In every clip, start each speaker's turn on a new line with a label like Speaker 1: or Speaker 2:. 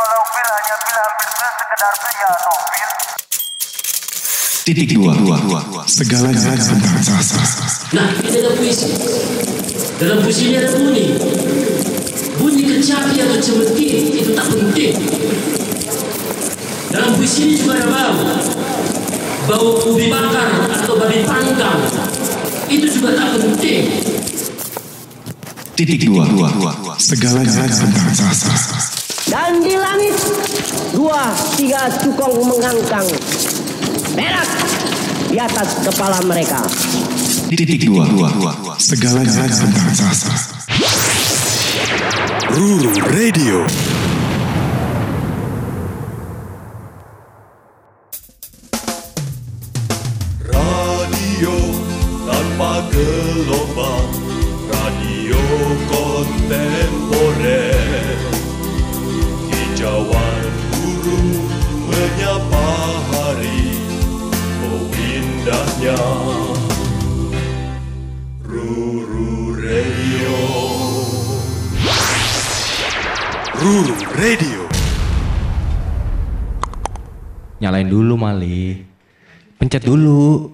Speaker 1: hanya bilang bisnis sekedar pria, Novin.
Speaker 2: Titik dua.
Speaker 3: Segalanya tentang sastra.
Speaker 4: Nah, kita ada puisi. Dalam puisi ni ada bunyi. Bunyi kecapi atau cemeti itu tak penting. Dalam puisi ini juga ada bau. Bau ubi bakar atau babi panggang. Itu juga tak penting.
Speaker 2: Titik dua.
Speaker 3: Segalanya tentang sastra.
Speaker 5: Dan di langit dua tiga cukong mengangkang perak di atas kepala mereka.
Speaker 2: Titik dua.
Speaker 3: Segalanya tentang sastra.
Speaker 6: Ruru Radio. Radio tanpa gelombang, radio kontemporer. Hijauan guru menyapa hari, oh indahnya. Ruru Radio. Ruru Radio.
Speaker 7: Nyalain dulu Mali. Pencet dulu.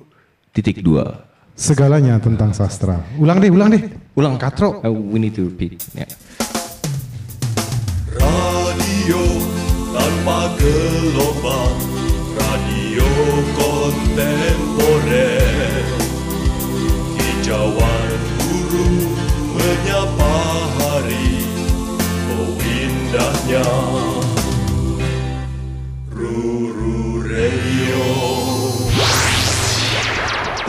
Speaker 7: Titik dua.
Speaker 3: Segalanya tentang sastra. Ulang deh, ulang deh.
Speaker 7: Ulang
Speaker 3: Katro.
Speaker 7: Uh, we need to repeat. Ya.
Speaker 6: Radio tanpa gelombang Radio kontemporer Hijauan guru menyapa hari Oh indahnya Ruru Radio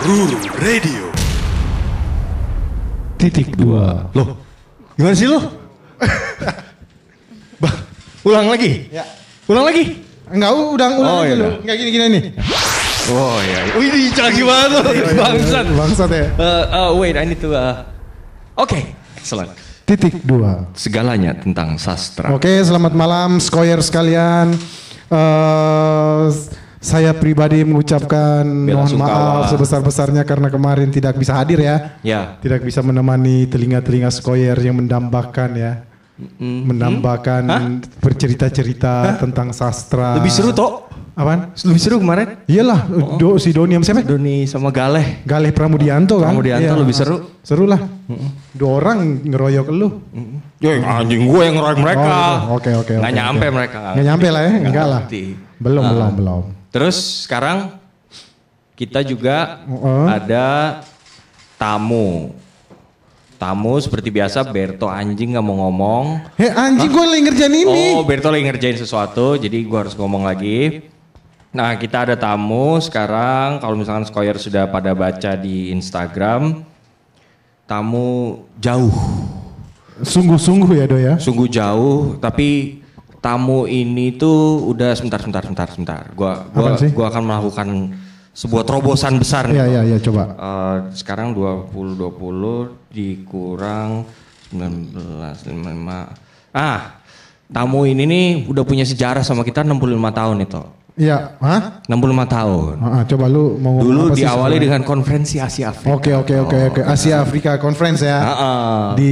Speaker 6: Ruru Radio
Speaker 3: Titik dua. Loh,
Speaker 8: Gimana sih lu? Bah, ulang lagi? Ya. Ulang lagi?
Speaker 3: enggak udah ulang
Speaker 8: Oh,
Speaker 3: aja
Speaker 8: iya,
Speaker 3: lu.
Speaker 8: udah.
Speaker 3: Enggak gini-gini nih.
Speaker 8: Oh iya. Wih, ini canggih banget
Speaker 7: Iya,
Speaker 8: lu. Bangsat.
Speaker 3: Bangsat ya.
Speaker 7: Uh, uh, wait, I need to. Uh... Oke, excellent.
Speaker 3: Titik dua.
Speaker 7: Segalanya tentang sastra.
Speaker 3: Oke, selamat malam Skoyer sekalian. Eh, saya pribadi mengucapkan
Speaker 7: Bela
Speaker 3: mohon
Speaker 7: sungkawa.
Speaker 3: maaf sebesar-besarnya karena kemarin tidak bisa hadir ya.
Speaker 7: Ya.
Speaker 3: Tidak bisa menemani telinga-telinga Skoyer yang mendambakan ya. Mendambakan bercerita-cerita tentang sastra.
Speaker 7: Lebih seru toh?
Speaker 3: Apaan?
Speaker 7: Eh, Lebih seru kemarin?
Speaker 3: Iyalah, Do, si Doniam siapa?
Speaker 7: Doni sama Galeh.
Speaker 3: Galih Pramudianto kan?
Speaker 7: Pramudianto
Speaker 3: Iya.
Speaker 7: lebih seru.
Speaker 3: Seru lah. Dua orang ngeroyok lu.
Speaker 7: Yo, anjing gue yang ngeroyok mereka.
Speaker 3: Oh, Oke, oke, oke.
Speaker 7: Nggak
Speaker 3: oke.
Speaker 7: nyampe mereka.
Speaker 3: Nggak nyampe lah ya, enggak lah.
Speaker 7: Ah, ngerti.
Speaker 3: Belum,
Speaker 7: Ah.
Speaker 3: belum, belum.
Speaker 7: Terus sekarang kita juga
Speaker 3: Heeh.
Speaker 7: ada tamu. Tamu seperti biasa Berto anjing nggak mau ngomong.
Speaker 3: Hei anjing gue lagi ngerjain ini.
Speaker 7: Oh, Berto lagi ngerjain sesuatu, jadi gua harus ngomong lagi. Nah, kita ada tamu sekarang. Kalau misalkan Skoyer sudah pada baca di Instagram, tamu jauh,
Speaker 3: Sungguh-sungguh ya Do ya.
Speaker 7: sungguh jauh. Tapi tamu ini tuh udah sebentar, sebentar, sebentar, sebentar. Gua, gua,
Speaker 3: Apaan sih?
Speaker 7: gua akan melakukan sebuah terobosan besar. nih.
Speaker 3: Iya, iya, iya coba.
Speaker 7: Eh, sekarang 20 20 dikurang 19 55. Ah, tamu ini nih udah punya sejarah sama kita 65 tahun itu.
Speaker 3: Iya, hah?
Speaker 7: 65 tahun.
Speaker 3: Ah, ah, coba lu mau ngomong
Speaker 7: Dulu
Speaker 3: apa sih
Speaker 7: diawali
Speaker 3: sebenarnya? Oh,
Speaker 7: dengan konferensi Asia Afrika.
Speaker 3: Oke, oke, oke,
Speaker 7: Oh.
Speaker 3: oke. Asia Afrika Conference ya.
Speaker 7: Heeh.
Speaker 3: Di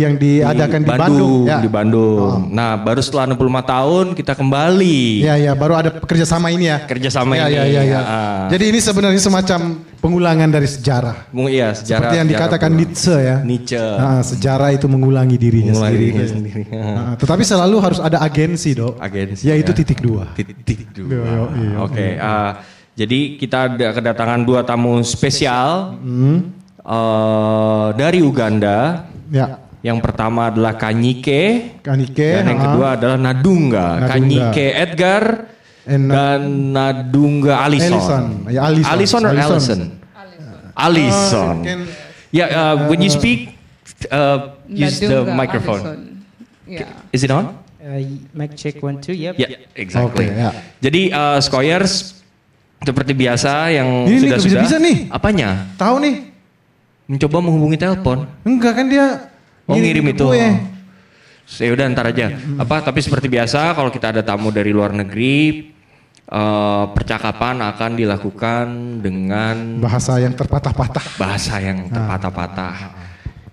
Speaker 3: yang diadakan di, Bandung, ya.
Speaker 7: Ah, di Bandung. Nah, baru setelah 65 tahun kita kembali.
Speaker 3: Iya, iya, baru ada kerjasama ini ya.
Speaker 7: Kerjasama
Speaker 3: Iya,
Speaker 7: ini,
Speaker 3: Iya, iya, iya.
Speaker 7: ah.
Speaker 3: Jadi ini sebenarnya semacam pengulangan dari sejarah.
Speaker 7: Mungkin iya, sejarah
Speaker 3: Seperti yang
Speaker 7: sejarah
Speaker 3: dikatakan
Speaker 7: pulang.
Speaker 3: Nietzsche ya.
Speaker 7: Nietzsche.
Speaker 3: Ah, sejarah itu mengulangi dirinya
Speaker 7: Eh. Mengulangi
Speaker 3: sendiri.
Speaker 7: dirinya
Speaker 3: guys.
Speaker 7: sendiri.
Speaker 3: Ah, tetapi selalu harus ada agensi, Dok.
Speaker 7: Agensi,
Speaker 3: Yaitu
Speaker 7: ya.
Speaker 3: titik dua.
Speaker 7: Titik dua.
Speaker 3: Yo, yo, yo, yo.
Speaker 7: Oke, ah, jadi kita ada kedatangan dua tamu spesial
Speaker 3: Hmm.
Speaker 7: eh, dari Uganda.
Speaker 3: Ya.
Speaker 7: Yang pertama adalah Kanyike,
Speaker 3: Kanike.
Speaker 7: dan yang
Speaker 3: ah.
Speaker 7: kedua adalah
Speaker 3: Nadunga.
Speaker 7: Nadunga. Kanyike Edgar
Speaker 3: And-
Speaker 7: dan Nadunga Alison.
Speaker 3: Alison. Ya, Alison.
Speaker 7: Alison or
Speaker 3: Alison.
Speaker 7: Alison? Alison.
Speaker 3: Ah, can-
Speaker 7: Ya, uh, when you speak, uh, use the
Speaker 9: Nadunga
Speaker 7: microphone.
Speaker 9: Allison. Yeah.
Speaker 7: Is it on?
Speaker 10: Uh, mic check one two. Yep.
Speaker 7: Ya, exactly.
Speaker 3: Oke, ya.
Speaker 7: Jadi uh, Skoyers seperti biasa
Speaker 3: Ini
Speaker 7: yang
Speaker 3: nih,
Speaker 7: sudah sudah.
Speaker 3: bisa-bisa nih.
Speaker 7: Apanya?
Speaker 3: Tahu nih?
Speaker 7: Mencoba menghubungi telepon.
Speaker 3: Enggak kan dia
Speaker 7: Oh
Speaker 3: ngirim
Speaker 7: ngirim
Speaker 3: ke
Speaker 7: itu.
Speaker 3: gue.
Speaker 7: Ya udah ntar aja. Apa? Tapi seperti biasa kalau kita ada tamu dari luar negeri, eh, percakapan akan dilakukan dengan
Speaker 3: Bahasa yang terpatah-patah. Ah.
Speaker 7: bahasa yang terpatah-patah.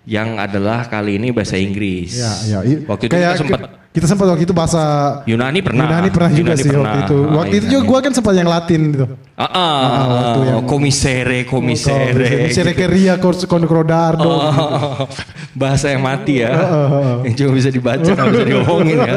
Speaker 7: yang adalah kali ini bahasa Inggris.
Speaker 3: Ya, ya. I-
Speaker 7: Waktu itu
Speaker 3: kayak
Speaker 7: kita sempat
Speaker 3: ke- kita sempat waktu itu bahasa
Speaker 7: Yunani pernah.
Speaker 3: Yunani pernah juga
Speaker 7: Yunani
Speaker 3: sih waktu
Speaker 7: pernah.
Speaker 3: itu.
Speaker 7: Ah,
Speaker 3: Waktu itu
Speaker 7: Yunani.
Speaker 3: juga gua kan sempat yang Latin gitu.
Speaker 7: Ah, ah,
Speaker 3: Ah, waktu yang- Oh,
Speaker 7: komisere, komisere.
Speaker 3: Sere
Speaker 7: gitu.
Speaker 3: Keria Concordardo.
Speaker 7: Oh, bahasa yang mati ya. Yang cuma bisa dibaca, nggak bisa diomongin ya.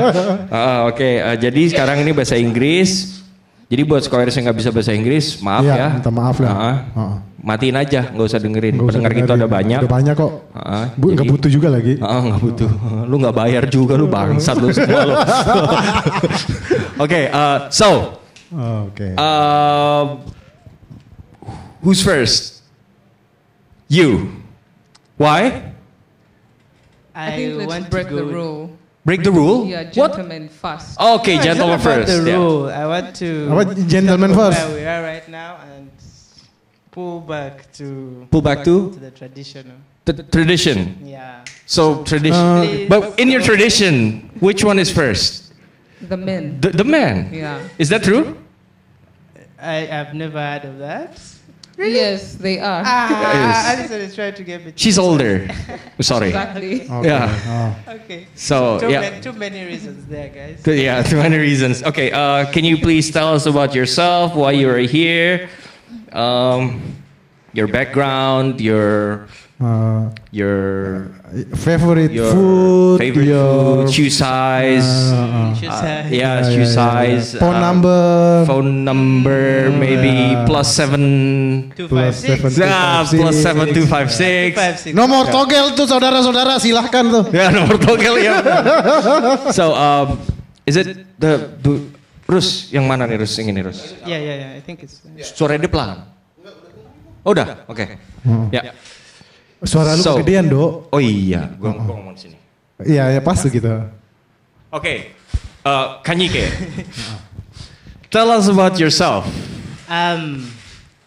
Speaker 7: Ah, Oke, eh, jadi sekarang ini bahasa Inggris. Jadi buat scholars yang nggak bisa bahasa Inggris, maaf
Speaker 3: Iya,
Speaker 7: ya.
Speaker 3: minta maaf lah.
Speaker 7: Ah,
Speaker 3: Ah.
Speaker 7: Matiin aja, nggak usah dengerin.
Speaker 3: Nggak usah
Speaker 7: Pendengar kita
Speaker 3: dengerin.
Speaker 7: ada banyak.
Speaker 3: Udah banyak kok.
Speaker 7: Ah,
Speaker 3: Bu, nggak
Speaker 7: jadi-
Speaker 3: butuh juga lagi.
Speaker 7: Ah, nggak butuh. Lu nggak bayar juga lu bangsat lu semua lu. Oke, eh, so
Speaker 3: Oh, Oke.
Speaker 7: eh, who's first? You. Why?
Speaker 5: I think let's break the rule.
Speaker 7: Break the rule?
Speaker 5: Yeah,
Speaker 7: What?
Speaker 5: gentlemen first.
Speaker 7: Okay, gentlemen
Speaker 11: About
Speaker 7: first.
Speaker 11: the
Speaker 7: yeah.
Speaker 11: rule. I want to
Speaker 3: Apa, gentleman
Speaker 11: look
Speaker 3: first?
Speaker 11: where we are right now and pull back to
Speaker 7: Pull back to?
Speaker 11: the traditional.
Speaker 7: The tradition.
Speaker 11: Yeah.
Speaker 3: Ah,
Speaker 7: So tradition.
Speaker 5: Uh,
Speaker 7: but in your tradition, which one is first?
Speaker 5: The men.
Speaker 7: The, the man.
Speaker 5: Yeah.
Speaker 7: Is that true?
Speaker 11: I have never heard of that.
Speaker 5: Yes, they are.
Speaker 11: Ah, I just wanna try to get between.
Speaker 7: She's older. Sorry.
Speaker 5: Exactly.
Speaker 3: Oke.
Speaker 7: Yeah.
Speaker 3: Oh.
Speaker 11: Okay.
Speaker 7: So
Speaker 11: too,
Speaker 7: Oh, yeah.
Speaker 11: many, too many reasons there, guys.
Speaker 7: Th- Yeah, too many reasons. Okay, uh, can you please tell us about yourself, why you are here, um, your background, your
Speaker 3: Eh,
Speaker 7: your
Speaker 3: favorite
Speaker 7: your
Speaker 3: food,
Speaker 7: favorite
Speaker 3: your
Speaker 7: food, shoe size,
Speaker 3: Ah,
Speaker 7: uh,
Speaker 11: She's, uh,
Speaker 7: yeah,
Speaker 3: Yeah,
Speaker 7: shoe
Speaker 3: yeah, yeah,
Speaker 7: size,
Speaker 3: yeah. phone
Speaker 7: uh,
Speaker 3: number, Mm,
Speaker 7: phone number, maybe
Speaker 3: yeah.
Speaker 7: plus seven.
Speaker 11: two,
Speaker 3: plus
Speaker 11: five, six.
Speaker 3: seven,
Speaker 7: Ah,
Speaker 3: two,
Speaker 7: plus
Speaker 3: five,
Speaker 7: seven
Speaker 3: six.
Speaker 7: two five
Speaker 11: Two,
Speaker 7: six.
Speaker 11: five, six.
Speaker 3: Nomor togel tuh saudara-saudara silahkan tuh.
Speaker 7: Yeah, nomor togel ya. so, um, is it the du, Rus yang mana nih Rus yang ini Rus?
Speaker 11: Yeah, yeah, yeah. I think it's.
Speaker 7: Suara dia pelan. Oh, udah, oke.
Speaker 3: Hmm.
Speaker 7: Ya.
Speaker 3: Suara lu
Speaker 7: So-
Speaker 3: kegedean, Dok.
Speaker 7: Oh iya, gua gua
Speaker 3: Hmm.
Speaker 7: ngomong di sini.
Speaker 3: Iya, ya pas tuh gitu.
Speaker 7: Oke. Eh, Kanyike. Tell us about yourself.
Speaker 11: Um,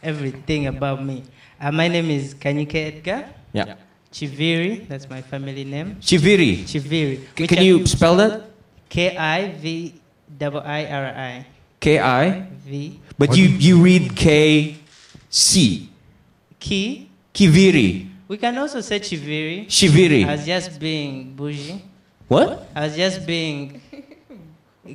Speaker 11: everything about me. Uh, my name is Kanyike Edgar
Speaker 7: Ya.
Speaker 11: Chiviri. That's my family name.
Speaker 7: Chiviri.
Speaker 11: Chiviri.
Speaker 7: C- Can you spell that?
Speaker 11: K I V double I R I
Speaker 7: K I.
Speaker 11: V
Speaker 7: But you you read K C.
Speaker 11: Ki.
Speaker 7: Kiviri.
Speaker 11: We can also say Chiviri.
Speaker 7: Chiviri.
Speaker 11: I was just being bougie.
Speaker 7: What?
Speaker 11: I was just being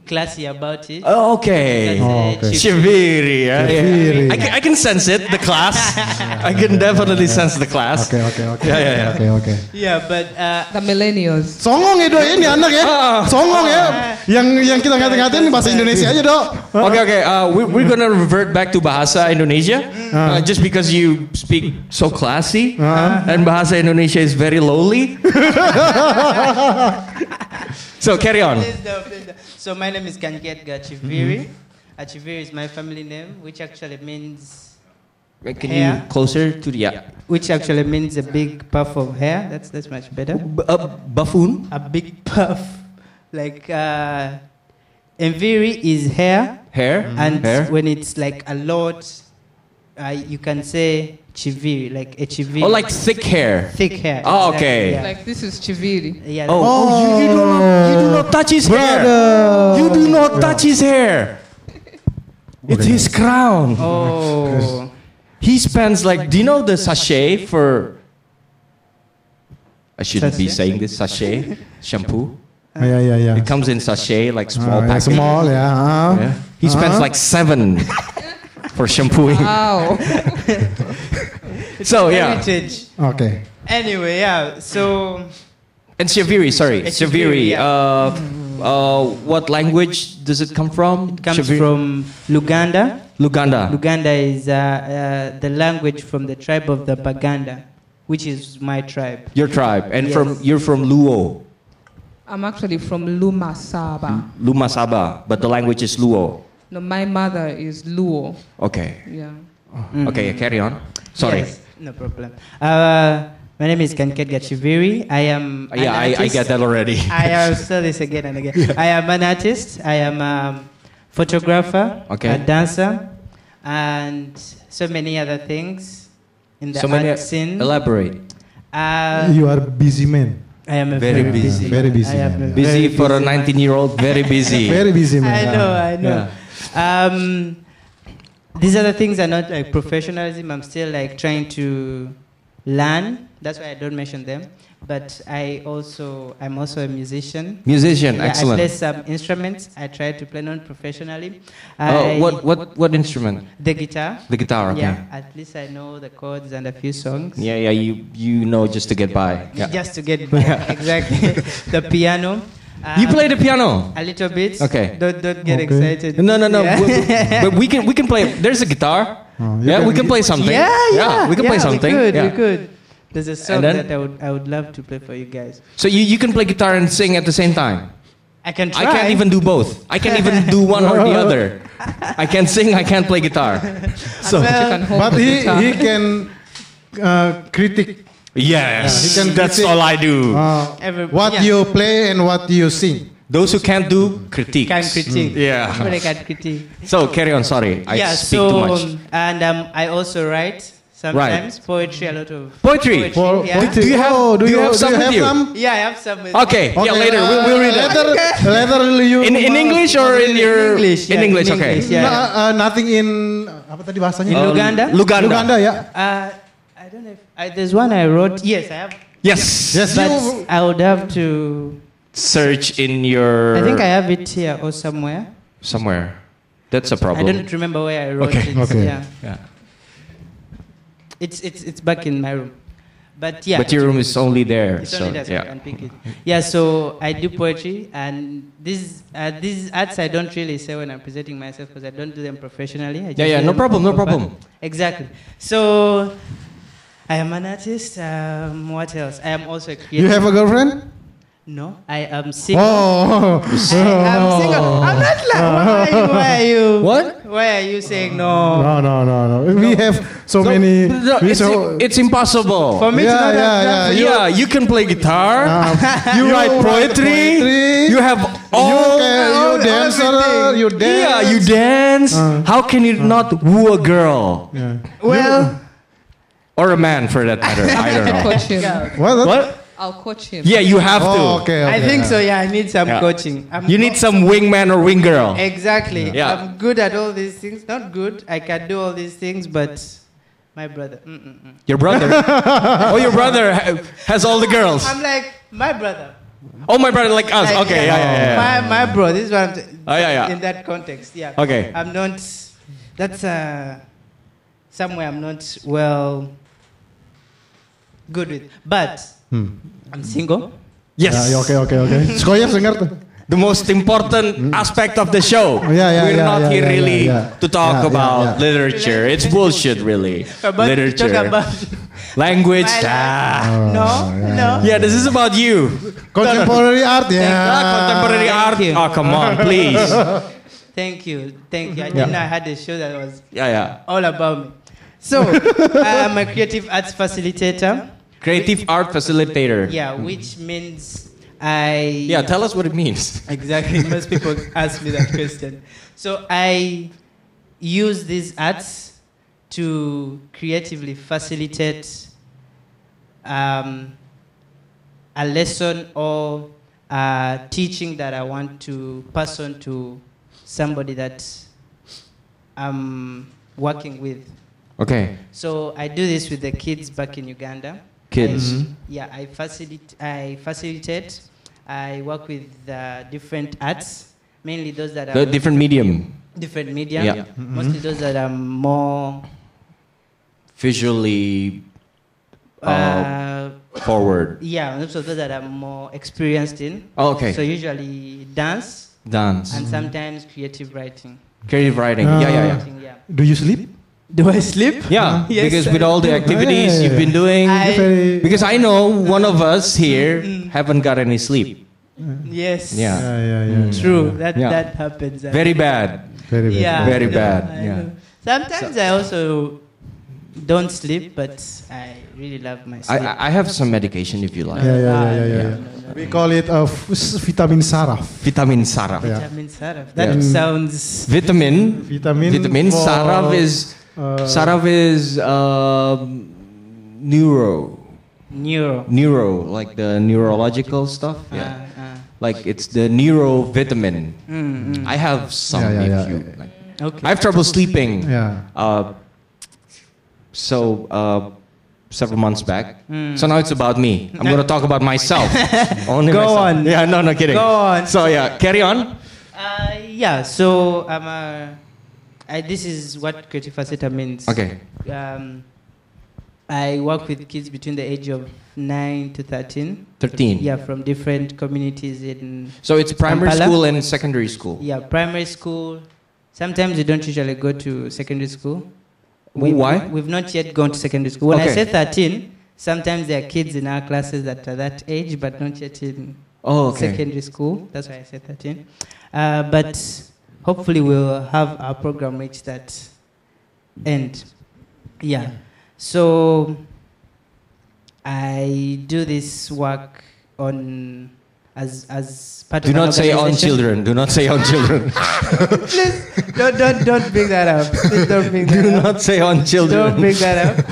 Speaker 11: classy about it.
Speaker 7: Oh,
Speaker 11: That's,
Speaker 7: okay.
Speaker 11: uh,
Speaker 3: Oh, okay.
Speaker 11: Chiviri.
Speaker 7: Chiviri. Yeah. yeah.
Speaker 3: Chiviri.
Speaker 7: I can, I can sense it, the class. I can definitely sense the class.
Speaker 3: Oke, oke, oke.
Speaker 7: Ya, ya, ya.
Speaker 3: Oke, oke.
Speaker 11: Yeah, but uh,
Speaker 5: The millennials.
Speaker 3: Songong ya, Dok. Ini anak
Speaker 7: Ah,
Speaker 3: ya. Songong ya. Yang yang kita ngata-ngatain bahasa Indonesia aja, Dok.
Speaker 7: Okay, okay. Uh, we, we're gonna revert back to Bahasa Indonesia,
Speaker 3: Ah.
Speaker 7: uh, just because you speak so classy, and Bahasa Indonesia is very lowly. so carry on.
Speaker 11: Please no, please no. So my name is Kanyike Edgar Chiviri. Uh, Chiviri is my family name, which actually means
Speaker 7: Can
Speaker 11: Hair.
Speaker 7: you closer to the yeah?
Speaker 11: which actually means a big puff of hair. That's that's much better.
Speaker 7: B- uh, buffoon.
Speaker 11: A big puff, like uh, Enviri is hair,
Speaker 7: Hair
Speaker 11: Mm-hmm. and
Speaker 7: hair.
Speaker 11: when it's like a lot, uh, you can say Chiviri, like a Chiviri.
Speaker 7: Oh, like thick hair.
Speaker 11: thick hair.
Speaker 7: Oh,
Speaker 11: exactly,
Speaker 7: okay.
Speaker 11: yeah.
Speaker 5: Like this is Chiviri.
Speaker 11: Yeah,
Speaker 7: Oh, oh, you, you do not, you do not touch his hair. You do not touch his hair. It's his crown.
Speaker 11: Oh.
Speaker 7: He spends like, do you know the sachet for? I shouldn't be
Speaker 11: Sachet?
Speaker 7: saying this sachet shampoo.
Speaker 11: Eh,
Speaker 3: Iya, iya, iya.
Speaker 7: It comes in sachet like
Speaker 3: Ah,
Speaker 7: small
Speaker 3: ya,
Speaker 7: package.
Speaker 3: Small ya. ah.
Speaker 7: Yeah. He spends like seven for shampooing.
Speaker 11: Uh,
Speaker 5: Wow.
Speaker 11: Oh,
Speaker 7: so yeah,
Speaker 11: Heritage.
Speaker 3: Oke.
Speaker 11: Anyway, yeah. So
Speaker 7: and Shaviri, sorry,
Speaker 11: It's
Speaker 7: Shaviri.
Speaker 11: Shaviri, yeah.
Speaker 7: Uh, uh, what language does it come from? It
Speaker 11: comes from Luganda.
Speaker 7: Luganda.
Speaker 11: Luganda is uh, uh, the language from the tribe of the Baganda, which is my tribe.
Speaker 7: Your tribe, and
Speaker 11: Yes.
Speaker 7: from you're from Luo,
Speaker 5: I'm actually from Luma Saba.
Speaker 7: Luma Saba, but the language is Luo.
Speaker 5: No, my mother is Luo.
Speaker 7: Okay,
Speaker 5: Yeah.
Speaker 7: Oh, okay, carry on. Sorry.
Speaker 11: Mm-hmm. Mm. Yes, no problem. Uh, my name is Kanket Gachiviri. I am.
Speaker 7: Uh,
Speaker 11: an
Speaker 7: Oh, Yeah, I, I
Speaker 11: artist.
Speaker 7: get that already.
Speaker 11: I have said this again and again. I am an artist. I am a photographer,
Speaker 7: Okay.
Speaker 11: a dancer, and so many other things in the
Speaker 7: so
Speaker 11: art
Speaker 7: many
Speaker 11: scene.
Speaker 7: elaborate.
Speaker 11: Uh,
Speaker 3: You are busy man.
Speaker 11: I am a
Speaker 7: Very
Speaker 11: very,
Speaker 7: busy.
Speaker 11: busy.
Speaker 3: Very
Speaker 11: man.
Speaker 3: busy
Speaker 11: I am
Speaker 3: man,
Speaker 11: a
Speaker 3: yeah.
Speaker 7: Busy
Speaker 11: very
Speaker 7: for a
Speaker 11: busy man.
Speaker 7: 19 year old, very busy.
Speaker 3: Very busy man.
Speaker 11: I know, I know.
Speaker 7: Yeah.
Speaker 11: Um, these other things are not like professionalism. I'm still like trying to learn. That's why I don't mention them. but I also I'm also a musician.
Speaker 7: Musician,
Speaker 11: Yeah,
Speaker 7: excellent.
Speaker 11: I play some instruments. I try to play non professionally.
Speaker 7: Oh, what, what, what instrument?
Speaker 11: The guitar.
Speaker 7: The guitar, okay.
Speaker 11: Yeah, at least I know the chords and a few songs.
Speaker 7: Yeah, yeah, you, you know just to get by. Yeah.
Speaker 11: Just to get by, exactly the piano.
Speaker 7: You
Speaker 11: Um,
Speaker 7: play the piano?
Speaker 11: a little bit.
Speaker 7: Okay.
Speaker 11: Don't don't get
Speaker 7: Okay.
Speaker 11: excited.
Speaker 7: No, no, no.
Speaker 11: Yeah. Oh,
Speaker 7: we- we- but we can we can play. There's a guitar. yeah, we can play something.
Speaker 11: Yeah, yeah,
Speaker 7: we can play
Speaker 11: yeah,
Speaker 7: something.
Speaker 11: We could,
Speaker 7: yeah.
Speaker 11: we could. There's a song
Speaker 7: then-
Speaker 11: that I would I would love to play for you guys.
Speaker 7: So you, you can play guitar and sing at the same time.
Speaker 11: I can try.
Speaker 7: I can't even do both. I can't even do one or the other. I can't sing. I can't play guitar.
Speaker 3: So, but he, he can uh, critic
Speaker 12: Yes,
Speaker 3: Yeah, he can
Speaker 12: that's
Speaker 3: critique.
Speaker 12: all I do.
Speaker 3: uh,
Speaker 11: Every-
Speaker 3: what
Speaker 11: yeah.
Speaker 3: you play and what you sing.
Speaker 7: Those who can't do critiques.
Speaker 11: can critique.
Speaker 12: yeah.
Speaker 11: But I can critique.
Speaker 7: So carry on. Sorry, I
Speaker 11: yeah,
Speaker 7: speak
Speaker 11: so,
Speaker 7: too much.
Speaker 11: um, And um, I also write sometimes poetry, a lot of
Speaker 7: Poetry?
Speaker 3: For,
Speaker 11: yeah.
Speaker 3: Do you have, oh, do, you,
Speaker 7: do you have
Speaker 3: do
Speaker 7: some
Speaker 3: you
Speaker 7: with
Speaker 3: have
Speaker 7: you?
Speaker 3: some?
Speaker 11: Yeah, I have some. with-
Speaker 7: Okay. Yeah, later, we'll-
Speaker 3: uh,
Speaker 7: we'll read that.
Speaker 3: later, later you
Speaker 7: In in
Speaker 3: uh,
Speaker 7: English or in your
Speaker 11: English, yeah,
Speaker 7: in
Speaker 11: in
Speaker 7: English? Okay.
Speaker 11: English, yeah.
Speaker 3: na- uh, nothing in apa tadi bahasanya?
Speaker 11: ya. In
Speaker 7: Um,
Speaker 11: Luganda?
Speaker 7: Luganda.
Speaker 3: Luganda ya.
Speaker 11: Uh, I don't know if I, there's one I wrote. Yes, I have.
Speaker 7: Yes.
Speaker 3: Yes,
Speaker 11: But
Speaker 3: you-
Speaker 11: I would have to.
Speaker 7: Search in your.
Speaker 11: I think I have it here or somewhere.
Speaker 7: somewhere. That's a
Speaker 11: I
Speaker 7: problem.
Speaker 11: don't remember where I wrote
Speaker 7: Okay,
Speaker 11: it.
Speaker 3: okay.
Speaker 11: Yeah.
Speaker 7: Yeah.
Speaker 11: It's, it's, it's back in my room. But yeah.
Speaker 7: but your room is only there.
Speaker 11: It's
Speaker 7: so
Speaker 11: only that
Speaker 7: yeah.
Speaker 11: we can pick it. Yeah, so I do poetry, and these uh, these arts I don't really say when I'm presenting myself because I don't do them professionally. I just
Speaker 7: yeah,
Speaker 11: do
Speaker 7: no
Speaker 11: them
Speaker 7: problem, no
Speaker 11: for fun.
Speaker 7: problem.
Speaker 11: Exactly. So I am an artist. Um, what else? I am also a creative.
Speaker 3: You have a girlfriend?
Speaker 11: no, I am single.
Speaker 3: Oh.
Speaker 11: I am single. I'm not like why are you? Why are you? What? Why are you saying no?
Speaker 3: No, no, no, no. We have so many.
Speaker 7: No,
Speaker 3: we
Speaker 7: it's,
Speaker 3: so,
Speaker 7: it's impossible.
Speaker 11: For me, it's
Speaker 3: yeah, yeah,
Speaker 11: not that-
Speaker 3: yeah. You,
Speaker 7: yeah, you can play guitar. you write poetry.
Speaker 3: poetry.
Speaker 7: You have
Speaker 3: you,
Speaker 7: all.
Speaker 3: can, you dancer. You dance.
Speaker 7: yeah, you dance. How can you not woo a girl
Speaker 3: Yeah.
Speaker 11: Well,
Speaker 7: or a man for that matter? I don't know.
Speaker 5: Coach him.
Speaker 3: What?
Speaker 7: What?
Speaker 5: I'll coach him.
Speaker 7: Yeah, you have to.
Speaker 3: Oh, okay, okay.
Speaker 11: I think so. Yeah, I need some
Speaker 7: Yeah.
Speaker 11: coaching. I'm
Speaker 7: You need some wingman or wing girl.
Speaker 11: Exactly.
Speaker 7: Yeah.
Speaker 11: I'm good at all these things. Not good. I can do all these things, but my brother. Mm, Mm-mm-mm.
Speaker 7: Your brother. oh, your brother ha- has all the girls.
Speaker 11: I'm like my brother.
Speaker 7: Oh, my brother, like us.
Speaker 11: Like,
Speaker 7: Okay, yeah, yeah, yeah. yeah.
Speaker 11: My my bro. This is what I'm. T-
Speaker 7: Oh, yeah, yeah.
Speaker 11: In that context, yeah.
Speaker 7: Okay.
Speaker 11: I'm not. That's uh, somewhere I'm not well. Good with, but
Speaker 7: Hmm.
Speaker 11: I'm single.
Speaker 7: Yes.
Speaker 3: Yeah, oke, oke, oke. Skoyers dengar tuh.
Speaker 7: the most important aspect of the show.
Speaker 3: Mm. yeah, yeah,
Speaker 7: We're
Speaker 3: yeah,
Speaker 7: not
Speaker 3: yeah,
Speaker 7: here
Speaker 3: yeah,
Speaker 7: really
Speaker 3: yeah, yeah.
Speaker 7: to talk
Speaker 3: Yeah, yeah,
Speaker 7: about
Speaker 3: yeah.
Speaker 7: literature. It's bullshit, really.
Speaker 11: About
Speaker 7: literature,
Speaker 11: Talk about
Speaker 7: language.
Speaker 11: My life.
Speaker 7: ah.
Speaker 11: no, no.
Speaker 7: Yeah, this is about you.
Speaker 3: Contemporary art ya.
Speaker 7: Ah, contemporary art.
Speaker 11: you.
Speaker 7: Oh, come on, please.
Speaker 11: Thank you, thank you. I
Speaker 7: Yeah.
Speaker 11: didn't know I had a show that was
Speaker 7: Yeah, yeah.
Speaker 11: all about me. So uh, I'm a creative arts facilitator.
Speaker 7: Creative art facilitator.
Speaker 11: Yeah, which means I.
Speaker 7: Yeah, tell us what it means.
Speaker 11: Exactly. Most people ask me that question. So I use these arts to creatively facilitate um, a lesson or uh, teaching that I want to pass on to somebody that I'm working with.
Speaker 7: Okay.
Speaker 11: So I do this with the kids back in Uganda.
Speaker 7: Kids.
Speaker 11: I-
Speaker 7: Mhm.
Speaker 11: yeah, I facilitate. I facilitate. I work with uh, different arts, mainly those that are
Speaker 7: The different medium.
Speaker 11: different media.
Speaker 7: Yeah.
Speaker 11: Mostly those that are more
Speaker 7: Visually Oh.
Speaker 11: uh,
Speaker 7: forward.
Speaker 11: yeah, and also those that are more experienced in.
Speaker 7: Oh, okay. Mm-hmm.
Speaker 11: So usually dance
Speaker 7: Dance.
Speaker 11: and sometimes creative writing.
Speaker 7: Creative writing. yeah, yeah, yeah.
Speaker 11: Writing, yeah.
Speaker 3: Do you sleep?
Speaker 11: Do I sleep?
Speaker 7: Yeah,
Speaker 11: Yes,
Speaker 7: because
Speaker 11: I
Speaker 7: with all the activities you've been doing,
Speaker 11: I-
Speaker 3: Very-
Speaker 7: because I know one of us here
Speaker 3: Mm-hmm.
Speaker 7: haven't got any sleep.
Speaker 11: Yes.
Speaker 7: Yeah.
Speaker 3: Ya, ya, ya.
Speaker 11: True. That
Speaker 7: Yeah.
Speaker 11: that happens.
Speaker 7: Very bad.
Speaker 3: Very bad.
Speaker 11: yeah,
Speaker 7: Very
Speaker 11: I know,
Speaker 7: bad,
Speaker 11: I
Speaker 7: yeah.
Speaker 11: know. Sometimes I also don't sleep, but I really love my
Speaker 7: I,
Speaker 11: sleep.
Speaker 7: I- I have some medication if you like.
Speaker 3: Ya, ya,
Speaker 11: Ah,
Speaker 3: ya, ya, ya. We call it a f- s- vitamin saraf.
Speaker 7: Vitamin saraf.
Speaker 3: Yeah.
Speaker 11: Vitamin Saraf. That
Speaker 7: Yeah.
Speaker 11: sounds.
Speaker 7: Vitamin.
Speaker 3: Vitamin
Speaker 7: Vitamin
Speaker 3: for-
Speaker 7: saraf is
Speaker 3: Uh,
Speaker 7: saraf is um, neuro
Speaker 11: Neuro.
Speaker 7: neuro like the neurological stuff. Yeah.
Speaker 11: Uh, uh.
Speaker 7: Like it's the neuro vitamin.
Speaker 11: Mm,
Speaker 7: I have some
Speaker 3: Mm-hmm. Yeah, yeah, yeah.
Speaker 7: if you like.
Speaker 11: mm. Okay.
Speaker 7: I have trouble sleeping.
Speaker 3: Ya.
Speaker 7: Uh, so uh, several months back.
Speaker 11: Mm.
Speaker 7: So now it's about me. I'm going to talk about myself. Only
Speaker 11: Go
Speaker 7: myself.
Speaker 11: on.
Speaker 7: Yeah, no, no kidding.
Speaker 11: Go on.
Speaker 7: So yeah, carry on.
Speaker 11: Uh, yeah, so I'm a, I, this is what creative faceta means.
Speaker 7: Okay.
Speaker 11: Um, I work with kids between the age of 9 to 13.
Speaker 7: 13.
Speaker 11: Yeah, from different communities in.
Speaker 7: So it's primary
Speaker 11: Kampala.
Speaker 7: school and secondary school.
Speaker 11: Yeah, primary school. Sometimes we don't usually go to secondary school.
Speaker 7: Why?
Speaker 11: We've not yet gone to secondary school. When I
Speaker 7: Okay.
Speaker 11: say 13, sometimes there are kids in our classes that are that age, but not yet in
Speaker 7: Oh, okay.
Speaker 11: secondary school. That's why I said 13. Uh, but hopefully, we'll have our program reach that end. Yeah. So I do this work on as as part
Speaker 7: Do
Speaker 11: of an
Speaker 7: not say on
Speaker 11: organization.
Speaker 7: children. Do not say on children.
Speaker 11: don't don't don't bring that up. Please don't bring that
Speaker 7: Do
Speaker 11: up.
Speaker 7: not say on
Speaker 11: Don't
Speaker 7: children.
Speaker 11: bring that up.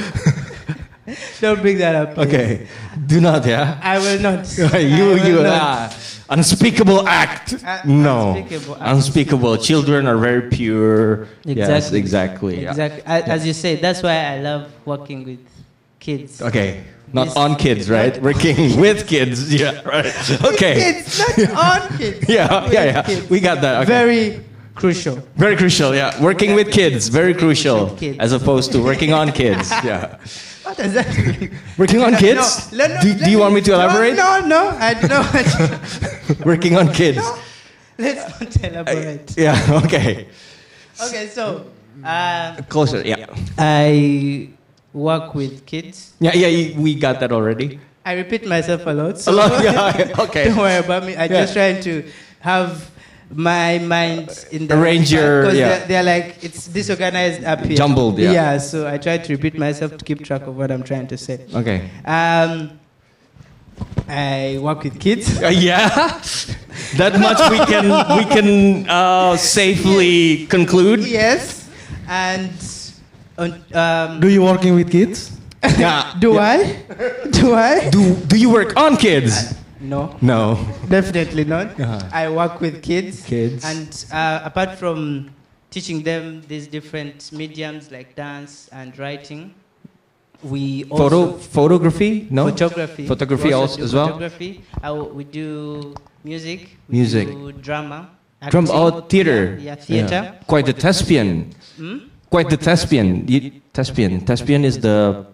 Speaker 11: don't bring that up. please.
Speaker 7: Okay. Do not, yeah.
Speaker 11: I will not.
Speaker 7: you
Speaker 11: I will
Speaker 7: you
Speaker 11: not.
Speaker 7: ah, unspeakable act.
Speaker 11: Un-
Speaker 7: no.
Speaker 11: Uh, unspeakable act.
Speaker 7: Unspeakable. Children are very pure. Yes,
Speaker 11: Exactly.
Speaker 7: exactly. yeah.
Speaker 11: Exactly. A- As you say, that's why I love working with kids.
Speaker 7: Okay. Not
Speaker 11: This-
Speaker 7: on kids, right? We're king with kids. Yeah, right. Okay.
Speaker 11: Kids, not on kids.
Speaker 7: Yeah, yeah, yeah.
Speaker 11: kids.
Speaker 7: We got that. Okay.
Speaker 11: Very crucial.
Speaker 7: Very crucial, yeah. Working with kids, very crucial.
Speaker 11: kids.
Speaker 7: As opposed to working on kids, yeah.
Speaker 11: What does that mean?
Speaker 7: Working on
Speaker 11: No,
Speaker 7: kids?
Speaker 11: no, no,
Speaker 7: do,
Speaker 11: let
Speaker 7: do you want me to
Speaker 11: no,
Speaker 7: elaborate?
Speaker 11: No, no, I don't.
Speaker 7: Working on kids.
Speaker 11: Let's not elaborate.
Speaker 7: Yeah, okay.
Speaker 11: Okay, so uh,
Speaker 7: Closer, yeah.
Speaker 11: I work with kids.
Speaker 7: Yeah, yeah, you- we got that already.
Speaker 11: I repeat myself a lot.
Speaker 7: A
Speaker 11: So
Speaker 7: lot, yeah, okay.
Speaker 11: Don't worry about me. I'm
Speaker 7: Yeah.
Speaker 11: just trying to have my mind in the
Speaker 7: Arrange your-
Speaker 11: because
Speaker 7: yeah.
Speaker 11: they're, they're like it's disorganized up here.
Speaker 7: Jumbled, yeah.
Speaker 11: Yeah. So I try to repeat myself to keep track of what I'm trying to say.
Speaker 7: Okay.
Speaker 11: Um, I work with kids.
Speaker 7: Uh, yeah, that much we can we can uh, safely conclude.
Speaker 11: Yes. And on, um,
Speaker 3: Do you working with kids?
Speaker 7: Yeah.
Speaker 11: do I? Do I?
Speaker 7: Do do you work on
Speaker 11: Uh,
Speaker 7: kids?
Speaker 11: No,
Speaker 7: No.
Speaker 11: definitely not.
Speaker 7: Uh-huh.
Speaker 11: I work with kids.
Speaker 7: Kids.
Speaker 11: And uh, apart from teaching them these different mediums like dance and writing, we
Speaker 7: Photo
Speaker 11: also
Speaker 7: photography? No.
Speaker 11: photography.
Speaker 7: Photography
Speaker 11: We
Speaker 7: also
Speaker 11: do
Speaker 7: as well?
Speaker 11: Photography. I w- we do music. We
Speaker 7: Music.
Speaker 11: do drama.
Speaker 7: Drum
Speaker 11: acting.
Speaker 7: or theater?
Speaker 11: Yeah, yeah, theater.
Speaker 7: Yeah. Quite the thespian.
Speaker 11: Hmm?
Speaker 7: Quite the thespian. You- Thespian. Thespian is the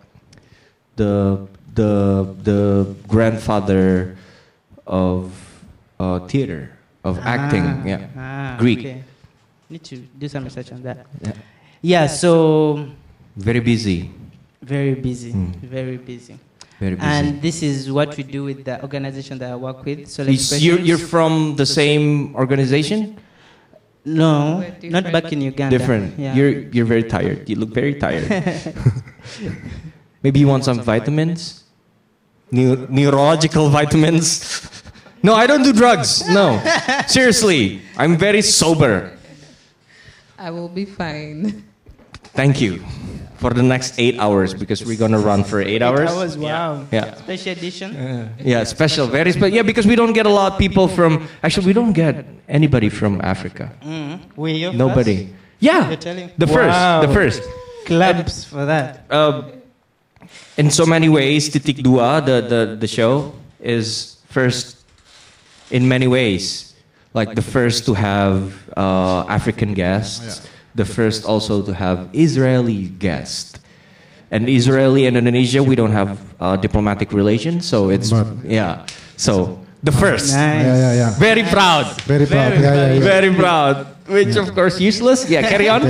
Speaker 7: the the the grandfather of uh, theater of acting.
Speaker 11: Ah,
Speaker 7: Yeah.
Speaker 11: ah,
Speaker 7: Greek.
Speaker 11: okay. Need to do some research on that.
Speaker 7: Yeah.
Speaker 11: Yeah, so
Speaker 7: Very busy.
Speaker 11: very busy,
Speaker 7: Mm.
Speaker 11: very busy.
Speaker 7: Very busy.
Speaker 11: And this is what we do with the organization that I work with. So
Speaker 7: Is- you're, you're from the same organization?
Speaker 11: no,
Speaker 5: We're
Speaker 11: not back
Speaker 5: different,
Speaker 11: in Uganda.
Speaker 7: Different.
Speaker 11: Yeah.
Speaker 7: You're you're very tired. You look very tired. Maybe you want some vitamins? Neu- neurological vitamins? No, I don't do drugs. No. Seriously, I'm very sober.
Speaker 5: I will be fine.
Speaker 7: Thank you for the next 8 hours because we're going to run for 8 hours.
Speaker 11: That was wow. Uh,
Speaker 7: Yeah.
Speaker 11: Special edition.
Speaker 7: Yeah, special, very special. Yeah, because we don't get a lot of people from actually we don't get anybody from Africa.
Speaker 11: Mm. Were you
Speaker 7: Nobody.
Speaker 11: first?
Speaker 7: Yeah.
Speaker 11: You're telling.
Speaker 7: The first, the
Speaker 11: Wow.
Speaker 7: first.
Speaker 11: Claps for that.
Speaker 7: uh, in so many ways, Titik Dua, the, the, the show, is first in many ways. Like the first to have uh, African guests, the first also to have Israeli guests. And Israeli and Indonesia, we don't have uh, diplomatic relations, so it's,
Speaker 3: But-
Speaker 7: yeah. So, the first.
Speaker 11: Nice.
Speaker 3: Yeah, yeah, yeah.
Speaker 7: Very proud.
Speaker 3: ya, Very proud. Ya, Yeah, yeah, yeah.
Speaker 7: Very proud. Which, of course, useless. Yeah, carry on.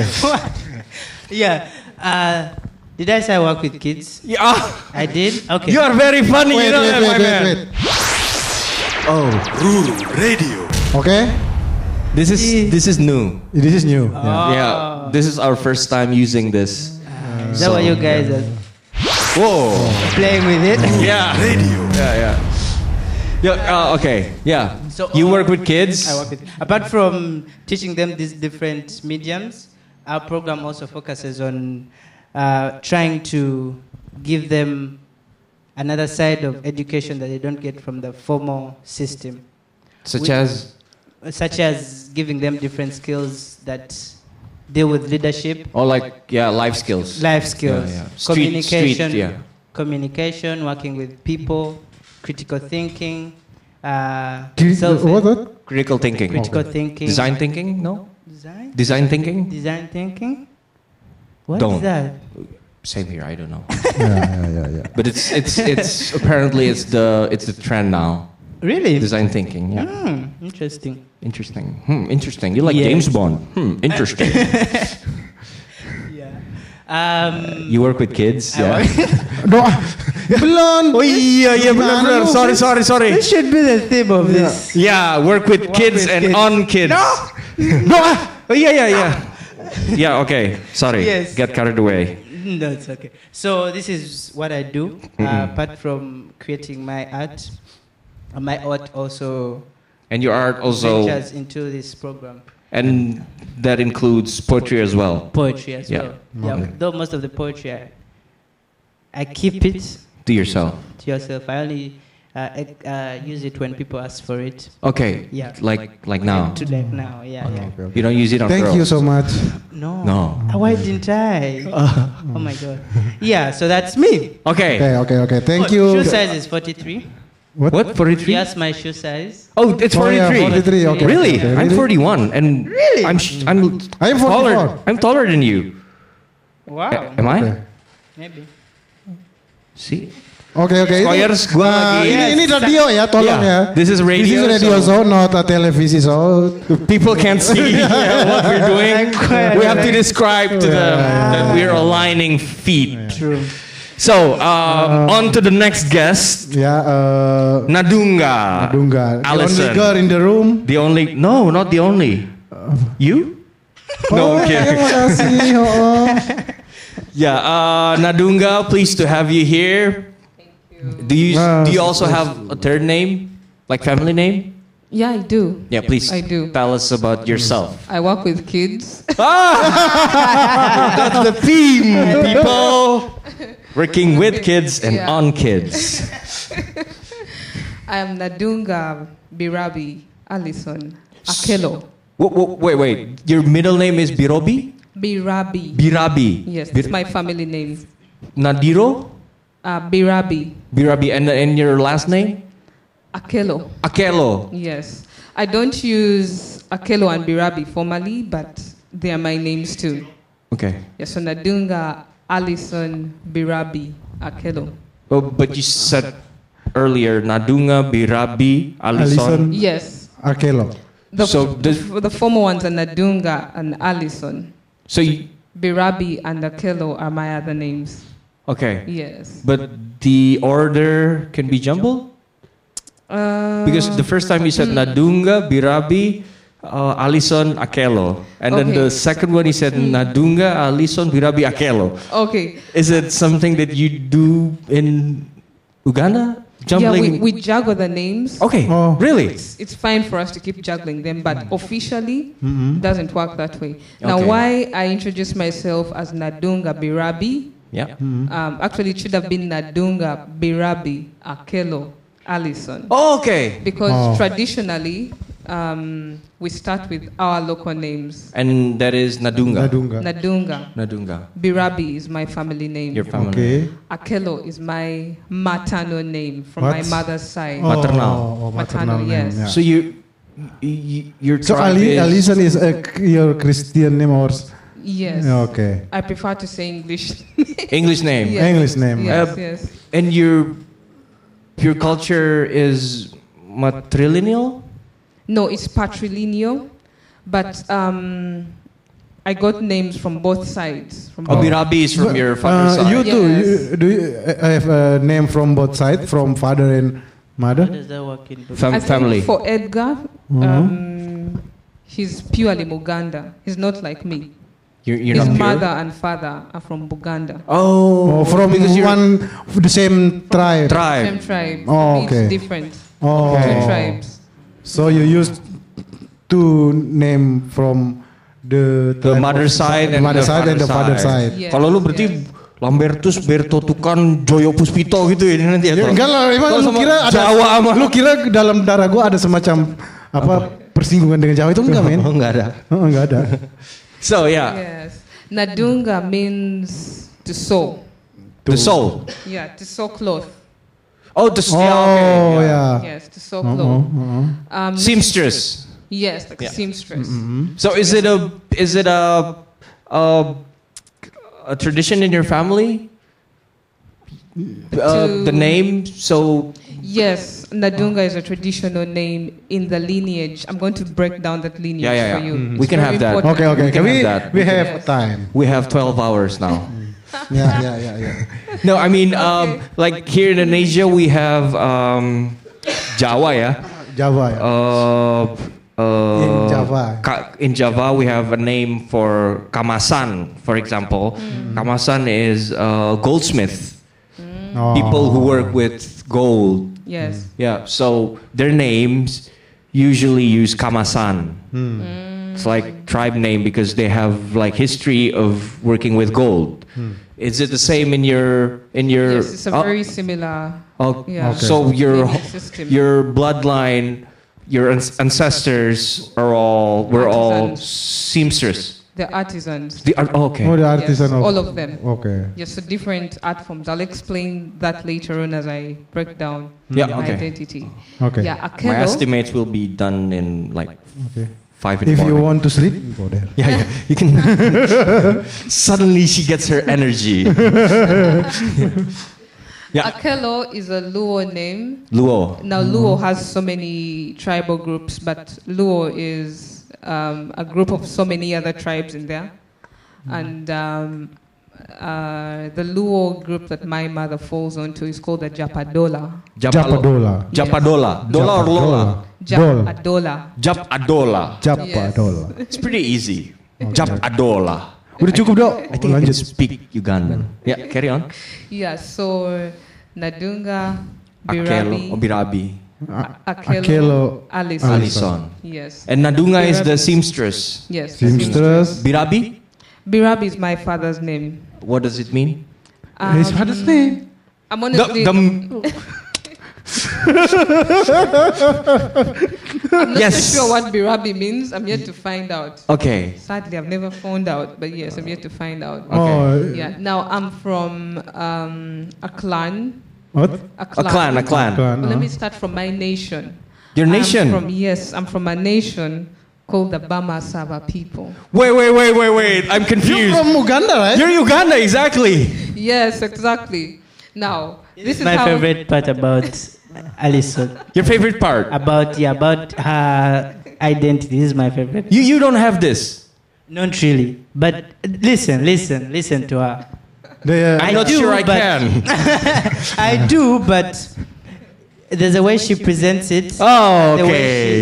Speaker 11: Yeah. Uh, did I say I work with kids?
Speaker 7: Yeah.
Speaker 11: I did. Okay.
Speaker 7: You are very funny, you
Speaker 3: Wait,
Speaker 7: know
Speaker 3: wait,
Speaker 7: that,
Speaker 3: wait,
Speaker 7: my
Speaker 3: wait,
Speaker 7: man.
Speaker 3: wait.
Speaker 6: Ruru Radio.
Speaker 3: Okay,
Speaker 7: This is this is new.
Speaker 3: this is new. Ya. Yeah.
Speaker 7: Oh,
Speaker 11: Ah.
Speaker 7: Yeah, this is our first time using this.
Speaker 11: Is that why you guys are
Speaker 7: Whoa.
Speaker 11: playing with it?
Speaker 7: Yeah. Radio. Yeah, yeah. Yeah, uh, okay. Yeah.
Speaker 11: So-
Speaker 7: you work with kids.
Speaker 11: I work with. Apart from teaching them these different mediums, our program also focuses on uh, trying to give them another side of education that they don't get from the formal system,
Speaker 7: Such
Speaker 11: with-
Speaker 7: as
Speaker 11: such as giving them different skills that deal with leadership,
Speaker 7: or like yeah, life skills.
Speaker 11: life skills,
Speaker 7: Yeah, yeah. Street-
Speaker 11: communication,
Speaker 7: street, yeah.
Speaker 1: communication, working with people, critical thinking, uh,
Speaker 3: Cri-
Speaker 1: self-
Speaker 3: what- what?
Speaker 7: Critical thinking.
Speaker 1: Critical
Speaker 7: Okay.
Speaker 1: thinking.
Speaker 7: Design thinking? No?
Speaker 1: Design?
Speaker 7: Design thinking?
Speaker 1: Design thinking? What is
Speaker 7: Don't.
Speaker 1: that?
Speaker 7: Same here. I don't know.
Speaker 3: yeah, yeah, yeah, yeah.
Speaker 7: But it's it's it's apparently it's the it's the trend now.
Speaker 1: Really?
Speaker 7: Design thinking. Yeah.
Speaker 1: Hmm, interesting.
Speaker 7: Interesting. Hmm. Interesting. You like
Speaker 1: Yeah.
Speaker 7: James Bond? Hmm. Interesting.
Speaker 1: Yeah. Um,
Speaker 7: you work with kids? Yeah.
Speaker 3: Doa. Belum.
Speaker 7: Oh iya iya
Speaker 3: Gimana
Speaker 7: benar benar.
Speaker 3: lu?
Speaker 7: Sorry sorry sorry.
Speaker 1: this should be the theme of this.
Speaker 7: Yeah, work with kids
Speaker 1: with
Speaker 7: and
Speaker 1: kids.
Speaker 7: on kids. No. no. Oh yeah yeah yeah. Yeah, okay. Sorry.
Speaker 1: Yes.
Speaker 7: Get carried away.
Speaker 1: No, it's okay. So this is what I do.
Speaker 7: Mm-hmm.
Speaker 1: Uh, apart from creating my art, uh, my art also
Speaker 7: And your art also
Speaker 1: ventures into this program.
Speaker 7: and that includes poetry as well.
Speaker 1: Poetry as
Speaker 7: Yeah.
Speaker 1: well. Yeah. Though most of the poetry, I, I keep it
Speaker 7: To yourself.
Speaker 1: to yourself. I only uh, ec- uh, use it when people ask for it.
Speaker 7: Okay.
Speaker 1: Yeah.
Speaker 7: Like like now.
Speaker 1: To like now, yeah. yeah.
Speaker 7: You don't use it on
Speaker 3: Thank
Speaker 7: girls.
Speaker 3: you so much.
Speaker 1: No.
Speaker 7: No.
Speaker 1: Ah, Why didn't I? oh my god. Yeah. So that's me.
Speaker 7: Okay.
Speaker 3: Okay, okay, okay.
Speaker 1: Oh,
Speaker 3: Thank you.
Speaker 1: Shoe size is 43.
Speaker 3: What?
Speaker 7: What? 43?
Speaker 1: Yes, my shoe size.
Speaker 7: Oh, it's
Speaker 3: Oh,
Speaker 7: 43.
Speaker 3: yeah, 43, okay,
Speaker 7: Really?
Speaker 3: okay,
Speaker 7: I'm
Speaker 3: really?
Speaker 7: 41 and really? I'm sh- I'm
Speaker 3: I am
Speaker 7: taller.
Speaker 3: 44.
Speaker 7: I'm taller than you.
Speaker 1: Wow.
Speaker 7: A- am I?
Speaker 3: Okay.
Speaker 1: Maybe.
Speaker 7: See?
Speaker 3: Oke oke. ini-
Speaker 7: Squires
Speaker 3: Nah,
Speaker 7: gua
Speaker 3: ini
Speaker 7: lagi. Yes.
Speaker 3: ini radio ya, tolong
Speaker 7: Yeah.
Speaker 3: ya.
Speaker 7: This is radio,
Speaker 3: This is radio, so,
Speaker 7: so-
Speaker 3: not a television so.
Speaker 7: People can't see what we're doing. We have to describe to them that we're aligning feet.
Speaker 1: True.
Speaker 7: So, um, on to the next guest,
Speaker 3: Ya, eh
Speaker 7: Nadunga.
Speaker 3: Dunga. The
Speaker 7: Allison.
Speaker 3: only girl in the room.
Speaker 7: The only, no, not the only. You?
Speaker 3: Oh,
Speaker 7: No, okay.
Speaker 3: terima kasih. oh.
Speaker 7: Yeah, uh, Nadunga, pleased to have you here. Do you
Speaker 3: Ah,
Speaker 7: do you also have a third name, like family name?
Speaker 11: Yeah, I do.
Speaker 7: Yeah, please
Speaker 11: I do.
Speaker 7: tell us about yourself. Ah!
Speaker 11: I work with kids.
Speaker 7: That's the theme, people. Working with kids and
Speaker 11: Yeah.
Speaker 7: on kids.
Speaker 11: I am Nadunga Birabi Allison Akelo.
Speaker 7: Wha- wha- wait, wait. Your middle name is Birobi?
Speaker 11: Birabi.
Speaker 7: Birabi.
Speaker 11: Yes,
Speaker 7: Bir-
Speaker 11: it's my family name.
Speaker 7: Nadiro?
Speaker 11: Uh, Birabi
Speaker 7: Birabi. And, and your last name?
Speaker 11: Akelo.
Speaker 7: Akelo.
Speaker 11: Yes. I don't use Akelo and Birabi formally, but they are my names too.
Speaker 7: Okay.
Speaker 11: Yes, so Nadunga Allison Birabi Akelo.
Speaker 7: Oh, but you said earlier Nadunga, Birabi, Alison.
Speaker 3: Allison.
Speaker 11: Yes.
Speaker 3: Akelo.
Speaker 11: The,
Speaker 7: So does-
Speaker 11: the former ones are Nadunga and Allison.
Speaker 7: So, you,
Speaker 11: Birabi and Akelo are my other names.
Speaker 7: okay.
Speaker 11: Yes.
Speaker 7: But the order can be jumbled?
Speaker 11: Uh,
Speaker 7: Because the first time you said Nadunga, Birabi, uh, Alison, Akelo. And then
Speaker 11: Okay.
Speaker 7: the second one you said Nadunga, Alison, Birabi, Akelo.
Speaker 11: okay.
Speaker 7: Is it something that you do in Uganda? Jumbling?
Speaker 11: Yeah, we, we juggle the names.
Speaker 7: okay,
Speaker 3: Oh.
Speaker 7: really?
Speaker 11: It's, it's fine for us to keep juggling them, but officially doesn't work that way.
Speaker 7: Mm-hmm.
Speaker 11: Now,
Speaker 7: Okay.
Speaker 11: why I introduce myself as Nadunga Birabi?
Speaker 7: Yeah.
Speaker 11: Um, actually, it should have been Nadunga Birabi Akelo Allison.
Speaker 7: okay.
Speaker 11: Because
Speaker 3: Oh.
Speaker 11: traditionally, um, we start with our local names.
Speaker 7: And that is Nadunga.
Speaker 3: Nadunga.
Speaker 11: Nadunga
Speaker 7: Nadunga.
Speaker 11: Birabi is my family name.
Speaker 7: Your family.
Speaker 3: Oke.
Speaker 11: Akelo is my maternal name from my
Speaker 3: What?
Speaker 11: mother's side.
Speaker 3: Oh,
Speaker 7: Maternal.
Speaker 3: oh, oh, maternal
Speaker 11: Maternal,
Speaker 3: name,
Speaker 11: yes.
Speaker 3: yeah.
Speaker 7: So you, you your
Speaker 3: So
Speaker 7: tribe
Speaker 3: Ali,
Speaker 7: is-
Speaker 3: Alison is a, your Christian name or?
Speaker 11: Yes.
Speaker 3: Okay.
Speaker 11: I prefer to say English.
Speaker 7: English name.
Speaker 11: Yes,
Speaker 3: English name.
Speaker 11: Yes,
Speaker 7: Uh,
Speaker 11: yes.
Speaker 7: And your your culture is matrilineal?
Speaker 11: No, it's patrilineal, but um, I got names from both sides. From
Speaker 7: Oh,
Speaker 11: both-
Speaker 7: Birabi is from your father's
Speaker 3: Uh,
Speaker 7: side.
Speaker 3: You too.
Speaker 11: Yes.
Speaker 3: You, do you I- I have a name from both sides, from father and
Speaker 1: How
Speaker 3: mother?
Speaker 1: does that work in Dubai?
Speaker 7: Fam-
Speaker 11: I think
Speaker 7: family.
Speaker 11: For Edgar,
Speaker 3: Mm-hmm.
Speaker 11: um, he's purely Muganda. He's not like me.
Speaker 7: You're, you're
Speaker 11: His
Speaker 7: not pure?
Speaker 11: mother and father are from Buganda.
Speaker 3: Oh,
Speaker 7: Oh,
Speaker 3: from
Speaker 7: because you're
Speaker 3: one the same tribe.
Speaker 7: tribe.
Speaker 11: Same tribe.
Speaker 3: Oh,
Speaker 11: It's
Speaker 3: okay.
Speaker 11: different.
Speaker 3: Oh,
Speaker 11: Two tribes.
Speaker 3: so you used two name from the tribe
Speaker 7: The mother
Speaker 3: of-
Speaker 7: side
Speaker 3: the
Speaker 7: and
Speaker 3: mother
Speaker 7: the
Speaker 3: side and the father
Speaker 7: father side.
Speaker 3: side.
Speaker 11: Yes,
Speaker 7: Kalau lu berarti
Speaker 11: yes.
Speaker 7: Lambertus Berto Tukan Joyo Puspito gitu ya nanti ya.
Speaker 3: Ya,
Speaker 7: Tom?
Speaker 3: enggak lah, emang
Speaker 7: Kalau
Speaker 3: lu
Speaker 7: sama
Speaker 3: kira ada
Speaker 7: Jawa sama
Speaker 3: lu kira dalam darah gua ada semacam apa persinggungan dengan Jawa itu enggak men?
Speaker 7: Oh, enggak ada.
Speaker 3: Heeh, enggak ada.
Speaker 7: So yeah.
Speaker 11: Yes. Nadunga means to sow.
Speaker 7: The soul.
Speaker 11: Yeah, to sew cloth.
Speaker 7: Oh, the soul. yeah, okay,
Speaker 3: Oh, uh-huh. yeah.
Speaker 11: Yes, to sew
Speaker 3: Uh-oh,
Speaker 11: cloth.
Speaker 3: uh-oh.
Speaker 11: Um,
Speaker 7: Seamstress.
Speaker 11: Yes, like
Speaker 7: Yeah. Mm-hmm.
Speaker 11: seamstress.
Speaker 7: So is it a is it a, a a tradition in your family? Uh, the
Speaker 11: To-
Speaker 7: name. So
Speaker 11: Yes, Nadunga is a traditional name in the lineage. I'm going to break down that lineage
Speaker 7: Yeah, yeah, yeah.
Speaker 11: for you.
Speaker 7: Mhm.
Speaker 11: It's
Speaker 7: We can
Speaker 11: very
Speaker 7: have that.
Speaker 11: important.
Speaker 3: Okay, okay.
Speaker 7: We
Speaker 3: Can
Speaker 7: can
Speaker 3: we,
Speaker 7: have that.
Speaker 3: we
Speaker 7: We
Speaker 3: have
Speaker 11: Yes.
Speaker 3: time. Ya,
Speaker 7: we have twelve hours now.
Speaker 3: Yeah, yeah, yeah, yeah.
Speaker 7: No, I mean, um, like here in Indonesia, we have um, Jawa, yeah.
Speaker 3: Java ya.
Speaker 7: Uh, uh,
Speaker 3: In Java.
Speaker 7: Ka- in Java, we have a name for kamasan, for example. Kamasan is uh, goldsmith,
Speaker 3: Oh.
Speaker 7: people who work with gold.
Speaker 11: Yes.
Speaker 7: Yeah, so their names usually use Kamasan.
Speaker 3: Hmm.
Speaker 7: It's like tribe name because they have like history of working with gold.
Speaker 3: Hmm.
Speaker 7: Is it the same in your in your?
Speaker 11: Yes, it's a
Speaker 7: oh,
Speaker 11: very similar.
Speaker 7: oh,
Speaker 11: yeah. Okay.
Speaker 7: So your
Speaker 11: Lineage system.
Speaker 7: your bloodline, your an- ancestors are all we're all
Speaker 11: Artisans.
Speaker 7: seamstress.
Speaker 11: The artisans.
Speaker 7: The, ar- oh,
Speaker 3: Oh,
Speaker 7: okay.
Speaker 3: the
Speaker 11: Yes,
Speaker 3: artisan of.
Speaker 11: all of them.
Speaker 3: Okay.
Speaker 11: Yes, so different art forms. I'll explain that later on as I break down
Speaker 7: Yeah,
Speaker 11: my
Speaker 7: okay.
Speaker 11: identity.
Speaker 3: Okay.
Speaker 11: Yeah,
Speaker 7: My
Speaker 11: Akedo.
Speaker 7: estimates will be done in like
Speaker 3: Okay.
Speaker 7: five. in the
Speaker 3: If you want
Speaker 7: morning.
Speaker 3: to sleep, you go there.
Speaker 7: Yeah, yeah. You can. Suddenly she gets her energy. Yeah.
Speaker 11: Akelo is a Luo name.
Speaker 7: Luo.
Speaker 11: Now, Luo has so many tribal groups, but Luo is um, a group of so many other tribes in there.
Speaker 7: Mm-hmm.
Speaker 11: And um, uh, the Luo group that my mother falls onto is called the Japadola.
Speaker 3: Japadola.
Speaker 7: Japadola. Dola or Lola?
Speaker 3: Dol.
Speaker 11: Japadola.
Speaker 7: Japadola.
Speaker 3: Japadola.
Speaker 7: It's pretty easy. Japadola.
Speaker 3: Udah cukup dok.
Speaker 7: Oh, I think I can
Speaker 3: Lanjut.
Speaker 7: speak Ugandan. Yeah, carry on.
Speaker 11: Yeah, so Nadunga,
Speaker 7: Akelo,
Speaker 11: Birabi,
Speaker 7: Obirabi,
Speaker 3: A- Akelo.
Speaker 11: Akelo, Alison.
Speaker 7: Ah, Alison.
Speaker 11: Yes.
Speaker 7: And Nadunga is the
Speaker 11: Birabi.
Speaker 7: seamstress.
Speaker 11: Yes.
Speaker 3: Seamstress.
Speaker 7: Birabi?
Speaker 11: Birabi is my father's name.
Speaker 7: What does it mean?
Speaker 3: His father's name.
Speaker 11: I'm
Speaker 7: The,
Speaker 11: honestly,
Speaker 7: the,
Speaker 11: I'm not
Speaker 7: Yes.
Speaker 11: so sure what Birabi means. I'm yet to find out.
Speaker 7: okay.
Speaker 11: Sadly, I've never found out, but yes, I'm yet to find out.
Speaker 3: Oh.
Speaker 11: Yeah. Now I'm from um, a clan.
Speaker 3: What?
Speaker 11: A
Speaker 7: A
Speaker 11: clan.
Speaker 7: clan, a clan.
Speaker 3: Kan,
Speaker 11: Let
Speaker 3: ah.
Speaker 11: me start from my nation.
Speaker 7: Your
Speaker 11: I'm
Speaker 7: nation.
Speaker 11: from- yes, I'm from a nation called the Bama Sava people.
Speaker 7: Wait, wait, wait, wait, wait. I'm confused.
Speaker 6: From Uganda, right?
Speaker 7: You're Uganda, exactly.
Speaker 11: Yes, exactly. Now this is
Speaker 1: my
Speaker 11: how
Speaker 1: favorite part about Alison.
Speaker 7: Your favorite part.
Speaker 1: About yeah, about her identity. This is my favorite.
Speaker 7: You you don't have this.
Speaker 1: Not really, but listen, listen, listen to her.
Speaker 3: They,
Speaker 1: I
Speaker 7: I'm not
Speaker 1: do,
Speaker 7: sure I
Speaker 1: but-
Speaker 7: can.
Speaker 1: I do, but there's a way she presents it.
Speaker 7: Oh,
Speaker 1: The way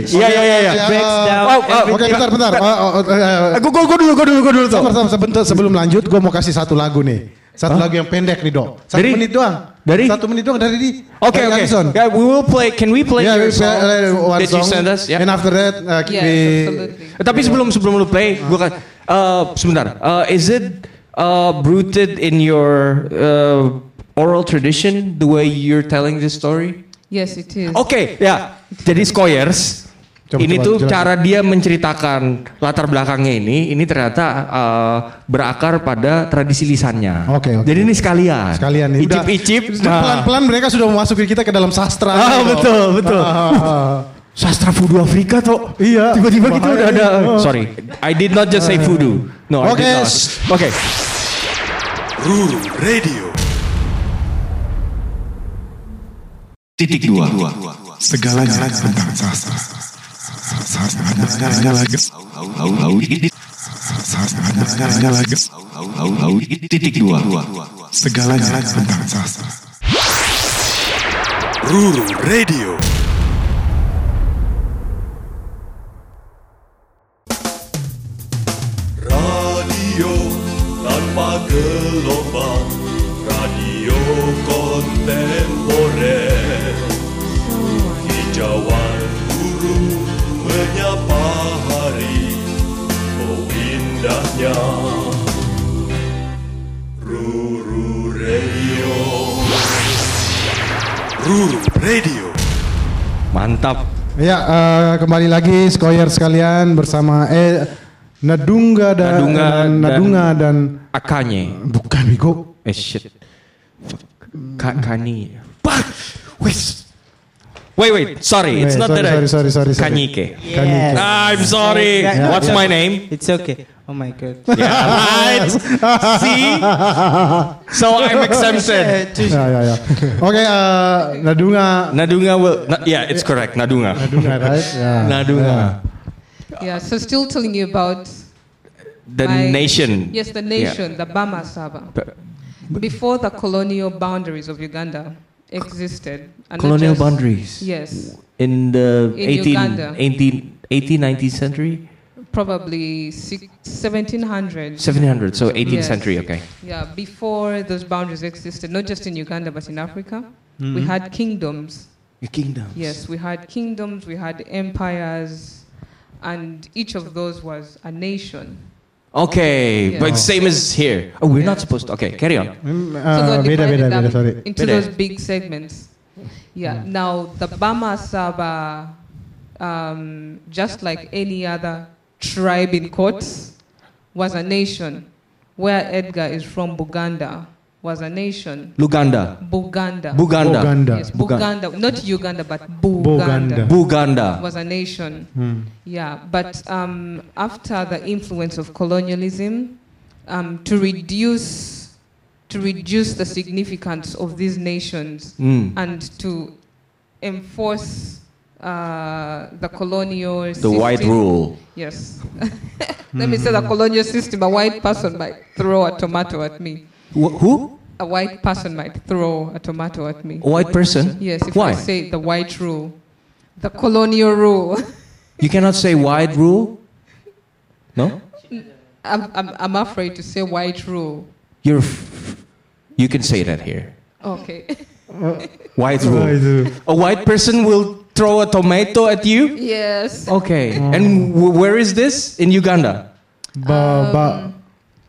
Speaker 7: okay.
Speaker 1: she-
Speaker 7: Yeah, yeah, yeah, yeah.
Speaker 1: breaks down.
Speaker 7: Oh, oh,
Speaker 3: Oke,
Speaker 1: everything.
Speaker 3: Uh, bentar, bentar. Oh, oh, oh, eh,
Speaker 7: Gue gue dulu, gue dulu, gue dulu.
Speaker 3: Sabar, sabar, sebentar sebelum lanjut, gue mau kasih satu lagu nih. Satu lagu yang pendek nih dok. Satu
Speaker 7: Dari-
Speaker 3: menit doang.
Speaker 7: dari?
Speaker 3: Satu menit doang dari di.
Speaker 7: Okay,
Speaker 3: dari
Speaker 7: okay.
Speaker 3: Alison.
Speaker 7: Yeah, we will play. Can we play
Speaker 3: Yeah, we
Speaker 7: your
Speaker 3: play,
Speaker 7: song?
Speaker 3: uh, one
Speaker 7: Did
Speaker 3: song.
Speaker 7: you send us? Yeah.
Speaker 3: And after that, uh,
Speaker 11: Yes,
Speaker 3: we...
Speaker 11: absolutely.
Speaker 7: Eh, Tapi sebelum sebelum lu play, gue kan. eh, sebentar. Eh, is it uh, rooted in your uh, oral tradition the way you're telling this story?
Speaker 11: Yes, it is.
Speaker 7: Oke, ya. Jadi Squires
Speaker 3: Coba,
Speaker 7: ini
Speaker 3: coba,
Speaker 7: tuh
Speaker 3: jelasin.
Speaker 7: cara dia menceritakan latar belakangnya ini, ini ternyata eh, berakar pada tradisi lisannya.
Speaker 3: Oke, oke.
Speaker 7: Jadi ini sekalian.
Speaker 3: Sekalian nih. udah.
Speaker 7: Icip-icip.
Speaker 3: Sudah
Speaker 7: nah.
Speaker 3: Pelan-pelan mereka sudah memasuki kita ke dalam sastra.
Speaker 7: Ah,
Speaker 3: nih, dok.
Speaker 7: betul, betul.
Speaker 3: Ah, ah, ah.
Speaker 7: Sastra voodoo Afrika tuh.
Speaker 3: Iya.
Speaker 7: Tiba-tiba kita
Speaker 3: Bahaya
Speaker 7: udah ada.
Speaker 3: nih. Oh.
Speaker 7: Sorry, I did not just say voodoo. No, I
Speaker 3: Oke,
Speaker 7: did not.
Speaker 3: s-
Speaker 7: Oke.
Speaker 13: Ruru Radio.
Speaker 2: titik dua segalanya tentang sastra Segalanya tahu tahu tahu titik Segalanya tahu tahu tahu titik dua segalanya tentang sastra
Speaker 13: Ruru Radio. Radio tanpa gelombang, radio kontemporer. Hijauan guru menyapa hari, oh indahnya. Ruru Radio. Ruru Radio.
Speaker 7: Mantap.
Speaker 3: Ya, eh, kembali lagi Skoyer sekalian bersama eh Nadunga dan dan,
Speaker 7: Nadunga dan-
Speaker 3: Nadunga dan
Speaker 7: Akanye.
Speaker 3: bukan Wigo
Speaker 7: Eh shit. Ka- Kani. Fuck! Wait. Wait, wait. Sorry,
Speaker 3: Wait,
Speaker 7: it's not
Speaker 3: sorry,
Speaker 7: that. I-
Speaker 3: sorry, sorry, sorry, sorry.
Speaker 7: Kanyike.
Speaker 3: Kanyike.
Speaker 7: I'm sorry.
Speaker 1: Yeah.
Speaker 7: What's
Speaker 1: Yeah.
Speaker 7: my name?
Speaker 1: It's okay. Oh my god.
Speaker 7: Yeah, right. See? So I'm exempted.
Speaker 3: Ya ya ya. Oke, eh, Nadunga.
Speaker 7: Nadunga will. na- yeah, it's correct. Nadunga.
Speaker 3: Nadunga, right? Ya. Yeah.
Speaker 7: Nadunga.
Speaker 11: Yeah, so still telling you about
Speaker 7: The
Speaker 11: my-
Speaker 7: nation.
Speaker 11: Yes, the
Speaker 7: Yeah.
Speaker 11: nation, the Bama Saba.
Speaker 7: But-
Speaker 11: Before the colonial boundaries of Uganda existed. and not
Speaker 7: Colonial
Speaker 11: just-
Speaker 7: boundaries.
Speaker 11: Yes,
Speaker 7: In the
Speaker 11: In
Speaker 7: 18,
Speaker 11: Uganda.
Speaker 7: 18, 18, 19th century?
Speaker 11: probably six, 1700.
Speaker 7: 1700, so 18th
Speaker 11: Yes.
Speaker 7: century, okay.
Speaker 11: Yeah, before those boundaries existed, not just in Uganda but in Africa, we
Speaker 7: Mhm.
Speaker 11: had kingdoms.
Speaker 7: Your kingdoms.
Speaker 11: Yes, we had kingdoms, we had empires, and each of those was a nation.
Speaker 7: Okay,
Speaker 11: Yeah.
Speaker 7: but same as here. Oh, we're not supposed to. Okay, carry on. uh,
Speaker 3: Mm,
Speaker 11: So
Speaker 3: eh,
Speaker 11: God
Speaker 3: beda
Speaker 11: divided
Speaker 3: beda
Speaker 11: them
Speaker 3: beda sorry.
Speaker 11: Into
Speaker 7: Beda.
Speaker 11: those big segments. Yeah.
Speaker 7: Mm.
Speaker 11: Now the Bama Saba, um, just like any other tribe in quotes, was a nation. Where Edgar is from, Buganda was a nation.
Speaker 7: Luganda.
Speaker 11: Buganda.
Speaker 7: Buganda.
Speaker 3: Buganda.
Speaker 11: Yes,
Speaker 7: Bugan-
Speaker 11: Buganda. Not Uganda, but Buganda.
Speaker 7: Buganda.
Speaker 11: Was a nation.
Speaker 3: Hmm.
Speaker 11: Yeah, but um, after the influence of colonialism, um, to reduce to reduce the significance of these nations
Speaker 7: Mm.
Speaker 11: and to enforce uh, the colonial
Speaker 7: The white rule.
Speaker 11: Yes. Let me say the colonial system. A white person might throw a tomato at me.
Speaker 7: Wh- who?
Speaker 11: A white person might throw a tomato at me.
Speaker 7: A white person?
Speaker 11: Yes, if
Speaker 7: Why?
Speaker 11: I say the white rule, the colonial rule.
Speaker 7: You cannot say white rule? No?
Speaker 11: I'm, I'm, I'm afraid to say white rule.
Speaker 7: You're. F- you can say that here.
Speaker 11: Okay.
Speaker 7: White
Speaker 3: Oh,
Speaker 7: rule.
Speaker 3: itu.
Speaker 7: A
Speaker 11: Um,
Speaker 7: white person will throw a tomato at you?
Speaker 11: yes.
Speaker 7: Okay. And w- where is this? In Uganda.
Speaker 3: Ba ba.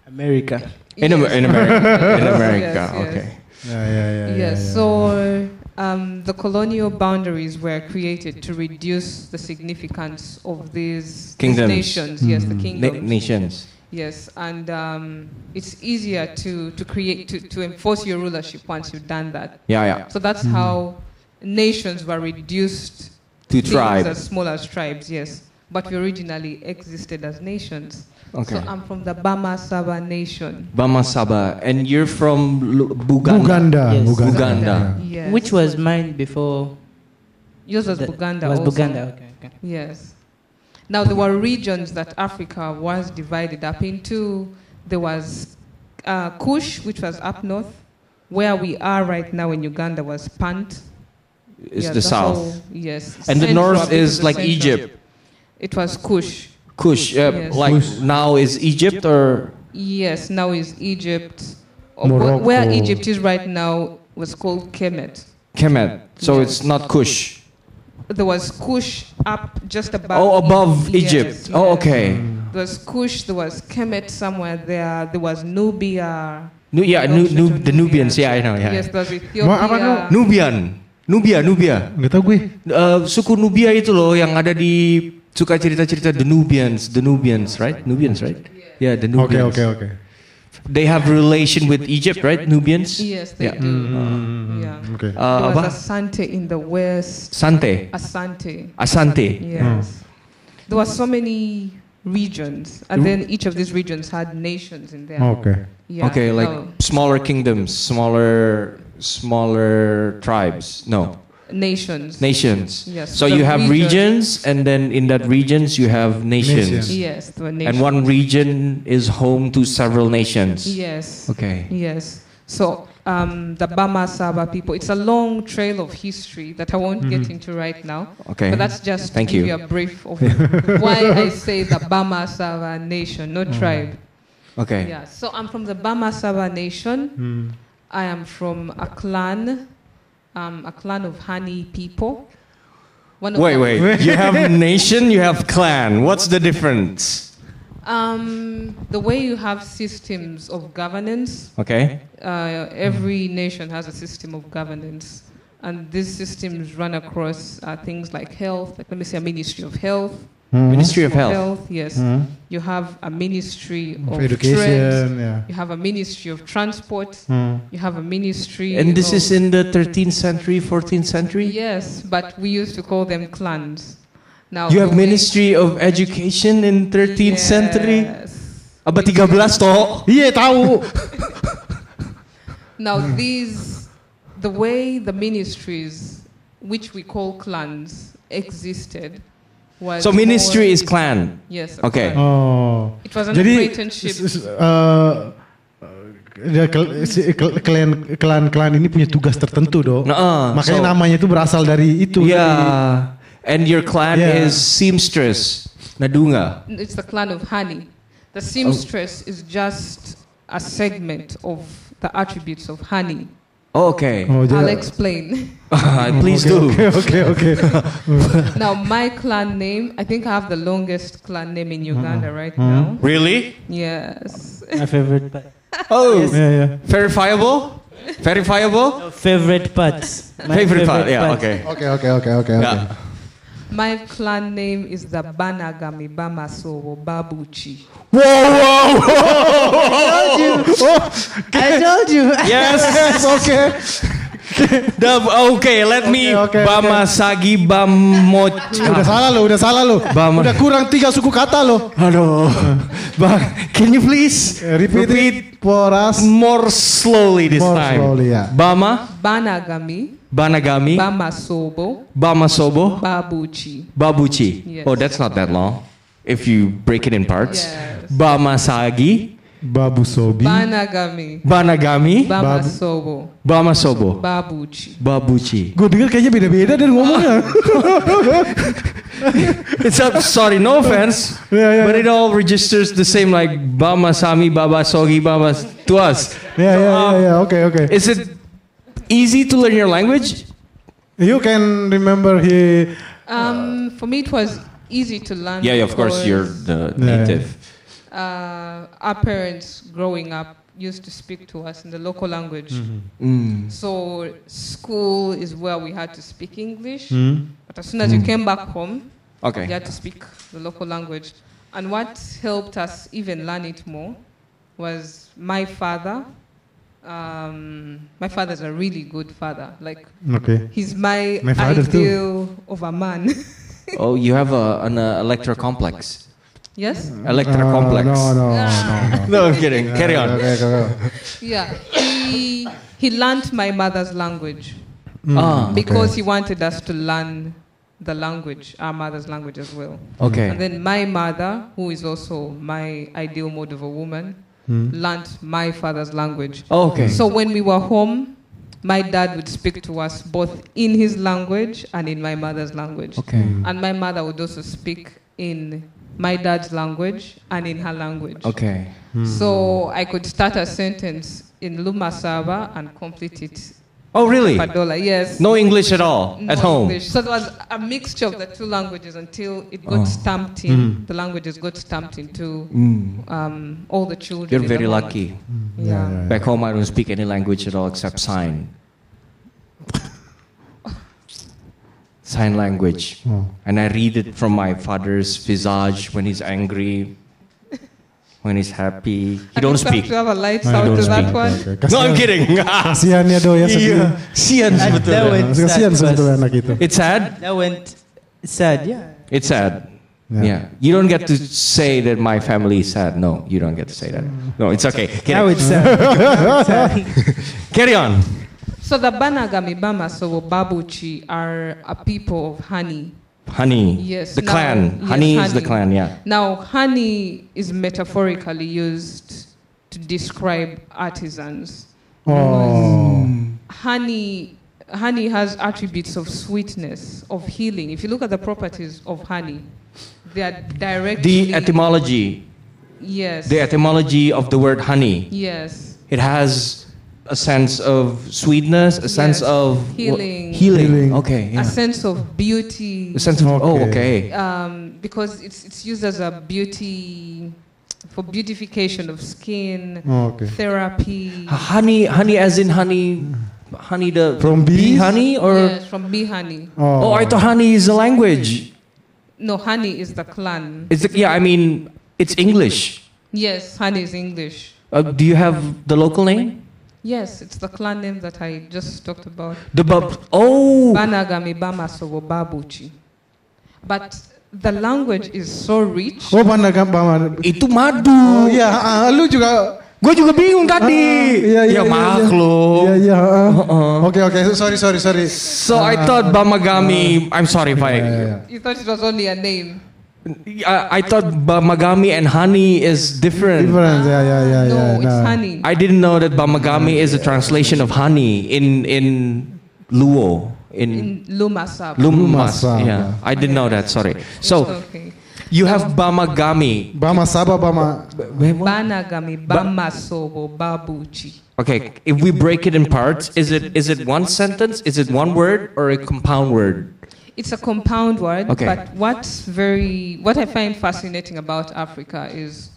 Speaker 1: America.
Speaker 7: In, Amer-
Speaker 11: Yes.
Speaker 7: in America. In America.
Speaker 11: Yes, yes.
Speaker 7: Okay.
Speaker 3: Ya ya ya. ya,
Speaker 11: Yes.
Speaker 3: ya.
Speaker 11: So um, the colonial boundaries were created to reduce the significance of these
Speaker 7: Kingdoms.
Speaker 11: nations. Yes, the
Speaker 3: Hmm.
Speaker 7: Na-
Speaker 11: kingdoms.
Speaker 7: nations.
Speaker 11: Yes, and um, it's easier to, to create to, to enforce your rulership once you've done that.
Speaker 7: Yeah, yeah.
Speaker 11: So that's how nations were reduced
Speaker 7: To
Speaker 11: things
Speaker 7: tribe.
Speaker 11: as small as tribes. Yes, but we originally existed as nations.
Speaker 7: Okay.
Speaker 11: So I'm from the Bama Saba nation.
Speaker 7: Bama Saba. And you're from Lu- Buganda.
Speaker 3: Buganda,
Speaker 1: Yes.
Speaker 3: Buganda.
Speaker 7: Buganda.
Speaker 11: Yes.
Speaker 1: Which was mine before?
Speaker 11: Yours was
Speaker 1: that-
Speaker 11: Buganda.
Speaker 1: Was
Speaker 11: also.
Speaker 1: Buganda? Okay. okay.
Speaker 11: Yes. Now there were regions that Africa was divided up into. There was uh, Kush, which was up north, where we are right now in Uganda was Pant.
Speaker 7: It's
Speaker 11: Yeah,
Speaker 7: the south.
Speaker 11: whole- yes.
Speaker 7: And the
Speaker 11: Central,
Speaker 7: north
Speaker 11: a bit
Speaker 7: is
Speaker 11: of the
Speaker 7: like
Speaker 11: central.
Speaker 7: Egypt.
Speaker 11: It was Kush.
Speaker 7: Kush, uh,
Speaker 11: Yes.
Speaker 7: like now is Egypt or
Speaker 11: Yes. Now is Egypt. Or
Speaker 3: Morocco.
Speaker 11: Where Egypt is right now was called Kemet.
Speaker 7: Kemet. So
Speaker 11: Yes.
Speaker 7: it's not Kush.
Speaker 11: There was Kush up just above.
Speaker 7: Oh, above
Speaker 11: Yes,
Speaker 7: Egypt. Oh,
Speaker 11: yes.
Speaker 7: okay.
Speaker 11: There was Kush, there was Kemet somewhere there, there was Nubia.
Speaker 7: Nu- yeah,
Speaker 11: Belong
Speaker 7: Nu-
Speaker 11: to
Speaker 7: Nu- the Nubians. Yeah, I know. Yeah.
Speaker 11: Yes, there was
Speaker 3: Well, apa nu-
Speaker 11: Ethiopia.
Speaker 7: Nubian. Nubia, Nubia.
Speaker 3: Nggak tahu gue.
Speaker 7: Uh, suku Nubia itu loh yang ada di suka cerita-cerita the Nubians, the Nubians, right? Nubians, right? Yeah, the Nubians.
Speaker 3: Oke oke oke.
Speaker 7: They have relation with Egypt, right? Nubians.
Speaker 11: Yes, they
Speaker 7: Yeah.
Speaker 11: do.
Speaker 3: Hmm,
Speaker 11: Uh, Yeah.
Speaker 3: Oke.
Speaker 7: Uh,
Speaker 11: there
Speaker 7: apa?
Speaker 11: was Asante in the west.
Speaker 7: Sante.
Speaker 11: Asante.
Speaker 7: Asante.
Speaker 3: Hmm.
Speaker 11: Yes. There were so many regions, and then each of these regions had nations in there.
Speaker 3: Oke.
Speaker 11: Yeah. Oh,
Speaker 7: okay, like
Speaker 11: no,
Speaker 7: smaller kingdoms, smaller, smaller tribes. No,
Speaker 11: nations.
Speaker 7: nations.
Speaker 11: Yes,
Speaker 7: So
Speaker 11: the
Speaker 7: you have
Speaker 11: regions.
Speaker 7: regions, and then in that regions you have nations,
Speaker 3: Nations.
Speaker 11: Yes, there were nations.
Speaker 7: and one region is home to several nations.
Speaker 11: Yes.
Speaker 7: Okay.
Speaker 11: Yes. So um, the Bama Saba people, it's a long trail of history that I won't get into right now.
Speaker 7: Okay.
Speaker 11: But that's just
Speaker 7: Thank
Speaker 11: to give
Speaker 7: you.
Speaker 11: you. a brief of why I say the Bama Saba nation, not tribe.
Speaker 7: Okay.
Speaker 11: Yeah. So I'm from the Bama Saba nation.
Speaker 3: Hmm.
Speaker 11: I am from a clan, um, a clan of Hani people. One of
Speaker 7: Wait,
Speaker 11: the-
Speaker 7: wait. You have nation, you have clan. What's the difference?
Speaker 11: Um, the way you have systems of governance
Speaker 7: Okay.
Speaker 11: uh, every nation has a system of governance, and these systems run across uh, things like health. Like let me say, a Ministry of Health.
Speaker 3: Hmm,
Speaker 7: Ministry of
Speaker 11: Health,
Speaker 7: Health.
Speaker 11: yes. You have a ministry of,
Speaker 3: education,
Speaker 11: trends.
Speaker 3: yeah.
Speaker 11: You have a ministry of transport.
Speaker 3: Hmm.
Speaker 11: You have a ministry.
Speaker 7: And this
Speaker 11: of-
Speaker 7: is in the 13th century, 14th century?
Speaker 11: Yes, but we used to call them clans. Now
Speaker 7: You have
Speaker 11: when we-
Speaker 7: Ministry of Education in 13th century? Ah, Abad 13 toh.
Speaker 6: Iya tahu.
Speaker 11: Now these, the way the ministries, which we call clans, existed, was
Speaker 7: So ministry
Speaker 11: more-
Speaker 7: is clan.
Speaker 11: Yes. a
Speaker 7: Okay.
Speaker 11: clan.
Speaker 3: Oh.
Speaker 11: It was an
Speaker 3: Jadi
Speaker 11: apprenticeship.
Speaker 3: s- s- eh, ya, kel- si- kel- klan klan klan ini punya tugas tertentu dong.
Speaker 7: Nuh-uh.
Speaker 3: Makanya
Speaker 7: So-
Speaker 3: namanya itu berasal dari itu.
Speaker 7: Yeah. And your clan
Speaker 3: Yeah.
Speaker 7: is seamstress. Nadunga.
Speaker 11: It's the clan of honey. The seamstress is just a segment of the attributes of honey.
Speaker 7: Oh, okay.
Speaker 3: Oh,
Speaker 11: I'll
Speaker 3: jadi-
Speaker 11: explain.
Speaker 7: Please
Speaker 3: Oke,
Speaker 7: do.
Speaker 3: Oke oke oke.
Speaker 11: now my clan name, I think I have the longest clan name in Uganda right
Speaker 7: Mm-hmm.
Speaker 11: now.
Speaker 6: Really?
Speaker 11: Yes.
Speaker 14: My favorite part.
Speaker 7: Oh,
Speaker 3: Ya ya.
Speaker 7: verifiable? Verifiable?
Speaker 14: Favorite parts. My
Speaker 7: Favorite part. Yeah,
Speaker 14: parts.
Speaker 7: okay.
Speaker 3: Oke oke oke oke oke.
Speaker 7: Yeah.
Speaker 11: My clan name is the Banagami Bamasowo Babuchi.
Speaker 7: Whoa, whoa,
Speaker 3: Oh,
Speaker 1: I told you.
Speaker 7: Yes. okay. The, okay, let me
Speaker 3: Okay, okay,
Speaker 7: Bama Sagi Bamo.
Speaker 3: Udah salah lo, udah salah lo.
Speaker 7: Ya. Bama-
Speaker 3: Udah kurang tiga suku kata lo.
Speaker 7: Hello. can you please
Speaker 3: Eh, Repeat, repeat for us.
Speaker 7: more slowly this
Speaker 3: More
Speaker 7: time?
Speaker 3: slowly, yeah.
Speaker 7: Bama,
Speaker 11: Banagami
Speaker 7: Banagami,
Speaker 11: Bamasobo
Speaker 7: Bama Sobo,
Speaker 11: Babuchi.
Speaker 7: Babuchi.
Speaker 11: Yes,
Speaker 7: oh, that's,
Speaker 11: that's
Speaker 7: not
Speaker 11: not
Speaker 7: that long. If you break it in parts.
Speaker 11: Yes.
Speaker 7: Bama Sagi,
Speaker 3: Babu Sobi.
Speaker 11: Banagami
Speaker 7: Banagami,
Speaker 11: Bamasobo
Speaker 7: Bama Sobo,
Speaker 11: Babuchi.
Speaker 7: Babuchi.
Speaker 3: Gue denger kayaknya beda-beda dan ngomongnya.
Speaker 7: Ah. It's up. Sorry, no offense,
Speaker 3: Yeah, yeah,
Speaker 7: but it all registers the same, like Bama Sami, Baba Sogi, Baba s- to us.
Speaker 3: Ya ya ya, ya oke oke.
Speaker 7: Is it easy to learn your language?
Speaker 3: You can remember he
Speaker 11: Um, for me it was easy to learn.
Speaker 7: Yeah, of course, you're
Speaker 11: because,
Speaker 7: the
Speaker 3: Yeah.
Speaker 7: native.
Speaker 11: Uh, our parents growing up used to speak to us in the local language.
Speaker 7: Mm.
Speaker 11: So school is where we had to speak English. But as soon as you came back home,
Speaker 7: Okay.
Speaker 11: you had to speak the local language. And what helped us even learn it more was my father. Um, my father's a really good father. Like
Speaker 3: oke.
Speaker 11: he's my,
Speaker 3: My father too.
Speaker 11: ideal of a man.
Speaker 7: Oh, you have a, an uh, electro complex.
Speaker 11: yes.
Speaker 7: Electro
Speaker 3: Uh,
Speaker 7: complex.
Speaker 3: No no no.
Speaker 7: No, I'm kidding. Carry on. Ah.
Speaker 3: Oke oke oke.
Speaker 11: Yeah. He he learned my mother's language
Speaker 3: Hmm,
Speaker 7: Ah,
Speaker 11: because he wanted us to learn the language, our mother's language as well. And
Speaker 7: okay.
Speaker 11: then my mother, who is also my ideal mode of a woman, learned my father's language.
Speaker 7: Hmm. Okay.
Speaker 11: So when we were home, my dad would speak to us both in his language and in my mother's language.
Speaker 7: Okay.
Speaker 11: And my mother would also speak in my dad's language and in her language.
Speaker 7: Okay. Hmm.
Speaker 11: So I could start a sentence in Lumasaba and complete it
Speaker 7: Oh, really?
Speaker 11: Padola. Yes.
Speaker 7: No English at all at
Speaker 11: No
Speaker 7: home.
Speaker 11: English. So there was a mixture of the two languages until it got
Speaker 7: Oh.
Speaker 11: stamped in. The languages got stamped into
Speaker 7: Mm.
Speaker 11: um, all the children.
Speaker 7: You're
Speaker 11: in the
Speaker 7: very
Speaker 11: home.
Speaker 7: lucky.
Speaker 3: Ya,
Speaker 11: Yeah.
Speaker 7: Back home, I don't speak any language at all except sign. sign language. And I read it from my father's visage when he's angry, when he's happy. He
Speaker 11: I
Speaker 7: don't
Speaker 11: think we have
Speaker 7: speak.
Speaker 11: To have a light
Speaker 3: Nah,
Speaker 11: sound to that one.
Speaker 7: No, I'm kidding.
Speaker 3: Kasihan ya do ya
Speaker 7: Iya.
Speaker 3: sebetulnya.
Speaker 7: Sian
Speaker 3: Iya,
Speaker 1: that
Speaker 7: sebetulnya.
Speaker 1: way-
Speaker 3: Kasihan
Speaker 1: Sad,
Speaker 3: sebetulnya
Speaker 1: but-
Speaker 3: anak itu.
Speaker 7: It's sad.
Speaker 1: That went sad, yeah.
Speaker 7: It's sad.
Speaker 3: Yeah.
Speaker 7: Yeah. You don't get to say that my family is sad. No, you don't get to say that. No, it's okay. Carry,
Speaker 1: Now it's sad.
Speaker 7: carry on.
Speaker 11: So the Banagami Bama, so Babuchi are a people of honey.
Speaker 7: Honey.
Speaker 11: Yes,
Speaker 7: The
Speaker 11: now-
Speaker 7: clan.
Speaker 11: yes,
Speaker 7: honey is the
Speaker 11: honey.
Speaker 7: clan, yeah.
Speaker 11: Now, honey is metaphorically used to describe artisans.
Speaker 3: Oh.
Speaker 11: Honey, honey has attributes of sweetness, of healing. If you look at the properties of honey, they are directly
Speaker 7: The etymology.
Speaker 11: Yes.
Speaker 7: The etymology of the word honey.
Speaker 11: yes.
Speaker 7: It has a sense of sweetness, a sense
Speaker 11: Yes.
Speaker 7: of wha-
Speaker 11: Healing.
Speaker 7: healing.
Speaker 3: Healing.
Speaker 7: Okay,
Speaker 11: A
Speaker 7: yeah.
Speaker 11: sense of beauty.
Speaker 7: A sense of oh,
Speaker 3: Okay.
Speaker 7: okay.
Speaker 11: um, because it's, it's used as a beauty for beautification of skin,
Speaker 3: Oh, okay.
Speaker 11: therapy.
Speaker 7: Honey, honey as in honey, honey the
Speaker 3: From
Speaker 7: bee
Speaker 3: bees?
Speaker 7: honey or
Speaker 11: yes, from bee honey.
Speaker 3: oh,
Speaker 7: oh, I thought honey is a language.
Speaker 11: No, honey is the clan.
Speaker 7: It's the, yeah, I mean, It's English.
Speaker 11: Yes, honey is English.
Speaker 7: Uh, do you have the local name?
Speaker 11: Yes, it's the clan name that I just talked about.
Speaker 7: The bab- oh.
Speaker 11: Banagami Bama Sogo Babuchi. But the language is so rich.
Speaker 3: Oh, mana gampang.
Speaker 7: Itu madu.
Speaker 3: Oh, iya, ah, ah, lu juga
Speaker 7: Gue juga bingung
Speaker 3: tadi. iya, iya,
Speaker 7: Ya,
Speaker 3: Ah, iya,
Speaker 7: maklum.
Speaker 3: Iya, iya. ah. Oke, oke. Sorry, sorry, sorry. Ah, iya,
Speaker 7: So I thought Bamagami. I'm sorry if I.
Speaker 11: You thought it was only a name.
Speaker 7: I, I thought Bamagami and honey is different.
Speaker 3: Different, yeah, yeah, yeah,
Speaker 11: No,
Speaker 3: yeah.
Speaker 11: it's honey.
Speaker 7: I didn't know that Bamagami is a translation of honey in in Luo in,
Speaker 11: In Lumasab.
Speaker 7: Lumas.
Speaker 3: Lumasa.
Speaker 7: Yeah, I didn't know that. Sorry.
Speaker 11: It's
Speaker 7: So
Speaker 11: okay.
Speaker 7: you have Bamagami.
Speaker 3: Bama Saba, Bama.
Speaker 11: Banagami Bama Sogo Babuchi.
Speaker 7: Okay, if we break it in parts, is it is it one sentence? Is it one word or a compound word?
Speaker 11: It's a compound word,
Speaker 7: Okay.
Speaker 11: but what's very what I find fascinating about Africa is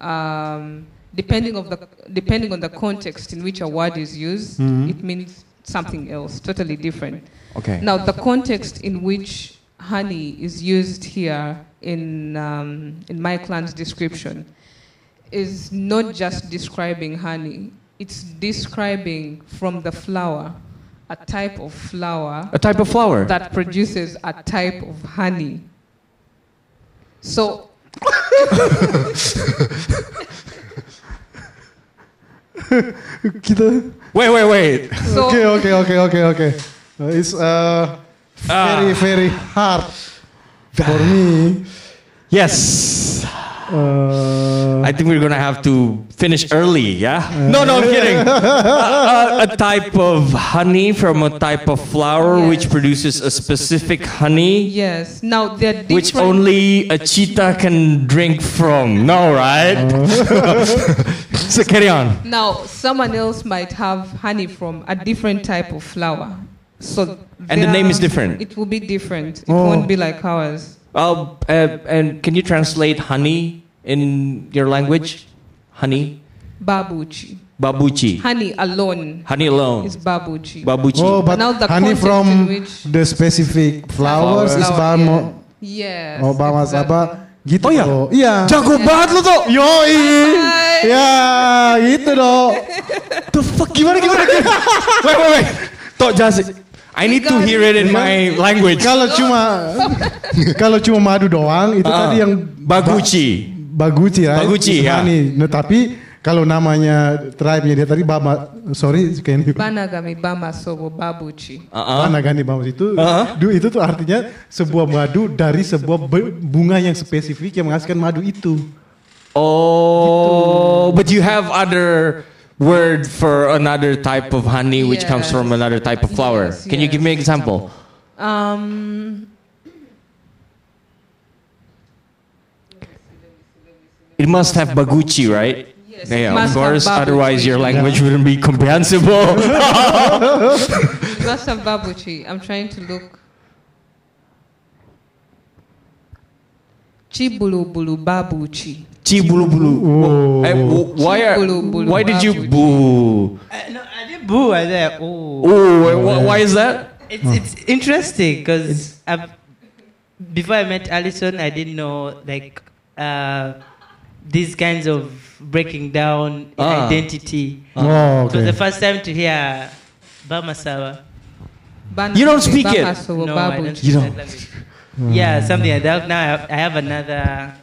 Speaker 11: um, depending of the depending on the context in which a word is used,
Speaker 7: Mhm.
Speaker 11: it means something else, totally different.
Speaker 7: Okay.
Speaker 11: Now the context in which honey is used here in um, in my clan's description is not just describing honey; it's describing from the flower a type of flower
Speaker 7: A type of flower.
Speaker 11: that produces a type of honey. So,
Speaker 3: Kita.
Speaker 7: Wait, wait, wait.
Speaker 11: so
Speaker 3: Oke, oke, oke, oke, oke. Uh, It's uh, very, very hard for me.
Speaker 7: Yes.
Speaker 3: Uh,
Speaker 7: I think we're gonna have to finish early, yeah? No, no, I'm kidding. Uh, uh, a type of honey from a type of flower which produces a specific honey
Speaker 11: yes, now they're different.
Speaker 7: which only a cheetah can drink from.
Speaker 3: Uh.
Speaker 7: No, right? so carry on.
Speaker 11: now someone else might have honey from a different type of flower. So
Speaker 7: And the
Speaker 11: there-
Speaker 7: name is different.
Speaker 11: It will be different. It
Speaker 3: Oh.
Speaker 11: won't be like ours.
Speaker 7: Uh, uh, and can you translate honey in your language? Honey?
Speaker 11: Babuchi.
Speaker 7: Babuchi.
Speaker 11: Honey alone
Speaker 7: Honey alone.
Speaker 11: is babuchi.
Speaker 7: Babuchi.
Speaker 3: oh, but
Speaker 11: Now the
Speaker 3: honey
Speaker 11: context
Speaker 3: from
Speaker 11: in which-
Speaker 3: the specific flowers is
Speaker 11: Flower,
Speaker 3: Bama.
Speaker 11: yes.
Speaker 3: Oh, Bama
Speaker 11: exactly.
Speaker 3: Saba. Gitu
Speaker 7: Oh, iya.
Speaker 3: loh. Iya.
Speaker 7: Jago banget lu tuh.
Speaker 3: Yoi. Ya, gitu dong.
Speaker 7: the fuck? Gimana gimana? gimana? wait, wait, wait. Tok Jas, I need to hear it in my language.
Speaker 3: Kalau cuma kalau cuma madu doang itu
Speaker 7: Ah,
Speaker 3: tadi yang
Speaker 7: Baguchi.
Speaker 3: Baguci right?
Speaker 7: Baguchi,
Speaker 3: It's
Speaker 7: ya.
Speaker 3: honey. Nah, tapi kalau namanya tribe-nya dia tadi Bama sorry Kenny.
Speaker 11: Banagami Bama Sobo Babuchi.
Speaker 7: Uh-uh.
Speaker 3: Panagani Bamus itu
Speaker 7: Ah.
Speaker 3: du- itu tuh artinya sebuah madu dari sebuah be- bunga yang spesifik yang menghasilkan madu itu.
Speaker 7: Oh, but you have other word for another type of honey which comes
Speaker 11: Yes.
Speaker 7: from another type of flower.
Speaker 11: Yes,
Speaker 7: Can you give me an example?
Speaker 11: Um,
Speaker 7: It must have baguchi, right?
Speaker 11: yes, it
Speaker 7: Yeah,
Speaker 11: must
Speaker 7: of
Speaker 11: have
Speaker 7: course.
Speaker 11: babuchi.
Speaker 7: Otherwise, your language wouldn't be comprehensible.
Speaker 11: It must have babuchi. I'm trying to look. Chibulu bulu babuchi.
Speaker 7: Chibulu bulu.
Speaker 3: Oh.
Speaker 7: Eh, w- Why are?
Speaker 11: Chibulu bulu
Speaker 7: Why did you
Speaker 11: babuchi.
Speaker 7: boo?
Speaker 1: Uh, no, I did boo. I said, oh.
Speaker 7: Oh, wh- why is that?
Speaker 1: It's, it's interesting because before I met Alison, I didn't know like uh, these kinds of breaking down
Speaker 7: Ah.
Speaker 1: identity.
Speaker 3: Oh,
Speaker 1: It was the
Speaker 3: oke.
Speaker 1: first time to hear Bama Sawa.
Speaker 11: Banagami
Speaker 7: You don't speak
Speaker 11: Bama
Speaker 7: it.
Speaker 11: Sobo
Speaker 1: no, I don't
Speaker 11: babuchi.
Speaker 1: speak that language. Yeah, something like that. Now I have, I have another,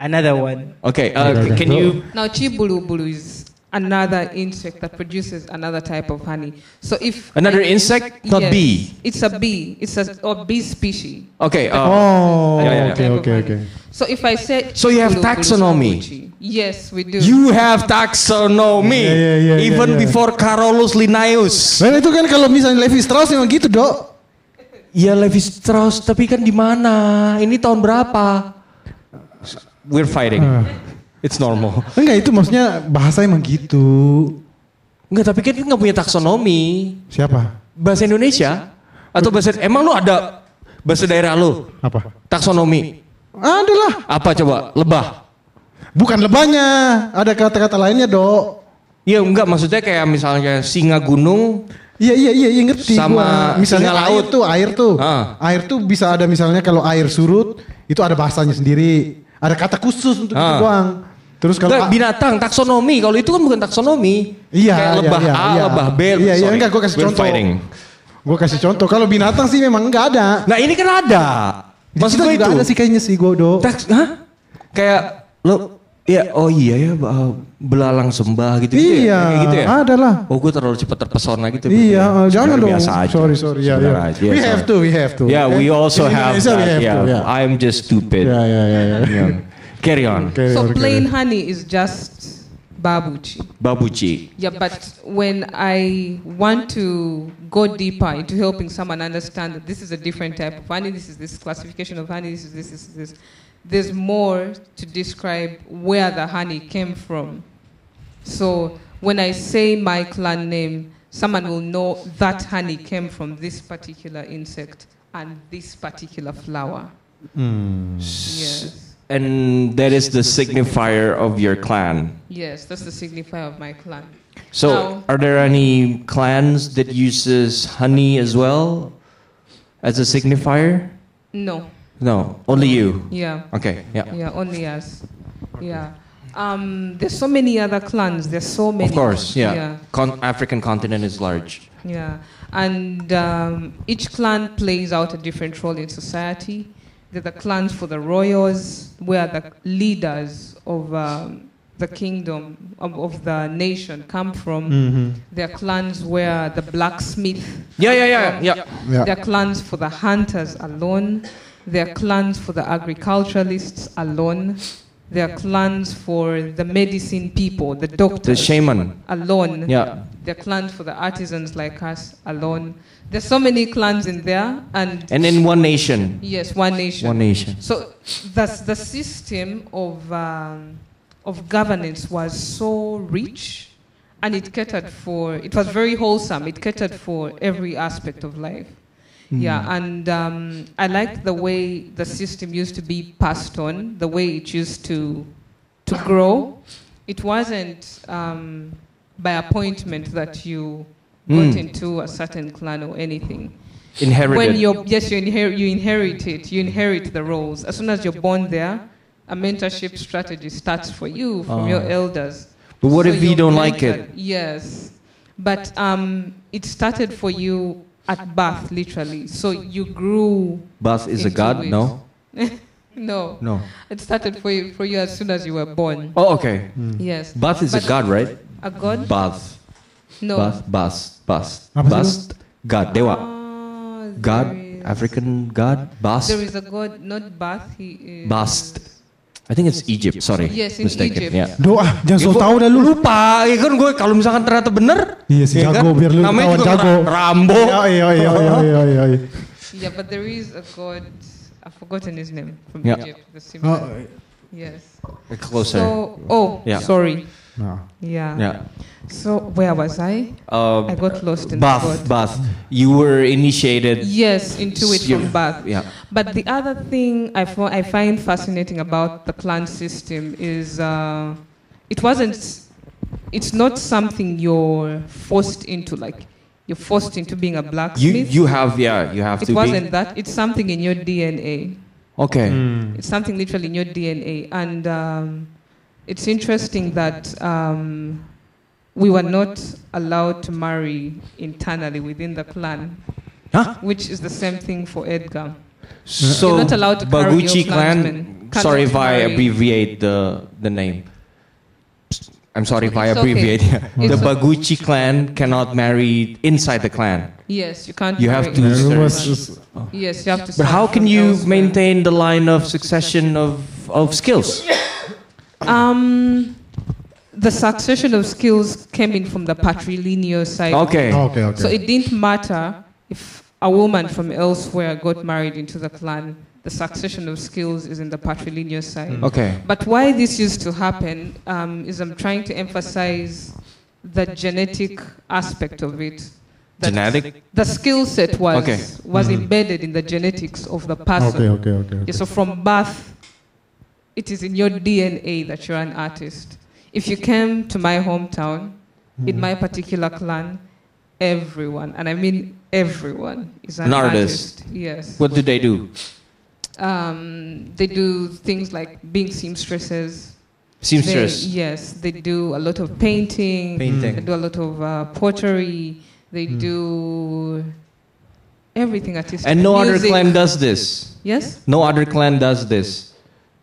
Speaker 1: another one.
Speaker 7: Okay, uh, can you
Speaker 11: Now, chibulubulu is another insect that produces another type of honey. So if
Speaker 7: Another insect? Not bee?
Speaker 11: It's a bee. It's a or bee species.
Speaker 7: Okay. Uh,
Speaker 3: Oh,
Speaker 7: Yeah, yeah,
Speaker 3: oke
Speaker 11: yeah.
Speaker 3: oke oke.
Speaker 11: So if I say
Speaker 7: So you have
Speaker 11: chibulubulu
Speaker 7: taxonomy?
Speaker 11: babuchi, Yes, we do.
Speaker 7: You have taxonomy.
Speaker 3: Yeah, yeah, yeah,
Speaker 7: even
Speaker 3: yeah, yeah.
Speaker 7: before Carolus Linnaeus.
Speaker 3: Nah, itu kan kalau misalnya Levi Strauss memang gitu, Dok.
Speaker 7: Ya Levi Strauss, tapi kan di mana? Ini tahun berapa? Ah. We're fighting. It's normal.
Speaker 3: Ah. Enggak, itu maksudnya bahasa emang gitu.
Speaker 7: Enggak, tapi kan nggak punya taksonomi.
Speaker 3: Siapa?
Speaker 7: Bahasa Indonesia atau bahasa emang lu ada bahasa daerah lu
Speaker 3: Apa?
Speaker 7: taksonomi?
Speaker 3: Adalah.
Speaker 7: Apa coba? Lebah.
Speaker 3: Bukan lebahnya, ada kata-kata lainnya, Dok.
Speaker 7: Ya enggak maksudnya kayak misalnya singa gunung
Speaker 3: Iya iya iya iya, ngerti
Speaker 7: Sama
Speaker 3: gua. misalnya
Speaker 7: singa
Speaker 3: laut
Speaker 7: laut.
Speaker 3: tuh air tuh
Speaker 7: Ah.
Speaker 3: air tuh bisa ada misalnya kalau air surut itu ada bahasanya sendiri Ada kata khusus untuk
Speaker 7: Ah.
Speaker 3: itu doang. Terus kalau
Speaker 7: Nggak, binatang taksonomi. Kalau itu kan bukan taksonomi.
Speaker 3: Iya,
Speaker 7: Kayak
Speaker 3: iya,
Speaker 7: lebah
Speaker 3: iya,
Speaker 7: A,
Speaker 3: iya.
Speaker 7: lebah B.
Speaker 3: Iya, iya,
Speaker 7: sorry.
Speaker 3: enggak, gua kasih
Speaker 7: We're
Speaker 3: contoh.
Speaker 7: fighting.
Speaker 3: Gue kasih contoh, kalau binatang sih memang nggak ada.
Speaker 7: Nah ini kan ada.
Speaker 3: Maksudnya
Speaker 7: Maksud gua
Speaker 3: juga
Speaker 7: itu.
Speaker 3: ada sih kayaknya sih gue do.
Speaker 7: Taks, hah? Kayak lo Ya, oh iya ya, uh, belalang sembah gitu,
Speaker 3: Iya,
Speaker 7: gitu ya, kayak gitu ya.
Speaker 3: ada lah.
Speaker 7: Oh, gue terlalu cepat terpesona
Speaker 3: Iya,
Speaker 7: gitu. berarti ya.
Speaker 3: eh, jangan
Speaker 7: Sebenarnya
Speaker 3: dong.
Speaker 7: Biasa aja.
Speaker 3: Sorry, sorry, iya,
Speaker 7: Sebenarnya
Speaker 3: iya.
Speaker 7: aja,
Speaker 3: We
Speaker 7: sorry.
Speaker 3: have to, we have to.
Speaker 7: Yeah, we
Speaker 3: Eh,
Speaker 7: also
Speaker 3: in
Speaker 7: have
Speaker 3: Indonesia
Speaker 7: that.
Speaker 3: we have
Speaker 7: yeah.
Speaker 3: to, yeah.
Speaker 7: I'm just stupid.
Speaker 3: Ya, ya, ya, ya.
Speaker 7: Yeah. Carry on.
Speaker 11: So plain honey is just babuchi.
Speaker 7: Babuchi.
Speaker 11: Yeah, but when I want to go deeper into helping someone understand that this is a different type of honey, this is this classification of honey, this is this, this is this, there's more to describe where the honey came from. So when I say my clan name, someone will know that honey came from this particular insect and this particular flower. Yes.
Speaker 7: And that is the signifier of your clan.
Speaker 11: Yes, that's the signifier of my clan.
Speaker 7: So,
Speaker 11: Now-
Speaker 7: are there any clans that uses honey as well as a signifier?
Speaker 11: No.
Speaker 7: No, only you.
Speaker 11: Yeah.
Speaker 7: Okay. Yeah.
Speaker 11: Yeah, only us. Yeah. Um, there's so many other clans. There's so many.
Speaker 7: Of course. Yeah.
Speaker 11: Yeah.
Speaker 7: Con- African continent is large.
Speaker 11: yeah. And um, each clan plays out a different role in society. There are the clans for the royals, where the leaders of um, the kingdom, of, of the nation, come from.
Speaker 7: Mhm.
Speaker 11: There are clans where the blacksmith
Speaker 7: Yeah, yeah, yeah, yeah.
Speaker 3: Yeah.
Speaker 11: There are clans for the hunters alone. There are clans for the agriculturalists alone. There are clans for the medicine people, the doctors.
Speaker 7: shaman.
Speaker 11: Alone.
Speaker 7: Yeah.
Speaker 11: There are clans for the artisans like us alone. There's so many clans in there. And
Speaker 7: And in one nation.
Speaker 11: Yes, one nation.
Speaker 7: One nation.
Speaker 11: So that's the system of um, of governance was so rich, and it catered for. It was very wholesome. It catered for every aspect of life. Yeah, and um, I like the way the system used to be passed on, the way it used to to grow. It wasn't um, by appointment that you got
Speaker 7: Mm.
Speaker 11: into a certain clan or anything.
Speaker 7: Inherited.
Speaker 11: When you're yes, you inherit you inherit it. You inherit the roles. As soon as you're born there, a mentorship strategy starts for you from
Speaker 7: Ah.
Speaker 11: your elders.
Speaker 7: But what if you
Speaker 11: you're
Speaker 7: don't like
Speaker 11: mentored.
Speaker 7: it?
Speaker 11: Yes, but um, it started for you at birth, literally. So you grew.
Speaker 7: Bath is a
Speaker 11: into
Speaker 7: god?
Speaker 11: it.
Speaker 7: No.
Speaker 11: no.
Speaker 7: No.
Speaker 11: It started for you for you as soon as you were born.
Speaker 7: Oh, okay.
Speaker 11: Yes.
Speaker 7: Bath is a
Speaker 11: But-
Speaker 7: god, right?
Speaker 11: A god?
Speaker 7: Bath.
Speaker 11: No.
Speaker 7: Bath. Bath. Bath.
Speaker 11: Apa sih
Speaker 7: Bath. God. Dewa.
Speaker 11: Ah,
Speaker 7: God.
Speaker 11: there is-
Speaker 7: African god. Bath.
Speaker 11: There is a god, not Bath. He is.
Speaker 7: Bast. I think it's Egypt. Sorry.
Speaker 11: Yes, in
Speaker 7: Mistaken.
Speaker 11: Egypt.
Speaker 7: Yeah.
Speaker 3: Doa, jangan
Speaker 7: Ya,
Speaker 3: so
Speaker 7: gua-
Speaker 3: tau dah lu.
Speaker 7: Lupa, ya kan gue kalau misalkan ternyata bener.
Speaker 3: Iya sih,
Speaker 7: ya
Speaker 3: jago biar lu
Speaker 7: Namanya
Speaker 3: ketahuan
Speaker 7: juga
Speaker 3: jago.
Speaker 7: Ra- Rambo.
Speaker 3: Iya, iya, iya, iya, iya, iya, iya.
Speaker 11: Yeah, but there is a god. I've forgotten his name from
Speaker 7: Yeah.
Speaker 11: Egypt. The
Speaker 3: Oh,
Speaker 11: symbol.
Speaker 3: eh.
Speaker 11: Yes.
Speaker 7: Closer.
Speaker 11: So, oh,
Speaker 7: Yeah.
Speaker 11: sorry.
Speaker 3: Nah.
Speaker 11: Yeah.
Speaker 7: Yeah.
Speaker 11: So where was I?
Speaker 7: Uh,
Speaker 11: I got lost in the
Speaker 7: Bath,
Speaker 11: god.
Speaker 7: Bath. You were initiated.
Speaker 11: Yes, into it
Speaker 7: Yeah.
Speaker 11: from birth.
Speaker 7: Yeah.
Speaker 11: But the other thing I, fo- I find fascinating about the clan system is uh, it wasn't, it's not something you're forced into, like you're forced into being a
Speaker 7: You
Speaker 11: blacksmith.
Speaker 7: you have yeah you have to
Speaker 11: it
Speaker 7: be.
Speaker 11: wasn't that, it's something in your DNA.
Speaker 7: Okay.
Speaker 3: Hmm.
Speaker 11: It's something literally in your DNA. And um, it's interesting that um, we were not allowed to marry internally within the clan,
Speaker 7: Huh?
Speaker 11: which is the same thing for Edgar.
Speaker 7: So
Speaker 11: You're not allowed to carry
Speaker 7: Baguchi
Speaker 11: your
Speaker 7: clan.
Speaker 11: clansmen. Cannot
Speaker 7: Sorry if I
Speaker 11: marry.
Speaker 7: abbreviate the the name. I'm sorry if I
Speaker 11: It's okay.
Speaker 7: abbreviate. the
Speaker 11: It's okay.
Speaker 7: Baguchi clan cannot marry inside the clan.
Speaker 11: Yes, you can't.
Speaker 7: You have
Speaker 11: marry
Speaker 7: to
Speaker 11: internally.
Speaker 7: serve.
Speaker 11: Yes, you have to.
Speaker 7: But
Speaker 11: serve
Speaker 7: how can
Speaker 11: from
Speaker 7: you
Speaker 11: elsewhere.
Speaker 7: maintain the line of succession of of skills?
Speaker 11: Um, the succession of skills came in from the patrilineal side.
Speaker 7: Okay.
Speaker 3: Okay, okay.
Speaker 11: So it didn't matter if a woman from elsewhere got married into the clan. The succession of skills is in the patrilineal side.
Speaker 7: Okay.
Speaker 11: But why this used to happen um, is I'm trying to emphasize the genetic aspect of it. That
Speaker 7: Genetic?
Speaker 11: The skill set was
Speaker 7: Okay. Mm-hmm.
Speaker 11: was embedded in the genetics of the person.
Speaker 3: Okay, okay, okay,
Speaker 11: Yeah,
Speaker 3: okay.
Speaker 11: so from birth, it is in your DNA that you're an artist. If you came to my hometown, in
Speaker 3: Hmm.
Speaker 11: my particular clan, everyone, and I mean everyone, is an,
Speaker 7: An artist.
Speaker 11: Yes.
Speaker 7: What do they do?
Speaker 11: Um, they do things like being seamstresses.
Speaker 7: Seamstress.
Speaker 11: They- yes, they do a lot of painting.
Speaker 7: Painting.
Speaker 11: They do a lot of uh, pottery. They do everything artistic.
Speaker 7: And no other
Speaker 11: Music.
Speaker 7: clan does this.
Speaker 11: Yes?
Speaker 7: No other clan does this.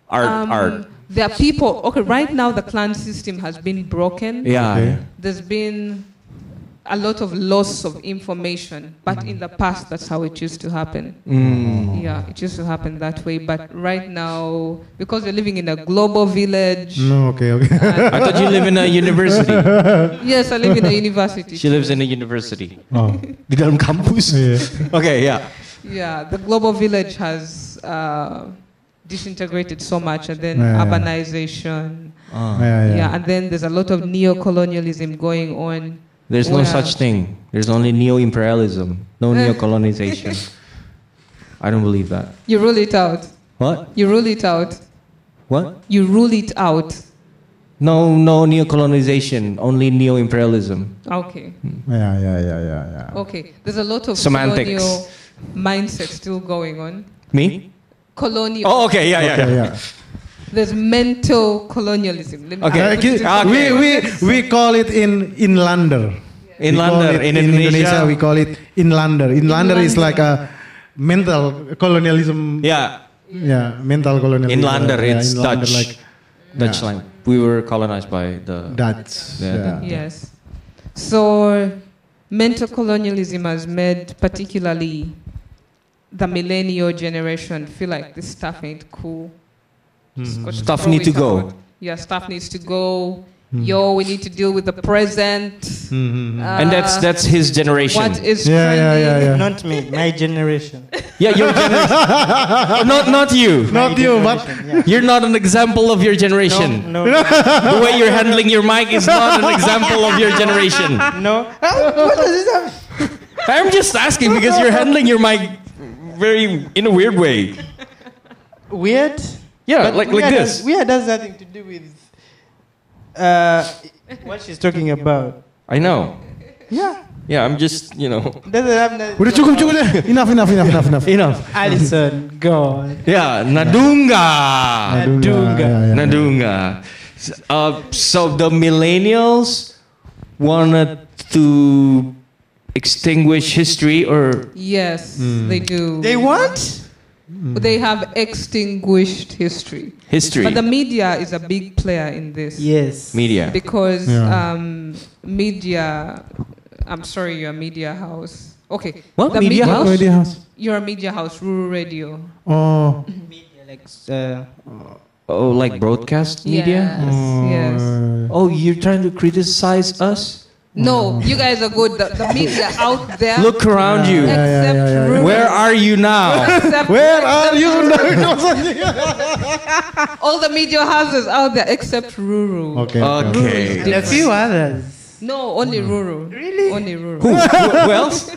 Speaker 7: Art,
Speaker 11: Um,
Speaker 7: art.
Speaker 11: There are people. Okay, right now the clan system has been broken.
Speaker 7: Yeah. Okay.
Speaker 11: There's been a lot of loss of information, but in the past that's how it used to happen.
Speaker 7: Mm.
Speaker 11: Yeah, it used to happen that way. But right now, because you're living in a global village.
Speaker 3: No, Hmm, okay, okay.
Speaker 7: I thought you live in a university.
Speaker 11: Yes, I live in a university.
Speaker 7: She lives in a university.
Speaker 3: Oh. Iya.
Speaker 7: Di dalam kampus. Okay, yeah.
Speaker 11: Yeah, the global village has uh, disintegrated so much, and then
Speaker 7: Yeah, yeah.
Speaker 11: urbanization.
Speaker 7: Ah.
Speaker 3: Ya,
Speaker 7: Yeah, yeah.
Speaker 11: and then there's a lot of neo-colonialism going on.
Speaker 7: There's no
Speaker 11: where-
Speaker 7: such thing. There's only neo-imperialism, no neo-colonization. I don't believe that.
Speaker 11: You rule it out.
Speaker 7: What?
Speaker 11: You rule it out.
Speaker 7: What?
Speaker 11: You rule it out.
Speaker 7: No, no neo-colonization, only neo-imperialism.
Speaker 11: Okay.
Speaker 3: Yeah, yeah, yeah, yeah, yeah.
Speaker 7: Oh,
Speaker 11: Okay. There's a lot of
Speaker 7: Semantics.
Speaker 11: colonial mindset still going on.
Speaker 7: Me?
Speaker 11: Colonial.
Speaker 7: Oh, okay, yeah, yeah,
Speaker 3: Okay, ya.
Speaker 7: yeah.
Speaker 3: yeah.
Speaker 11: There's mental colonialism. Let me-
Speaker 3: Okay.
Speaker 11: I'll put it in
Speaker 7: Ah,
Speaker 3: We we
Speaker 11: context.
Speaker 3: we call it in inlander. We call
Speaker 7: Inlander,
Speaker 3: it
Speaker 7: in Indonesia.
Speaker 3: we call it inlander. Inlander is
Speaker 7: Inlander.
Speaker 3: like a mental colonialism.
Speaker 7: Yeah.
Speaker 3: Yeah, mental colonialism.
Speaker 7: Inlander,
Speaker 3: Yeah,
Speaker 7: it's
Speaker 3: inlander,
Speaker 7: Dutch.
Speaker 3: Like
Speaker 7: Dutch
Speaker 3: yeah.
Speaker 7: language. We were colonized by the
Speaker 3: Dutch,
Speaker 7: the-
Speaker 11: Yes. So, mental colonialism has made particularly the millennial generation feel like this stuff ain't cool. Just got
Speaker 7: Stuff
Speaker 11: throw
Speaker 7: need to
Speaker 11: it
Speaker 7: go.
Speaker 11: out. Yeah, stuff needs to go. Yo, we need to deal with the present.
Speaker 7: and that's
Speaker 11: Uh,
Speaker 7: that's his generation.
Speaker 11: What is
Speaker 1: Uh,
Speaker 14: Not me, my generation.
Speaker 7: Yeah, your generation. not not you.
Speaker 14: Not My you, but- generation,
Speaker 7: you're not an example of your generation.
Speaker 14: No, no, no.
Speaker 7: the way you're handling your mic is not an example of your generation.
Speaker 14: No. Oh, what does this have?
Speaker 7: I'm just asking because you're handling your mic very in a weird way.
Speaker 1: Weird?
Speaker 7: Yeah, like- like
Speaker 1: weird Has,
Speaker 7: this.
Speaker 1: weird has nothing to do with uh, what she's talking about.
Speaker 7: I know.
Speaker 1: Yeah.
Speaker 7: Yeah, I'm just you know.
Speaker 1: Doesn't have nothing.
Speaker 3: Udah cukup cukup deh. Enough enough enough enough enough.
Speaker 7: Enough.
Speaker 1: Alison, go on.
Speaker 7: Yeah, Nadunga.
Speaker 3: ya,
Speaker 1: Nadunga. Yeah, yeah, yeah.
Speaker 7: Nadunga. S- Uh, so the millennials wanted to extinguish history or
Speaker 11: Yes,
Speaker 7: Mm.
Speaker 11: they do.
Speaker 1: They want?
Speaker 11: They have extinguished history.
Speaker 7: History.
Speaker 11: But the media is a big player in this.
Speaker 1: Yes.
Speaker 7: Media.
Speaker 11: Because
Speaker 3: ya.
Speaker 7: Yeah.
Speaker 11: um, media, I'm sorry, you're a media house. Okay.
Speaker 7: What?
Speaker 11: the
Speaker 7: Media house? Media house.
Speaker 11: You're a media house, rural radio.
Speaker 3: Oh.
Speaker 1: Uh,
Speaker 7: oh, like broadcast media?
Speaker 11: Yes, yes.
Speaker 7: Oh, you're trying to criticize us?
Speaker 11: No, you guys are good. The, the media out there.
Speaker 7: Look around you. Where are you now?
Speaker 11: Except-
Speaker 7: Where are you
Speaker 11: All the media houses out there except rural.
Speaker 7: Okay. Mm. Okay.
Speaker 1: And a few others.
Speaker 11: No, only rural. Really? Only rural.
Speaker 1: Who? Who- who
Speaker 7: else?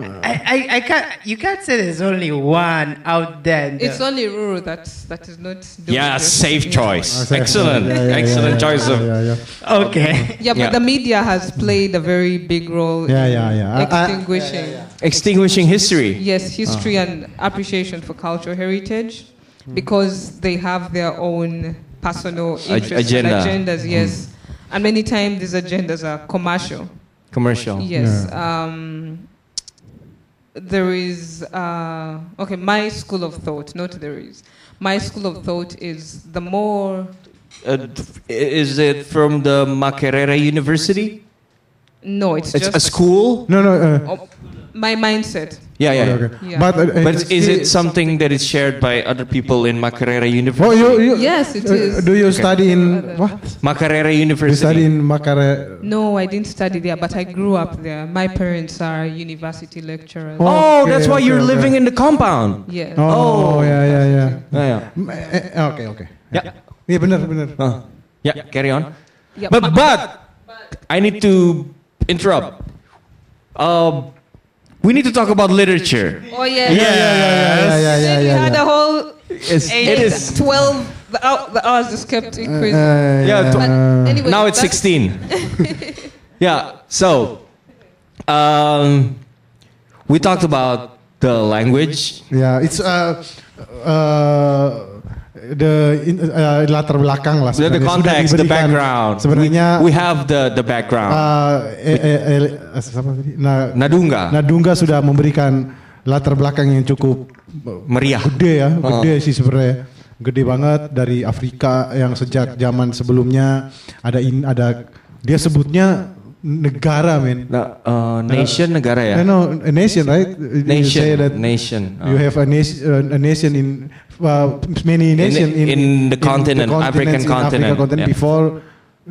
Speaker 1: I, I, I can't. You can't say there's only one out there. in the-
Speaker 11: It's only rural that that is not. doing
Speaker 7: Yeah,
Speaker 11: this.
Speaker 7: safe choice. Excellent.
Speaker 3: Yeah, yeah, yeah,
Speaker 7: Excellent
Speaker 3: yeah,
Speaker 7: choice of.
Speaker 3: yeah,
Speaker 1: Okay.
Speaker 11: Yeah, but the media has played a very big role.
Speaker 7: Yeah,
Speaker 11: in
Speaker 7: yeah, Ah, yeah. Ah. I-
Speaker 3: Uh,
Speaker 7: I-
Speaker 11: Extinguishing.
Speaker 7: Extinguishing history.
Speaker 11: Yes, history and appreciation for cultural heritage, because they have their own personal
Speaker 7: Hmm. Ag-
Speaker 11: interests
Speaker 7: agenda. Hmm.
Speaker 11: and agendas. Yes, and many times these agendas are commercial.
Speaker 7: Commercial.
Speaker 11: Yes. Um, there is, uh, okay, my school of thought, not there is. My school of thought is the more,
Speaker 7: Uh, is it from the Makerere University?
Speaker 11: no, it's,
Speaker 7: It's
Speaker 11: just
Speaker 7: a school?
Speaker 3: No, no. Uh,
Speaker 11: oh, my mindset.
Speaker 7: Yeah, yeah.
Speaker 3: Okay,
Speaker 11: Yeah.
Speaker 3: But, uh, uh,
Speaker 7: but is
Speaker 3: see-
Speaker 7: it something that is shared by other people in Makerere University?
Speaker 3: Oh, you, you,
Speaker 11: Yes, it
Speaker 3: uh,
Speaker 11: is.
Speaker 3: Do you study in what?
Speaker 7: Makerere
Speaker 3: You study
Speaker 7: University.
Speaker 3: in Makare.
Speaker 11: No, I didn't study there, but I grew up there. My parents are university lecturers.
Speaker 7: Oh, that's why you're living in the compound.
Speaker 11: Yes.
Speaker 3: Oh, yeah, yeah, yeah.
Speaker 7: Yeah, yeah.
Speaker 3: M- eh, eh, Okay, okay.
Speaker 7: Yeah.
Speaker 3: Iya benar, benar.
Speaker 7: Uh, yeah, carry on.
Speaker 11: Yeah,
Speaker 7: But but I need to interrupt. Um, we need to talk about literature.
Speaker 11: Oh, yeah.
Speaker 7: Yes.
Speaker 11: Then you had a whole
Speaker 7: It's-
Speaker 11: eight,
Speaker 7: it is-
Speaker 11: 12, the, hour, the hours just kept increasing.
Speaker 7: yeah,
Speaker 11: But
Speaker 7: tw-
Speaker 11: anyway,
Speaker 7: now it's
Speaker 11: back-
Speaker 7: 16. yeah, so um, we talked about the language.
Speaker 3: Ya, it's uh, uh, the in- uh, latar belakang lah.
Speaker 7: The, the
Speaker 3: sebenarnya. Sudah
Speaker 7: context, the
Speaker 3: diberikan.
Speaker 7: background.
Speaker 3: Sebenarnya
Speaker 7: we, we have the the background.
Speaker 3: uh, eh, eh, eh, eh, siapa tadi? Na-
Speaker 7: Nadunga.
Speaker 3: Nadunga sudah memberikan latar belakang yang cukup
Speaker 7: Meriah.
Speaker 3: gede ya, gede
Speaker 7: Oh.
Speaker 3: sih sebenarnya. Gede banget dari Afrika yang sejak zaman sebelumnya ada in ada dia sebutnya negara men.
Speaker 7: Nah, uh, nation negara ya.
Speaker 3: No, no, a nation right? You
Speaker 7: Nation,
Speaker 3: say that
Speaker 7: nation. uh.
Speaker 3: You have a nation, a nation in uh, many nation in,
Speaker 7: in the continent, African
Speaker 3: continents, in Africa
Speaker 7: continent,
Speaker 3: continent
Speaker 7: yeah.
Speaker 3: before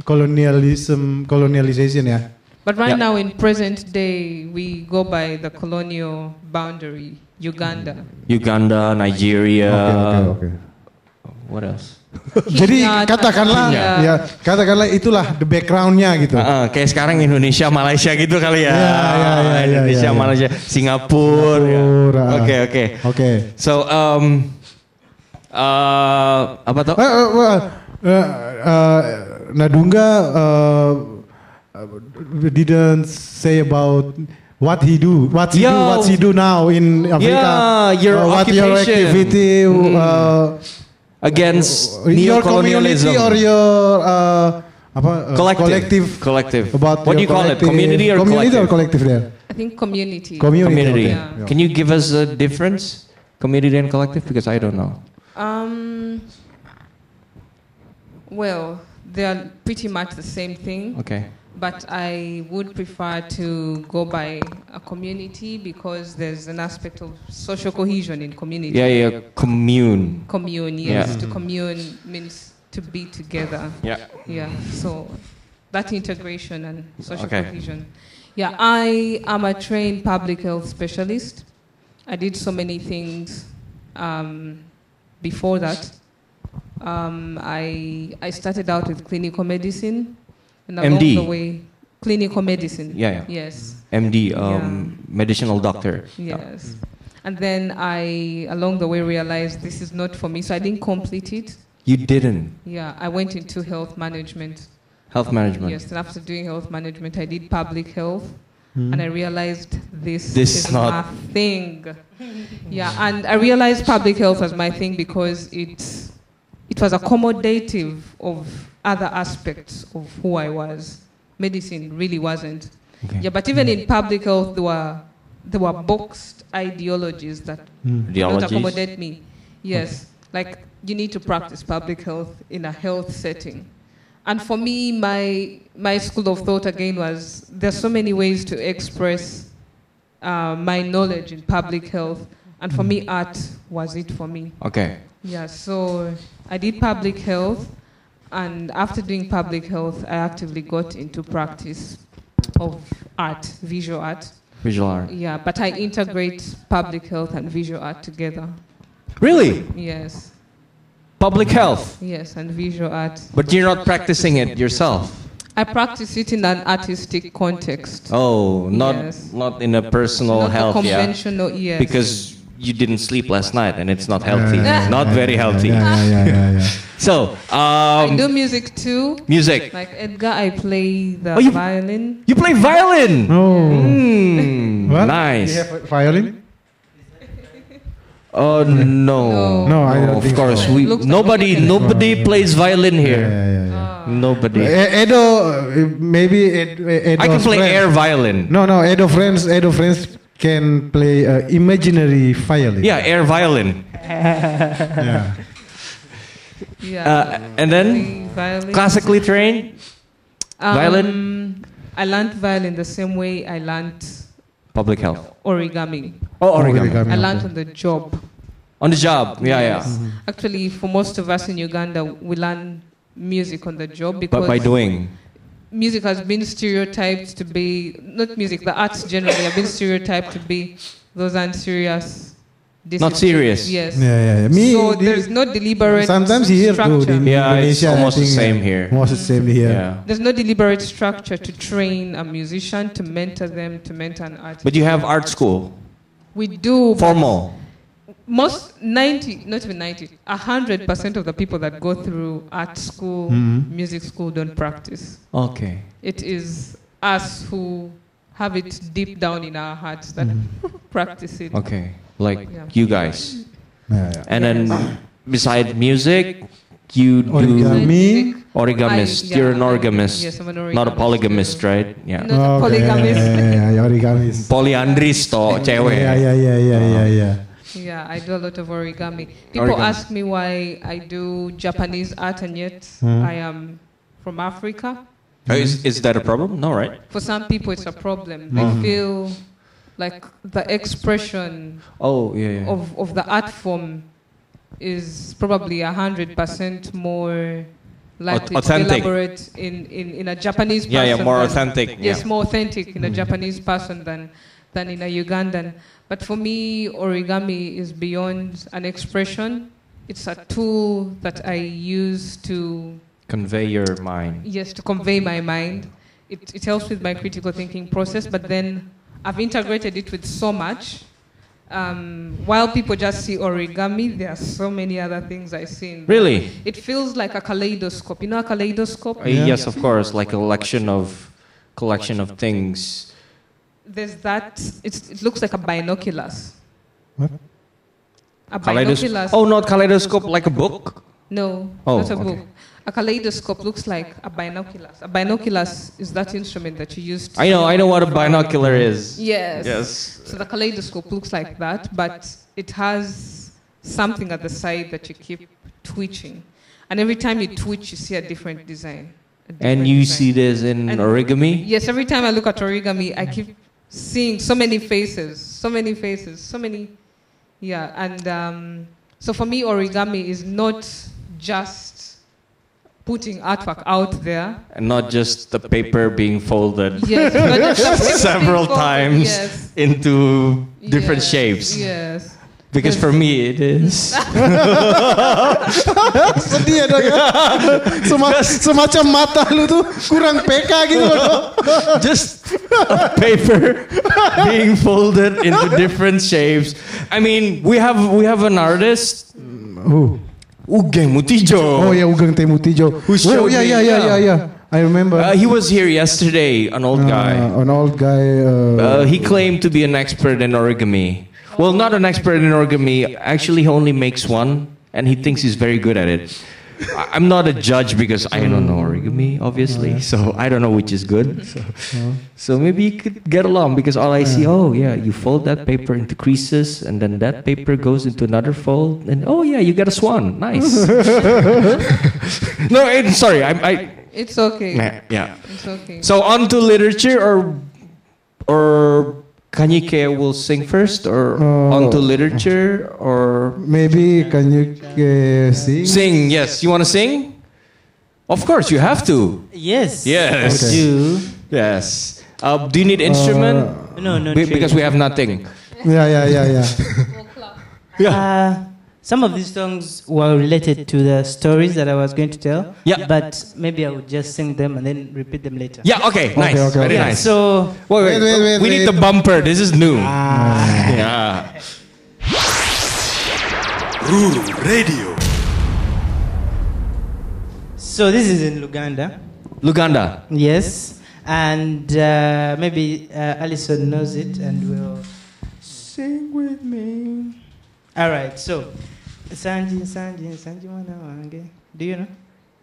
Speaker 3: colonialism, colonialization ya.
Speaker 11: But right
Speaker 3: Yeah.
Speaker 11: now, in present day, we go by the colonial boundary, Uganda.
Speaker 7: Uganda, Nigeria.
Speaker 3: Okay,
Speaker 7: What else?
Speaker 3: Jadi
Speaker 11: Kenya,
Speaker 3: katakanlah
Speaker 7: Tanzania.
Speaker 3: ya, katakanlah itulah the backgroundnya gitu.
Speaker 7: Ah, ah, kayak sekarang Indonesia, Malaysia gitu kali ya.
Speaker 3: Ya, ya, ya, ya,
Speaker 7: Indonesia,
Speaker 3: ya, ya.
Speaker 7: Malaysia, Singapura. ya.
Speaker 3: Singapura, ah.
Speaker 7: Oke, oke.
Speaker 3: Oke.
Speaker 7: So, um, eh, apa tuh?
Speaker 3: Eh, eh, eh, eh, eh, Nadunga eh, didn't say about what he do, what he do,
Speaker 7: Yeah.
Speaker 3: what he do now in Africa.
Speaker 7: Yeah, your
Speaker 3: Uh, what your
Speaker 7: occupation.
Speaker 3: activity
Speaker 7: Mm.
Speaker 3: uh,
Speaker 7: Against
Speaker 3: your community
Speaker 7: neocolonialism.
Speaker 3: or your uh, apa uh,
Speaker 7: collective.
Speaker 3: collective
Speaker 7: Collective.
Speaker 3: about
Speaker 7: What do
Speaker 3: your
Speaker 7: you call it?
Speaker 3: collective-
Speaker 7: Community or
Speaker 3: community
Speaker 7: collective?
Speaker 3: or collective there?
Speaker 11: I think community.
Speaker 3: Community, okay.
Speaker 11: Yeah.
Speaker 7: Can you give us a difference? Community and collective? Because I don't know.
Speaker 11: Um, well, they are pretty much the same thing.
Speaker 7: Okay.
Speaker 11: But I would prefer to go by a community because there's an aspect of social cohesion in community.
Speaker 7: Yeah, yeah. Commune.
Speaker 11: Commune,
Speaker 7: Yeah.
Speaker 11: yes. To commune means to be together.
Speaker 7: Yeah.
Speaker 11: Yeah. So that integration and social
Speaker 7: Okay.
Speaker 11: cohesion. Yeah, I am a trained public health specialist. I did so many things um, before that. Um, I, I started out with clinical medicine, and along
Speaker 7: MD.
Speaker 11: the way, clinical medicine.
Speaker 7: Yeah, yeah.
Speaker 11: Yes.
Speaker 7: MD, um, medicinal doctor.
Speaker 11: Yes. And then I, along the way, realized this is not for me, so I didn't complete it.
Speaker 7: You didn't.
Speaker 11: Yeah, I went into health management.
Speaker 7: Health management.
Speaker 11: Yes, and after doing health management, I did public health,
Speaker 7: Mhm.
Speaker 11: and I realized this,
Speaker 7: This
Speaker 11: is
Speaker 7: is not-
Speaker 11: my thing. Yeah, and I realized public health as my thing because it, it was accommodative of other aspects of who I was. Medicine really wasn't. Yeah, but even
Speaker 7: Hmm.
Speaker 11: in public health, there were, there were boxed ideologies that
Speaker 7: Mm.
Speaker 11: could not
Speaker 7: Ideologies?
Speaker 11: accommodate me. Yes, like you need to practice public health in a health setting. And for me, my, my school of thought again was there's so many ways to express uh, my knowledge in public health. And for me, art was it for me.
Speaker 7: Okay.
Speaker 11: Yeah, so I did public health, and after doing public health, I actively got into practice of art, visual art.
Speaker 7: Visual art.
Speaker 11: Yeah, but I integrate public health and visual art together.
Speaker 7: Really?
Speaker 11: Yes,
Speaker 7: Public health.
Speaker 11: yes, and visual art.
Speaker 7: But you're not practicing it yourself.
Speaker 11: I practice it in an artistic context.
Speaker 7: Oh, not
Speaker 11: Yes.
Speaker 7: not in a personal
Speaker 11: Not a
Speaker 7: Oh, health, yeah.
Speaker 11: conventional, yes.
Speaker 7: Because you didn't sleep last night, and it's not healthy.
Speaker 11: yeah,
Speaker 7: not very healthy. so,
Speaker 11: I do
Speaker 7: um,
Speaker 11: music too.
Speaker 7: music.
Speaker 11: Like Edgar, I play the
Speaker 7: Oh, you-
Speaker 11: violin.
Speaker 7: You play violin.
Speaker 3: Oh.
Speaker 7: Hmm,
Speaker 3: What?
Speaker 7: Mm. nice.
Speaker 3: You have a violin?
Speaker 7: Oh no!
Speaker 3: No, Oh, I don't
Speaker 7: Oh, of
Speaker 3: think
Speaker 7: course
Speaker 3: so.
Speaker 7: we
Speaker 3: Looks
Speaker 7: nobody nobody plays violin here. Nobody.
Speaker 3: Eh, Edo, eh, maybe Ed- eh, Edo.
Speaker 7: I can play air violin.
Speaker 3: No, no, Edo friends, Edo friends can play uh, imaginary violin.
Speaker 7: Yeah, air violin.
Speaker 3: Yeah.
Speaker 7: Uh,
Speaker 11: Yeah.
Speaker 7: and
Speaker 11: play
Speaker 7: then
Speaker 11: violin.
Speaker 7: classically trained Violin?
Speaker 11: Um, I learned violin the same way I learned
Speaker 7: public health
Speaker 11: origami.
Speaker 7: Oh, origami.
Speaker 11: I learned on the job.
Speaker 7: on the job. Yeah, yeah.
Speaker 3: Mm-hmm.
Speaker 11: Actually, for most of us in Uganda, we learn music on the job because
Speaker 7: But by doing.
Speaker 11: music has been stereotyped to be not music, the arts generally have been stereotyped to be those unserious. disciplines.
Speaker 7: serious.
Speaker 11: Yes.
Speaker 3: Yeah, yeah, yeah. Me,
Speaker 11: so
Speaker 3: the-
Speaker 11: there's no deliberate.
Speaker 3: Sometimes here too,
Speaker 11: structure.
Speaker 3: in
Speaker 7: Yeah, it's
Speaker 3: Indonesia, I
Speaker 7: almost the
Speaker 3: think,
Speaker 7: same
Speaker 3: uh,
Speaker 7: here.
Speaker 3: Almost the same here.
Speaker 7: Yeah.
Speaker 11: There's no deliberate structure to train a musician, to mentor them, to mentor an artist.
Speaker 7: But you have art school,
Speaker 11: We do. but
Speaker 7: formal.
Speaker 11: Most 90, not even 90, 100% of the people that go through art school,
Speaker 3: Mm-hmm.
Speaker 7: Mhm.
Speaker 11: music school don't practice.
Speaker 7: Okay.
Speaker 11: It is us who have it deep down in our hearts that practice it.
Speaker 7: Mm-hmm. Okay, like
Speaker 11: Yeah.
Speaker 7: you guys.
Speaker 3: Yeah, yeah.
Speaker 7: And then beside music, you do
Speaker 3: Origami.
Speaker 7: Origamist.
Speaker 11: I- yeah,
Speaker 7: You're an
Speaker 11: I-
Speaker 7: organist,
Speaker 11: yes, I'm an
Speaker 7: not a
Speaker 11: origamist.
Speaker 7: polygamist, right? Yeah.
Speaker 11: Not a polygamist.
Speaker 3: Ya, ya, ya, ya, origamis.
Speaker 7: Polyandrist toh, cewek.
Speaker 3: Ya, ya, ya, ya,
Speaker 7: Uh-huh.
Speaker 3: ya, ya.
Speaker 11: Yeah, I do a lot of origami. People
Speaker 7: Origami.
Speaker 11: ask me why I do Japanese art and yet
Speaker 7: Mhm.
Speaker 11: I am from Africa.
Speaker 7: Oh, Is, is that a problem? No, right?
Speaker 11: For some people, it's a
Speaker 7: Mhm.
Speaker 11: problem. They feel like the expression
Speaker 7: Oh, yeah, yeah.
Speaker 11: of, of the art form is probably 100% more likely to
Speaker 7: authentic.
Speaker 11: be elaborate in, in, in a Japanese
Speaker 7: Yeah,
Speaker 11: person.
Speaker 7: yeah, more
Speaker 11: than-
Speaker 7: authentic,
Speaker 11: Yes,
Speaker 7: yeah.
Speaker 11: more authentic in a
Speaker 7: Mm.
Speaker 11: Japanese person than, than in a Ugandan. But for me, origami is beyond an expression. It's a tool that I use to
Speaker 7: Convey your mind.
Speaker 11: yes to convey my mind it, it helps with my critical thinking process but then i've integrated it with so much um, while people just see origami there are so many other things i see in there.
Speaker 7: Really?
Speaker 11: it feels like a kaleidoscope you know a kaleidoscope
Speaker 7: Uh, Yes, of course, like a collection of collection of things.
Speaker 11: there's that it's, it looks like a binoculars
Speaker 3: What?
Speaker 11: a
Speaker 7: Kaleidos-
Speaker 11: binoculars
Speaker 7: oh, not kaleidoscope, like a book.
Speaker 11: No,
Speaker 7: Oh,
Speaker 11: not a
Speaker 7: okay.
Speaker 11: book. A kaleidoscope looks like a binoculars. A binoculars is that instrument that you use. To
Speaker 7: I know, I know what a binocular is.
Speaker 11: Yes.
Speaker 7: Yes.
Speaker 11: So the kaleidoscope looks like that, but it has something at the side that you keep twitching, and every time you twitch, you see a different design. a
Speaker 7: And
Speaker 11: different
Speaker 7: you
Speaker 11: design.
Speaker 7: see this in
Speaker 11: And-
Speaker 7: origami.
Speaker 11: Yes. Every time I look at origami, I keep seeing so many faces, so many faces, so many. Yeah, and um, so for me, origami is not just putting artwork out there.
Speaker 7: And not just the paper being folded
Speaker 11: Yes, not just the paper
Speaker 7: several
Speaker 11: being folded,
Speaker 7: times
Speaker 11: yes.
Speaker 7: into different
Speaker 11: Yes,
Speaker 7: shapes.
Speaker 11: Yes.
Speaker 7: Because for me it is.
Speaker 3: Sedih ya dok ya. Sema- semacam mata lu tuh kurang PK gitu loh. Dok.
Speaker 7: just a paper being folded into different shapes. I mean, we have we have an artist,
Speaker 3: Who?
Speaker 7: Ugeng Mutijo.
Speaker 3: Oh ya Ugeng Temutijo.
Speaker 7: Who
Speaker 3: oh
Speaker 7: showed
Speaker 3: ya
Speaker 7: me,
Speaker 3: ya ya ya ya. I remember.
Speaker 7: Uh, he was here yesterday, an old guy.
Speaker 3: Uh, an old guy. Uh,
Speaker 7: Uh, he claimed to be an expert in origami. Well, not an expert in origami. Actually, he only makes one, and he thinks he's very good at it. I- I'm not a judge because I don't know origami, obviously. So I don't know which is good. So, so maybe you could get along because all I see, oh yeah, you fold that paper into creases, and then that paper goes into another fold, and oh yeah, you get a swan. Nice. no, i sorry. I, I
Speaker 11: It's okay.
Speaker 7: yeah. yeah.
Speaker 11: It's okay.
Speaker 7: So on to literature or or Kanyike will sing first or
Speaker 3: Uh,
Speaker 7: on to literature or
Speaker 3: maybe can you uh, sing?
Speaker 7: sing, yes. You wanna sing? Of course you have to.
Speaker 1: Yes.
Speaker 7: Yes.
Speaker 1: I do.
Speaker 7: Yes. Uh, do you need instrument?
Speaker 1: No,
Speaker 3: Uh,
Speaker 1: no.
Speaker 7: Be-
Speaker 1: trade.
Speaker 7: because we have nothing.
Speaker 3: Ya ya ya ya.
Speaker 1: Uh, some of these songs were related to the stories that I was going to tell.
Speaker 7: Yeah.
Speaker 1: But maybe I would just sing them and then repeat them later.
Speaker 7: Yeah, okay, nice.
Speaker 3: okay,
Speaker 7: Very
Speaker 1: Yeah,
Speaker 7: nice.
Speaker 1: So
Speaker 7: wait,
Speaker 3: Wait,
Speaker 7: wait,
Speaker 3: wait, wait,
Speaker 7: we need
Speaker 3: wait. Ah.
Speaker 7: the bumper. This is new. Yeah.
Speaker 13: Ruru Radio.
Speaker 1: so this is in Luganda.
Speaker 7: Luganda.
Speaker 1: Yes. And uh, maybe uh, Alison knows it and will sing with me. All right. So, Sanji, Sanji, Sanji, wana wange. Do you know?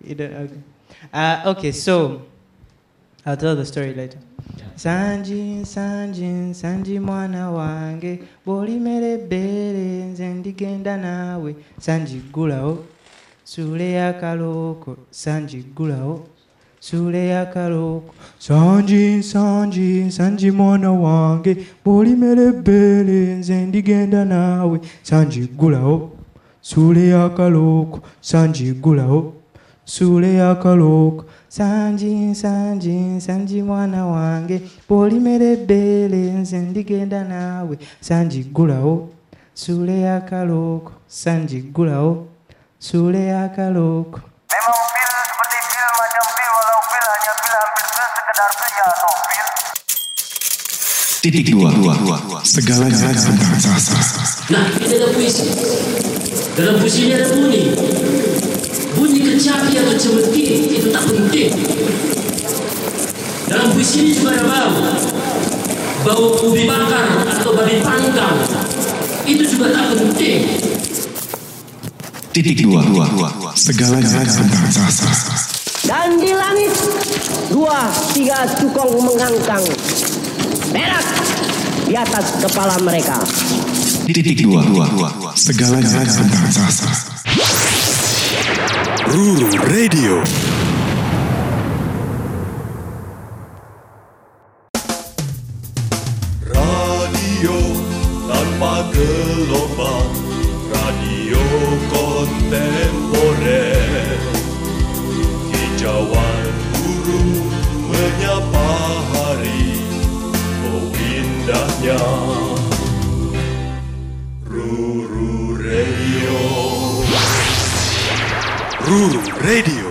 Speaker 1: You don't, okay. Uh, okay. So, I'll tell the story later. Sanji, Sanji, Sanji mwana wange bolimere bere nze ndigenda naawe Sanji gulawo sule yakalooko Sanji gulawo sule yakalooko Sanji, Sanji, Sanji mwana wange bolimere bere nze ndigenda naawe Sanji gulawo sule yakalooko Sanji gulawo sule yakalooko sanji sanji sanji mwana wange bw'olimera ebbeere nze ndigenda naawe sanji ggulawo sule yakalooko sanji ggulawo sule yakalooko
Speaker 15: Memang pil seperti pil macam pil walau pil hanya pil hampir pil sekedar pil ya atau pil.
Speaker 2: Titik dua. Segala galanya.
Speaker 4: Nah, ini ada puisi. Dalam puisi ini ada bunyi. Bunyi kecapi atau cemeti itu tak penting. Dalam puisi ini juga ada bau. bau ubi bakar atau babi panggang itu juga tak penting.
Speaker 2: Titik dua. Segala tentang sastra.
Speaker 5: Dan di langit dua tiga cukong mengangkang merak di atas kepala mereka.
Speaker 2: Titik dua. Segala tentang sastra.
Speaker 6: Ruru Radio. Radio tanpa gelombang, radio kontemporer. Hijauan guru menyapa hari, oh indahnya. Ruru Radio. Ruru Radio.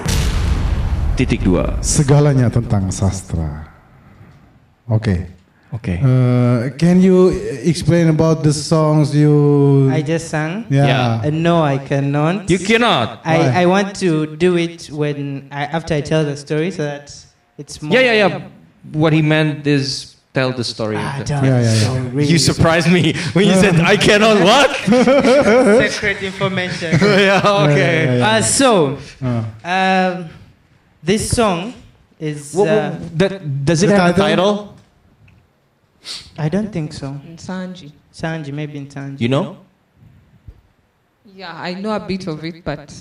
Speaker 7: Titik dua.
Speaker 3: Segalanya tentang sastra. Okay.
Speaker 7: Okay.
Speaker 3: Uh, can you explain about the songs you?
Speaker 11: I just sang.
Speaker 3: Yeah.
Speaker 11: Uh, no, I cannot.
Speaker 7: You cannot.
Speaker 11: I, I want to do it when I, after I tell the story so that it's more.
Speaker 7: Yeah, yeah, yeah. What he meant is tell the story. of the-
Speaker 11: don't Yeah, yeah, yeah. know, really.
Speaker 7: You surprised me when you said I cannot what?
Speaker 11: Secret information.
Speaker 7: Yeah, okay. Yeah, yeah, yeah.
Speaker 11: Uh, so,
Speaker 3: Ah.
Speaker 7: Uh.
Speaker 11: um, this song is.
Speaker 7: Wha- wha-
Speaker 11: uh,
Speaker 7: that- does it The have a title? title?
Speaker 11: uh, I don't think so.
Speaker 16: Sanji.
Speaker 11: Sanji, maybe in Sanji.
Speaker 7: You know?
Speaker 16: Yeah, I know a bit of it, but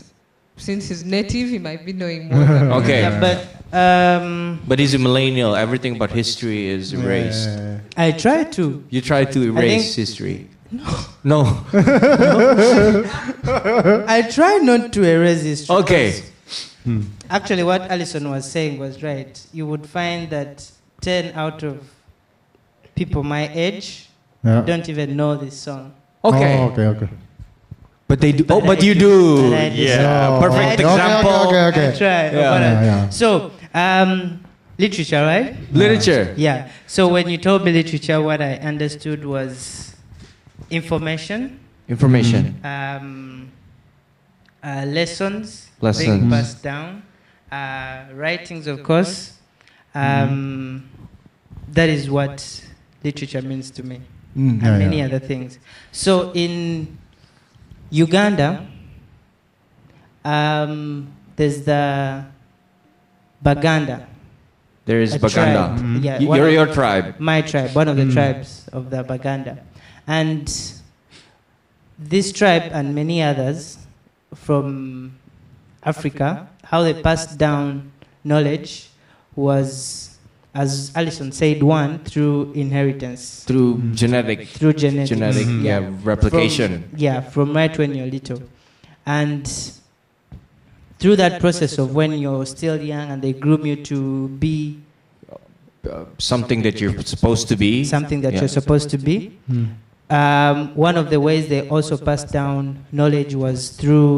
Speaker 16: since he's native, he might be knowing more. Than
Speaker 7: Okay.
Speaker 11: Yeah, but um,
Speaker 7: But he's a millennial. Everything about history is erased.
Speaker 11: I try to.
Speaker 7: You try to
Speaker 11: I
Speaker 7: erase
Speaker 11: think-
Speaker 7: history. No.
Speaker 11: I try not to erase history.
Speaker 7: Okay.
Speaker 11: Actually, what Alison was saying was right. You would find that 10 out of people my age
Speaker 3: Yeah.
Speaker 11: don't even know this song.
Speaker 7: Okay.
Speaker 3: Oh, okay. Okay.
Speaker 7: But they do. Oh, but you do.
Speaker 3: Oh,
Speaker 7: Yeah. Perfect example.
Speaker 11: I
Speaker 7: Yeah.
Speaker 11: try. But, uh,
Speaker 7: Yeah, yeah.
Speaker 11: So, um, literature, right?
Speaker 7: Literature.
Speaker 11: Yeah. So, when you told me literature, what I understood was information,
Speaker 7: Information.
Speaker 11: um, uh, lessons, being
Speaker 7: Lessons.
Speaker 11: passed down, uh, writings, of course. Um, That is what literature means to me,
Speaker 17: Mm.
Speaker 3: Hmm.
Speaker 11: and
Speaker 17: Yeah,
Speaker 11: many
Speaker 17: yeah.
Speaker 11: other things. So in Uganda, um, there's the Baganda.
Speaker 7: There is
Speaker 11: a
Speaker 7: Baganda.
Speaker 11: tribe.
Speaker 7: Mm.
Speaker 11: Yeah,
Speaker 7: Y-
Speaker 11: one
Speaker 7: you're
Speaker 11: of-
Speaker 7: your tribe.
Speaker 11: My tribe, one of the
Speaker 7: Mm.
Speaker 11: tribes of the Baganda. And this tribe and many others from Africa, how they passed down knowledge was, as Alison said, one, through inheritance.
Speaker 7: Mm. Through genetic.
Speaker 11: Through genetic.
Speaker 7: Genetic.
Speaker 11: Mhm.
Speaker 7: Yeah. Replication.
Speaker 11: From, yeah, from right when you're little. And through that process of when you're still young and they groom you to be
Speaker 7: Uh, Something that you're supposed to be.
Speaker 11: something that
Speaker 7: Yeah.
Speaker 11: you're supposed to be.
Speaker 3: Hmm.
Speaker 7: Mm.
Speaker 11: Um, one of the ways they also passed down knowledge was through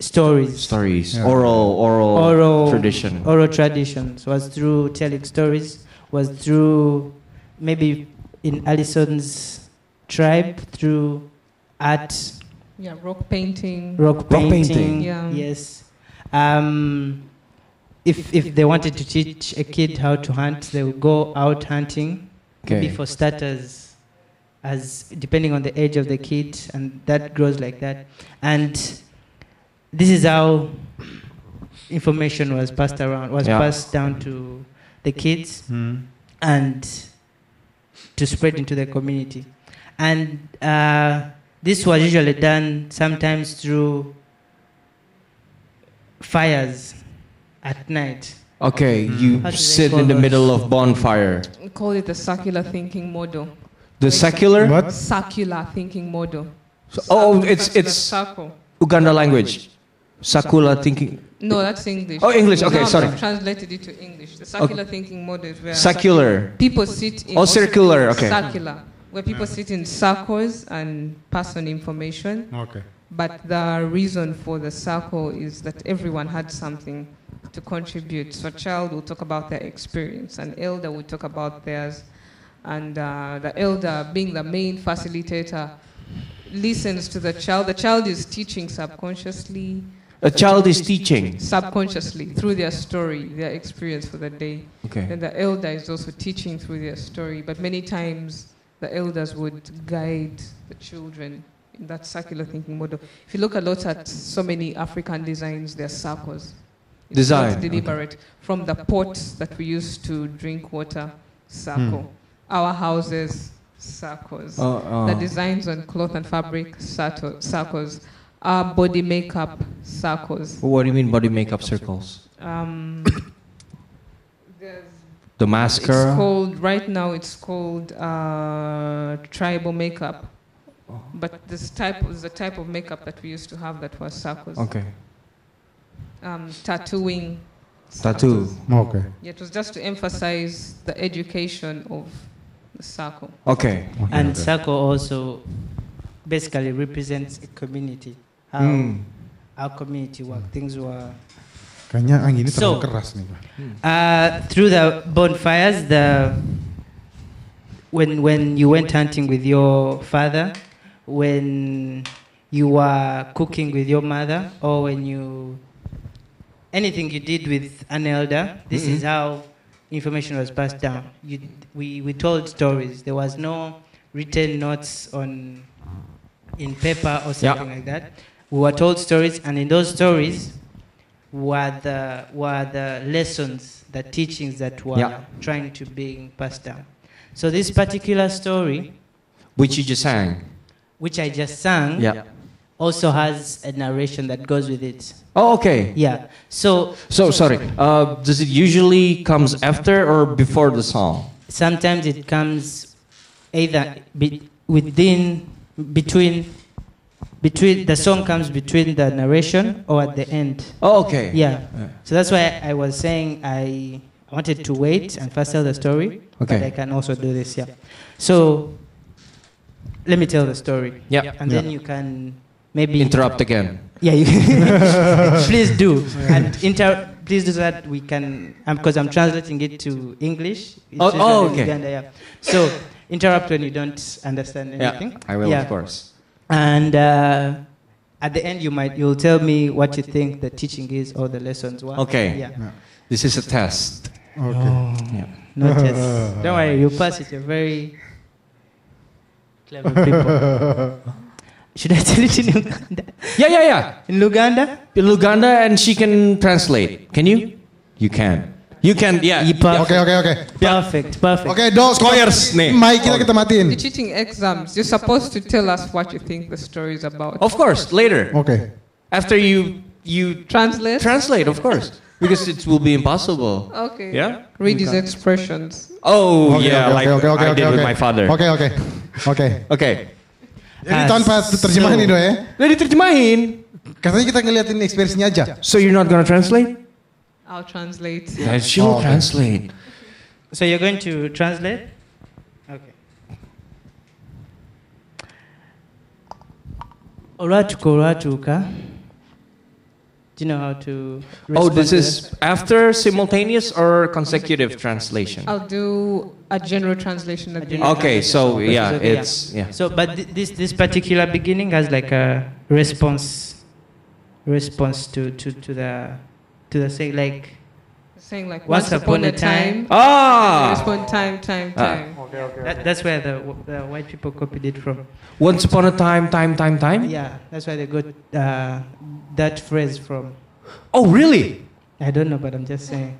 Speaker 11: stories.
Speaker 7: Stories. Oral. Oral. Tradition.
Speaker 11: Oral traditions was through telling stories, was through maybe in Alison's tribe, through art,
Speaker 16: yeah, rock painting.
Speaker 11: rock painting.
Speaker 16: Yeah.
Speaker 11: Yes. Um, if if they wanted to teach a kid how to hunt, they would go out hunting. Maybe
Speaker 7: Okay.
Speaker 11: for starters, as depending on the age of the kid, and that grows like that. And this is how information was passed around, was
Speaker 7: Yeah.
Speaker 11: passed down to the kids,
Speaker 7: Mm.
Speaker 11: and to spread into the community. And uh, this was usually done sometimes through fires at night.
Speaker 7: Okay. You
Speaker 11: How do they
Speaker 7: sit
Speaker 11: call
Speaker 7: in the
Speaker 11: those?
Speaker 7: middle of bonfire.
Speaker 16: We call it the circular thinking model.
Speaker 7: The secular.
Speaker 16: Circular thinking model.
Speaker 7: So- oh, it's
Speaker 16: Circular
Speaker 7: it's
Speaker 16: circle.
Speaker 7: Uganda language. Sakula thinking.
Speaker 16: No, that's English.
Speaker 7: Oh, English. Okay,
Speaker 16: Now I've
Speaker 7: sorry.
Speaker 16: translated it to English. The circular thinking model is where
Speaker 7: Circular.
Speaker 16: people sit in.
Speaker 7: Oh, circular, okay.
Speaker 16: Circular, where people sit in circles and pass on information.
Speaker 3: Okay.
Speaker 16: But the reason for the circle is that everyone had something to contribute. So, a child will talk about their experience, an elder will talk about theirs, and uh, the elder, being the main facilitator, listens to the child. The child is teaching subconsciously.
Speaker 7: A child is teaching.
Speaker 11: subconsciously through their story, their experience for the day.
Speaker 7: Okay.
Speaker 11: Then the elder is also teaching through their story, but many times the elders would guide the children in that circular thinking model. If you look a lot at so many African designs, they're circles. It's
Speaker 7: Design,
Speaker 11: not
Speaker 7: okay.
Speaker 11: deliberate. From the pots that we use to drink water, circle. Our houses, circles.
Speaker 7: Hmm. Oh, oh.
Speaker 11: The designs on cloth and fabric, circle- circles. Our body makeup, circles.
Speaker 7: What do you mean body makeup circles?
Speaker 11: Um,
Speaker 7: The
Speaker 11: it's
Speaker 7: mascara?
Speaker 11: called right now. It's called uh, tribal makeup, but this type is the type of makeup that we used to have that was circles.
Speaker 7: Okay.
Speaker 11: Um, tattooing.
Speaker 7: Tattoo.
Speaker 11: circles.
Speaker 7: Okay.
Speaker 11: Yeah, it was just to emphasize the education of the circle.
Speaker 7: Okay.
Speaker 1: And circle also basically represents a community. How
Speaker 3: Hmm.
Speaker 1: our community work. Things were
Speaker 3: Kayaknya anginnya terlalu
Speaker 1: So,
Speaker 3: keras nih. Pak.
Speaker 1: Uh, through the bonfires, the when when you went hunting with your father, when you were cooking with your mother, or when you anything you did with an elder, this is how information was passed down. You,
Speaker 7: Mm-hmm.
Speaker 1: we we told stories. There was no written notes on in paper or something like that. We were told stories, and in those stories were the were the lessons, the teachings that were
Speaker 7: Yeah.
Speaker 1: trying to being passed down. So this particular story,
Speaker 7: Which you just sang.
Speaker 1: which I just sang,
Speaker 7: Yeah.
Speaker 1: also has a narration that goes with it.
Speaker 7: Oh, okay.
Speaker 1: Yeah. So
Speaker 7: So sorry. Uh, does it usually comes after or before the song?
Speaker 1: sometimes it comes either be, within between between the song comes between the narration or at the end
Speaker 7: oh okay
Speaker 1: yeah
Speaker 7: Yeah.
Speaker 1: so that's why i was saying i wanted to wait and first tell the story but
Speaker 7: Okay.
Speaker 1: i can also do this yeah so let me tell the story
Speaker 7: Yeah.
Speaker 1: and then you can maybe
Speaker 7: Interrupt again.
Speaker 1: yeah you please do and inter please do so that we can because i'm translating it to english It's
Speaker 7: Oh,
Speaker 1: just
Speaker 7: oh,
Speaker 1: like
Speaker 7: okay.
Speaker 1: Uganda, yeah. So interrupt when you don't understand
Speaker 7: Yeah,
Speaker 1: anything.
Speaker 7: I will, of course.
Speaker 1: And uh, at the end, you might you'll tell me what you think the teaching is or the lessons were.
Speaker 7: Okay.
Speaker 1: Yeah.
Speaker 7: This is a test.
Speaker 3: Okay.
Speaker 7: Oh. Yeah.
Speaker 1: No test. Don't worry, you pass it. You're very clever people. Should I tell it in Uganda?
Speaker 7: Yeah, yeah, yeah.
Speaker 1: In Luganda?
Speaker 7: In Luganda, and she can translate. Can you? You can. You can. Yeah.
Speaker 3: Okay, okay, okay.
Speaker 1: Perfect, perfect.
Speaker 3: Oke, dos
Speaker 7: Squares nih.
Speaker 3: Mic kita kita matiin.
Speaker 11: You're cheating exams. You're supposed to tell us what you think the story is about.
Speaker 1: Oh,
Speaker 7: Of course, later.
Speaker 3: Okay.
Speaker 7: After you you
Speaker 11: translate.
Speaker 7: Translate, of course, because it will be impossible.
Speaker 11: Okay.
Speaker 7: Yeah.
Speaker 11: Read his expressions.
Speaker 7: Oh
Speaker 3: Oke,
Speaker 7: yeah,
Speaker 3: oke,
Speaker 7: like
Speaker 3: oke, oke,
Speaker 7: I
Speaker 3: oke,
Speaker 7: did with
Speaker 3: oke.
Speaker 7: my father.
Speaker 3: Oke, oke. Oke.
Speaker 7: Okay.
Speaker 3: Ini tanpa terjemahan ini, Do, ya?
Speaker 7: Udah diterjemahin.
Speaker 3: Katanya kita ngeliatin ekspresinya aja.
Speaker 7: So you're not gonna translate?
Speaker 11: I'll translate.
Speaker 7: Yeah, she will translate.
Speaker 1: So you're going to translate? Okay. Olwatuka olwatuuka. Do you know how to?
Speaker 7: Oh,
Speaker 1: respond
Speaker 7: this
Speaker 1: to
Speaker 7: is after simultaneous or consecutive translation?
Speaker 11: I'll do a general translation at the end.
Speaker 7: Okay, so yeah, it's yeah.
Speaker 1: So, but thi- this this particular beginning has like a response, response to to to the to the say like
Speaker 11: Saying like once, upon, a time.
Speaker 7: Ah.
Speaker 11: Respond time, time,
Speaker 7: Ah.
Speaker 11: time.
Speaker 1: That, that's where the, the white people copied it from.
Speaker 7: Once upon a time, time, time, time.
Speaker 1: Yeah, that's why they got uh, that phrase from.
Speaker 7: Oh, really?
Speaker 1: I don't know, but I'm just saying.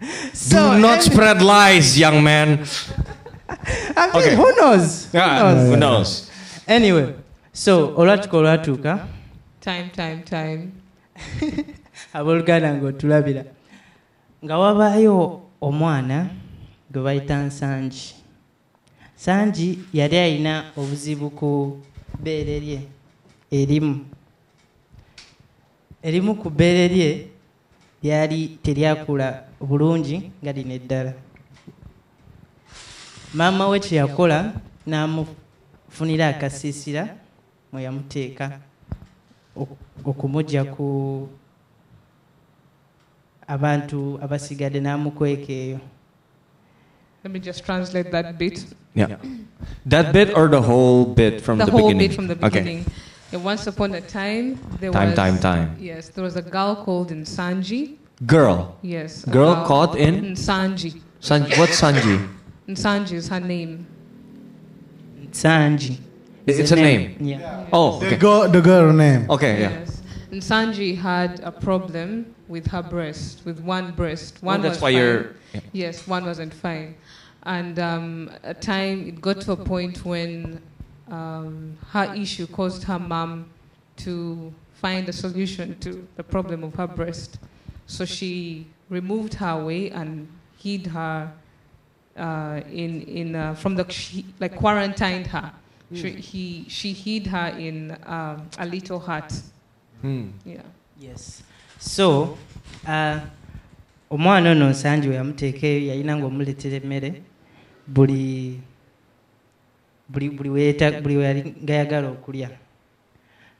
Speaker 7: Do not spread lies, young man.
Speaker 1: I mean, who knows?
Speaker 7: Yeah, who knows?
Speaker 1: Anyway, so olatuka olatuka
Speaker 11: Time, time, time.
Speaker 1: abooluganda ng'otulabira nga wabaayo omwana gwe bayita nsangi sangi yali alina obuzibu ku bbeere lye erimu erimu ku bbeere lye lyali teryakula bulungi nga lino eddala maama we kye yakola n'amufunira akasiisira mwe yamuteeka ok- okumugya ku abantu abasigadde n'amukweka eyo
Speaker 11: Let me just translate that bit.
Speaker 7: Yeah. That bit or the whole bit from
Speaker 11: the,
Speaker 7: the,
Speaker 11: whole
Speaker 7: beginning?
Speaker 11: bit from the
Speaker 7: Okay.
Speaker 11: beginning. Yeah, once upon a time, there
Speaker 18: Time,
Speaker 11: was
Speaker 18: time, time.
Speaker 11: Yes, there was a girl called Insanji.
Speaker 18: Girl.
Speaker 11: Yes. a
Speaker 18: Girl caught in?
Speaker 11: Insanji.
Speaker 18: Sanji. What's Sanji?
Speaker 11: Insanji is her name.
Speaker 7: Sanji.
Speaker 18: It's,
Speaker 7: It's
Speaker 18: a
Speaker 7: a
Speaker 18: name.
Speaker 7: name.
Speaker 11: Yeah.
Speaker 18: Oh, okay.
Speaker 3: The girl, the girl name.
Speaker 18: Okay, yeah.
Speaker 11: Yes. Insanji had a problem with her breast, with one breast. One
Speaker 18: that's
Speaker 11: was
Speaker 18: why
Speaker 11: fine.
Speaker 18: you're- yeah.
Speaker 11: Yes, one wasn't fine. And um, a time, it got to a point when um, her issue caused her mom to find a solution to the problem of her breast. So she removed her away and hid her uh, in, in, uh, from the, she, like quarantined her. She, he, she hid her in um, a little hut.
Speaker 7: Hmm.
Speaker 11: Yeah.
Speaker 7: Yes. so uh, omwana ono nsangi we yamuteeka eyo yalina ng'omuleetera emmere buli buli buli weeta- buli we yali ng'ayagala okulya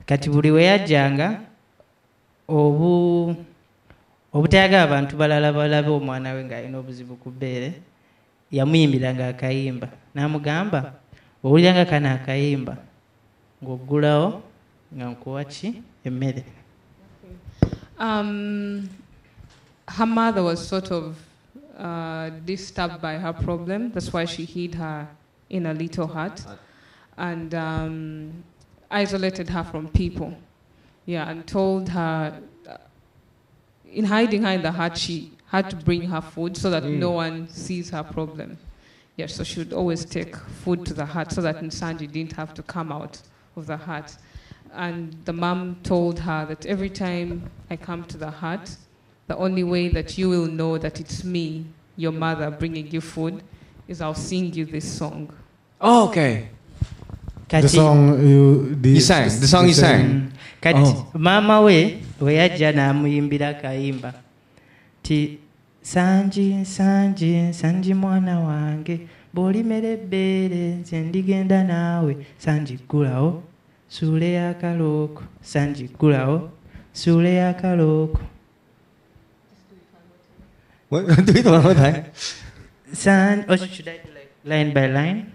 Speaker 7: kati buli we yajjanga obu obutayagala abantu balala balabe omwana we ng'alina obuzibu ku bbeere yamuyimbiranga akayimba n'amugamba owuliranga kano akayimba ng'oggulawo nga nkuwa ki emmere
Speaker 11: Um, her mother was sort of uh, disturbed by her problem. That's why she hid her in a little hut and um, isolated her from people. Yeah, and told her, uh, in hiding her in the hut, she had to bring her food so that no one sees her problem. Yeah, so she would always take food to the hut so that Nsanji didn't have to come out of the hut. And the mom told her that every time I come to the hut, the only way that you will know that it's me, your mother, bringing you food, is I'll sing you this song.
Speaker 18: Oh, okay.
Speaker 3: The song you, the,
Speaker 18: You sang, the song you sang.
Speaker 7: kati
Speaker 18: Oh.
Speaker 7: maama we we yajja n'amuyimbira akayimba ti sanji nsanji nsanji mwana wange bw'olimera ebbeere nze ndigenda naawe sanji ggulawo suula eyakalooko sanji ggulawo suula eyakalooko
Speaker 3: Oh.
Speaker 19: What? Do it one more time.
Speaker 7: San, oh, should I do like line by line?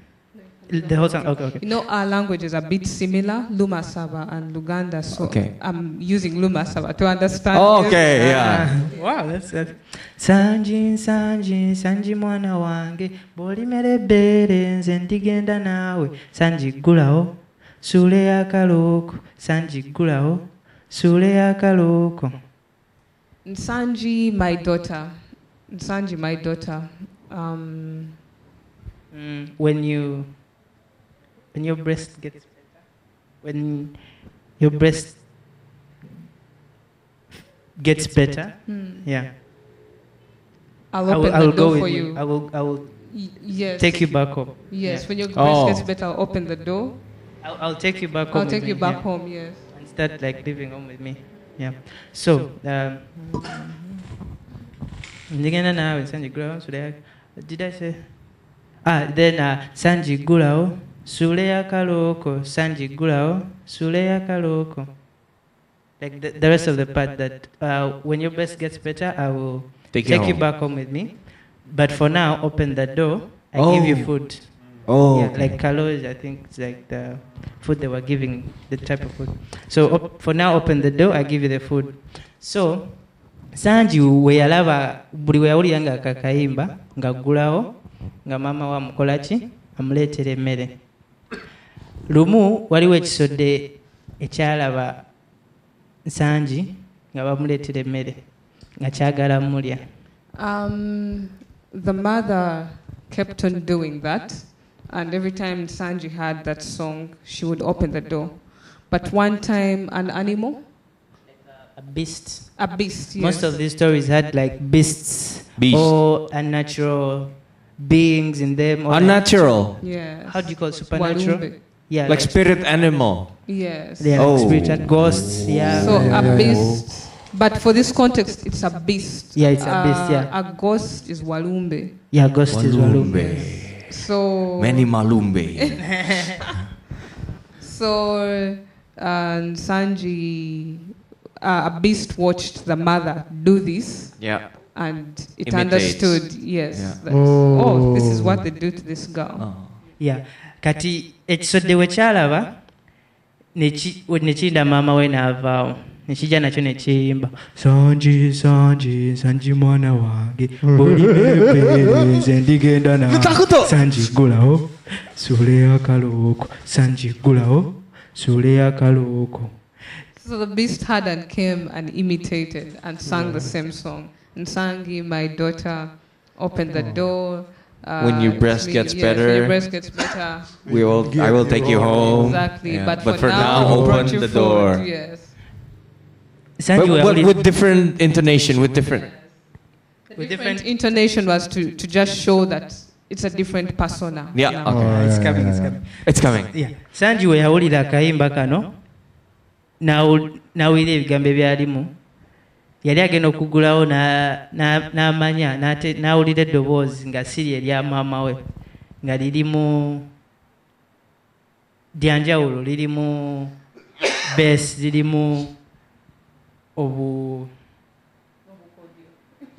Speaker 7: The whole song? Okay, okay.
Speaker 11: You know, our languages are a bit similar, Luma Saba and Luganda, so
Speaker 7: Okay.
Speaker 11: I'm using Luma Saba to understand. this. Uh,
Speaker 7: wow, that's it. Sanji, Sanji, Sanji mwana wange, bw'olimera ebbeere nze ndigenda naawe. Sanji ggulawo, suula eyakalooko. Sanji ggulawo, suula eyakalooko.
Speaker 11: Nsanji, my daughter. Nsanji, my daughter. Um,
Speaker 7: When you, when your breast gets better, when your breast gets better,
Speaker 11: Hmm.
Speaker 7: yeah.
Speaker 11: I'll
Speaker 7: I
Speaker 11: open
Speaker 7: will, I will
Speaker 11: the
Speaker 7: go
Speaker 11: door
Speaker 7: with
Speaker 11: for
Speaker 7: you.
Speaker 11: you.
Speaker 7: I will, I will
Speaker 11: Y- yes.
Speaker 7: take you back home.
Speaker 11: Yes,
Speaker 7: Yeah.
Speaker 11: when your
Speaker 7: Oh.
Speaker 11: voice gets better, I'll open the door.
Speaker 7: I'll, I'll take you back home.
Speaker 11: I'll
Speaker 7: with
Speaker 11: take
Speaker 7: me,
Speaker 11: you back
Speaker 7: yeah.
Speaker 11: home, yes.
Speaker 7: And start like living home with me. Yeah. So, um, ndigenda nawe Sanji Gulao, Sule ya- Did I say? Ah, then uh, Sanji Gulao, Sule ya Kaloko, Sanji Gulao, Sule ya Kaloko. Like the, the rest of the part that uh, when your best gets better, I will
Speaker 18: Take
Speaker 7: take,
Speaker 18: you
Speaker 7: you
Speaker 18: home.
Speaker 7: back home with me. But for now, open the door. I give you
Speaker 18: Oh.
Speaker 7: food.
Speaker 18: Oh,
Speaker 7: Yeah,
Speaker 18: okay.
Speaker 7: like Kalos, I think it's like the food they were giving, the type of food. So op- for now, open the door, I give you the food. So Sanji we yalaba buli we yawuliranga akakayimba ng'aggulawo nga maama we amukola ki amuleetera emmere lumu waliwo ekisodde ekyalaba nsangi nga bamuleetera emmere nga kyagala mulya
Speaker 11: Um, the mother kept on doing that, and every time Sanji had that song, she would open the door. But one time, an animal,
Speaker 7: a beast,
Speaker 11: a beast, yes.
Speaker 7: Most of these stories had like beasts
Speaker 18: Beast.
Speaker 7: or unnatural beings in them. Or
Speaker 18: Unnatural?
Speaker 11: Yes.
Speaker 7: How do you call it? supernatural?
Speaker 11: Warumbe.
Speaker 7: Yeah.
Speaker 18: Like spirit animal.
Speaker 11: Yes.
Speaker 7: Yeah,
Speaker 18: Oh.
Speaker 7: like spirit and ghosts. Yeah.
Speaker 11: So a beast, but for this context, it's a beast.
Speaker 7: Yeah, it's a beast,
Speaker 11: Uh,
Speaker 7: yeah.
Speaker 11: a ghost is Walumbe.
Speaker 7: Yeah, ghost is Walumbe. Oh.
Speaker 11: So
Speaker 18: Many malumbe.
Speaker 11: so and Sanji, uh, a beast watched the mother do this.
Speaker 18: Yeah.
Speaker 11: And
Speaker 18: Imitates.
Speaker 11: it understood, yes.
Speaker 18: Yeah.
Speaker 11: that- oh. this is what they do to this girl.
Speaker 7: Yeah. Kati ekisodde we kyalaba
Speaker 1: nechi- we- nechiinda mama we navao nechija nacho nechiimba sonji sonji sanji mwana wange bonibepereze ndigenda nawe
Speaker 14: Takuto.
Speaker 1: sanji gulawo sule akalooko sanji gulawo sule akalooko
Speaker 11: So the beast heard and came and imitated and sang the same song and sang, "Ye, "My daughter, open the door." Uh,
Speaker 7: When your breast
Speaker 11: me-
Speaker 7: gets
Speaker 11: yes,
Speaker 7: better,
Speaker 11: when your breast gets better.
Speaker 7: we will. I will take you home.
Speaker 11: Exactly,
Speaker 7: Yeah.
Speaker 11: but,
Speaker 7: for, now,
Speaker 11: we brought
Speaker 7: open
Speaker 11: you
Speaker 7: the
Speaker 11: food,
Speaker 7: door.
Speaker 11: Yes.
Speaker 7: But, but with different intonation, with different.
Speaker 11: The different intonation was to, to just show that it's a different persona.
Speaker 7: Yeah.
Speaker 11: now.
Speaker 7: Okay.
Speaker 3: Oh,
Speaker 1: It's coming, it's coming.
Speaker 7: It's coming.
Speaker 1: Yeah. Uh, sanji we yawulira akayimba kano n'awu- n'awulira ebigambo ebyalimu yali agenda okugulawo na- na- n'amanya n'ate- n'awulira eddoboozi nga siri erya maama we nga lirimu lyanjawulo lirimu bes lirimu obu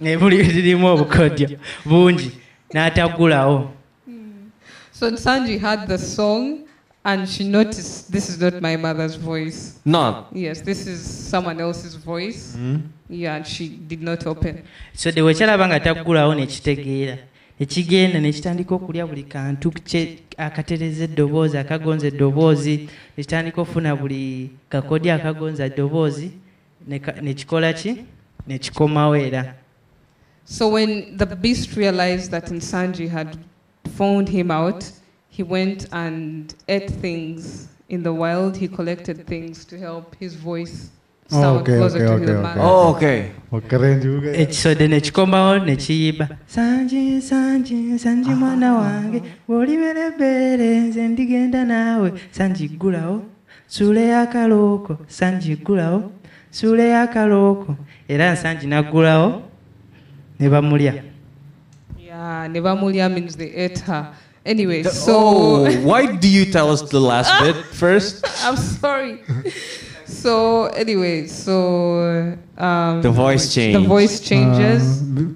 Speaker 1: Eh, buli- lirimu obukodyo bungi n'atagulawo
Speaker 11: Hmm. So Sanji heard the song and she noticed this is not my mother's voice.
Speaker 1: Not.
Speaker 11: Yes, this is someone else's voice.
Speaker 3: Hmm?
Speaker 1: Mhm.
Speaker 11: Yeah, and she did not open.
Speaker 1: so de wekyalaba nga taggulawo nekitegeera ekigenda nekitandika okulya buli kantu kye- akatereza eddoboozi akagonza eddoboozi nekitandika ofuna buli kakodyo akagonza eddoboozi ne ka- nekikola ki nekikomawo era
Speaker 11: So when the beast realized that Insanji had found him out, he went and ate things in the wild. He collected things to help his voice sound
Speaker 3: Oh, okay,
Speaker 11: closer
Speaker 3: okay,
Speaker 11: to
Speaker 3: okay,
Speaker 11: the
Speaker 3: okay.
Speaker 11: man.
Speaker 3: Oh, keren juga. ya.
Speaker 1: ekisode nekikomawo nekiyiba sanji sanji sanji
Speaker 7: Ah.
Speaker 1: mwana wange bw'oliberebere nze ndigenda naawe sanji ggulawo suuleyo akalooko sanji ggulawo suuleyo akalooko era nsanji n'aggulawo ne bamulya
Speaker 11: Yeah, Nevamulia means they ate her. Anyway,
Speaker 7: The-
Speaker 11: so
Speaker 7: oh, why do you tell us the last bit first?
Speaker 11: I'm sorry. So anyway, so um,
Speaker 7: The voice
Speaker 11: The
Speaker 7: change.
Speaker 11: voice
Speaker 3: Um,
Speaker 11: changes,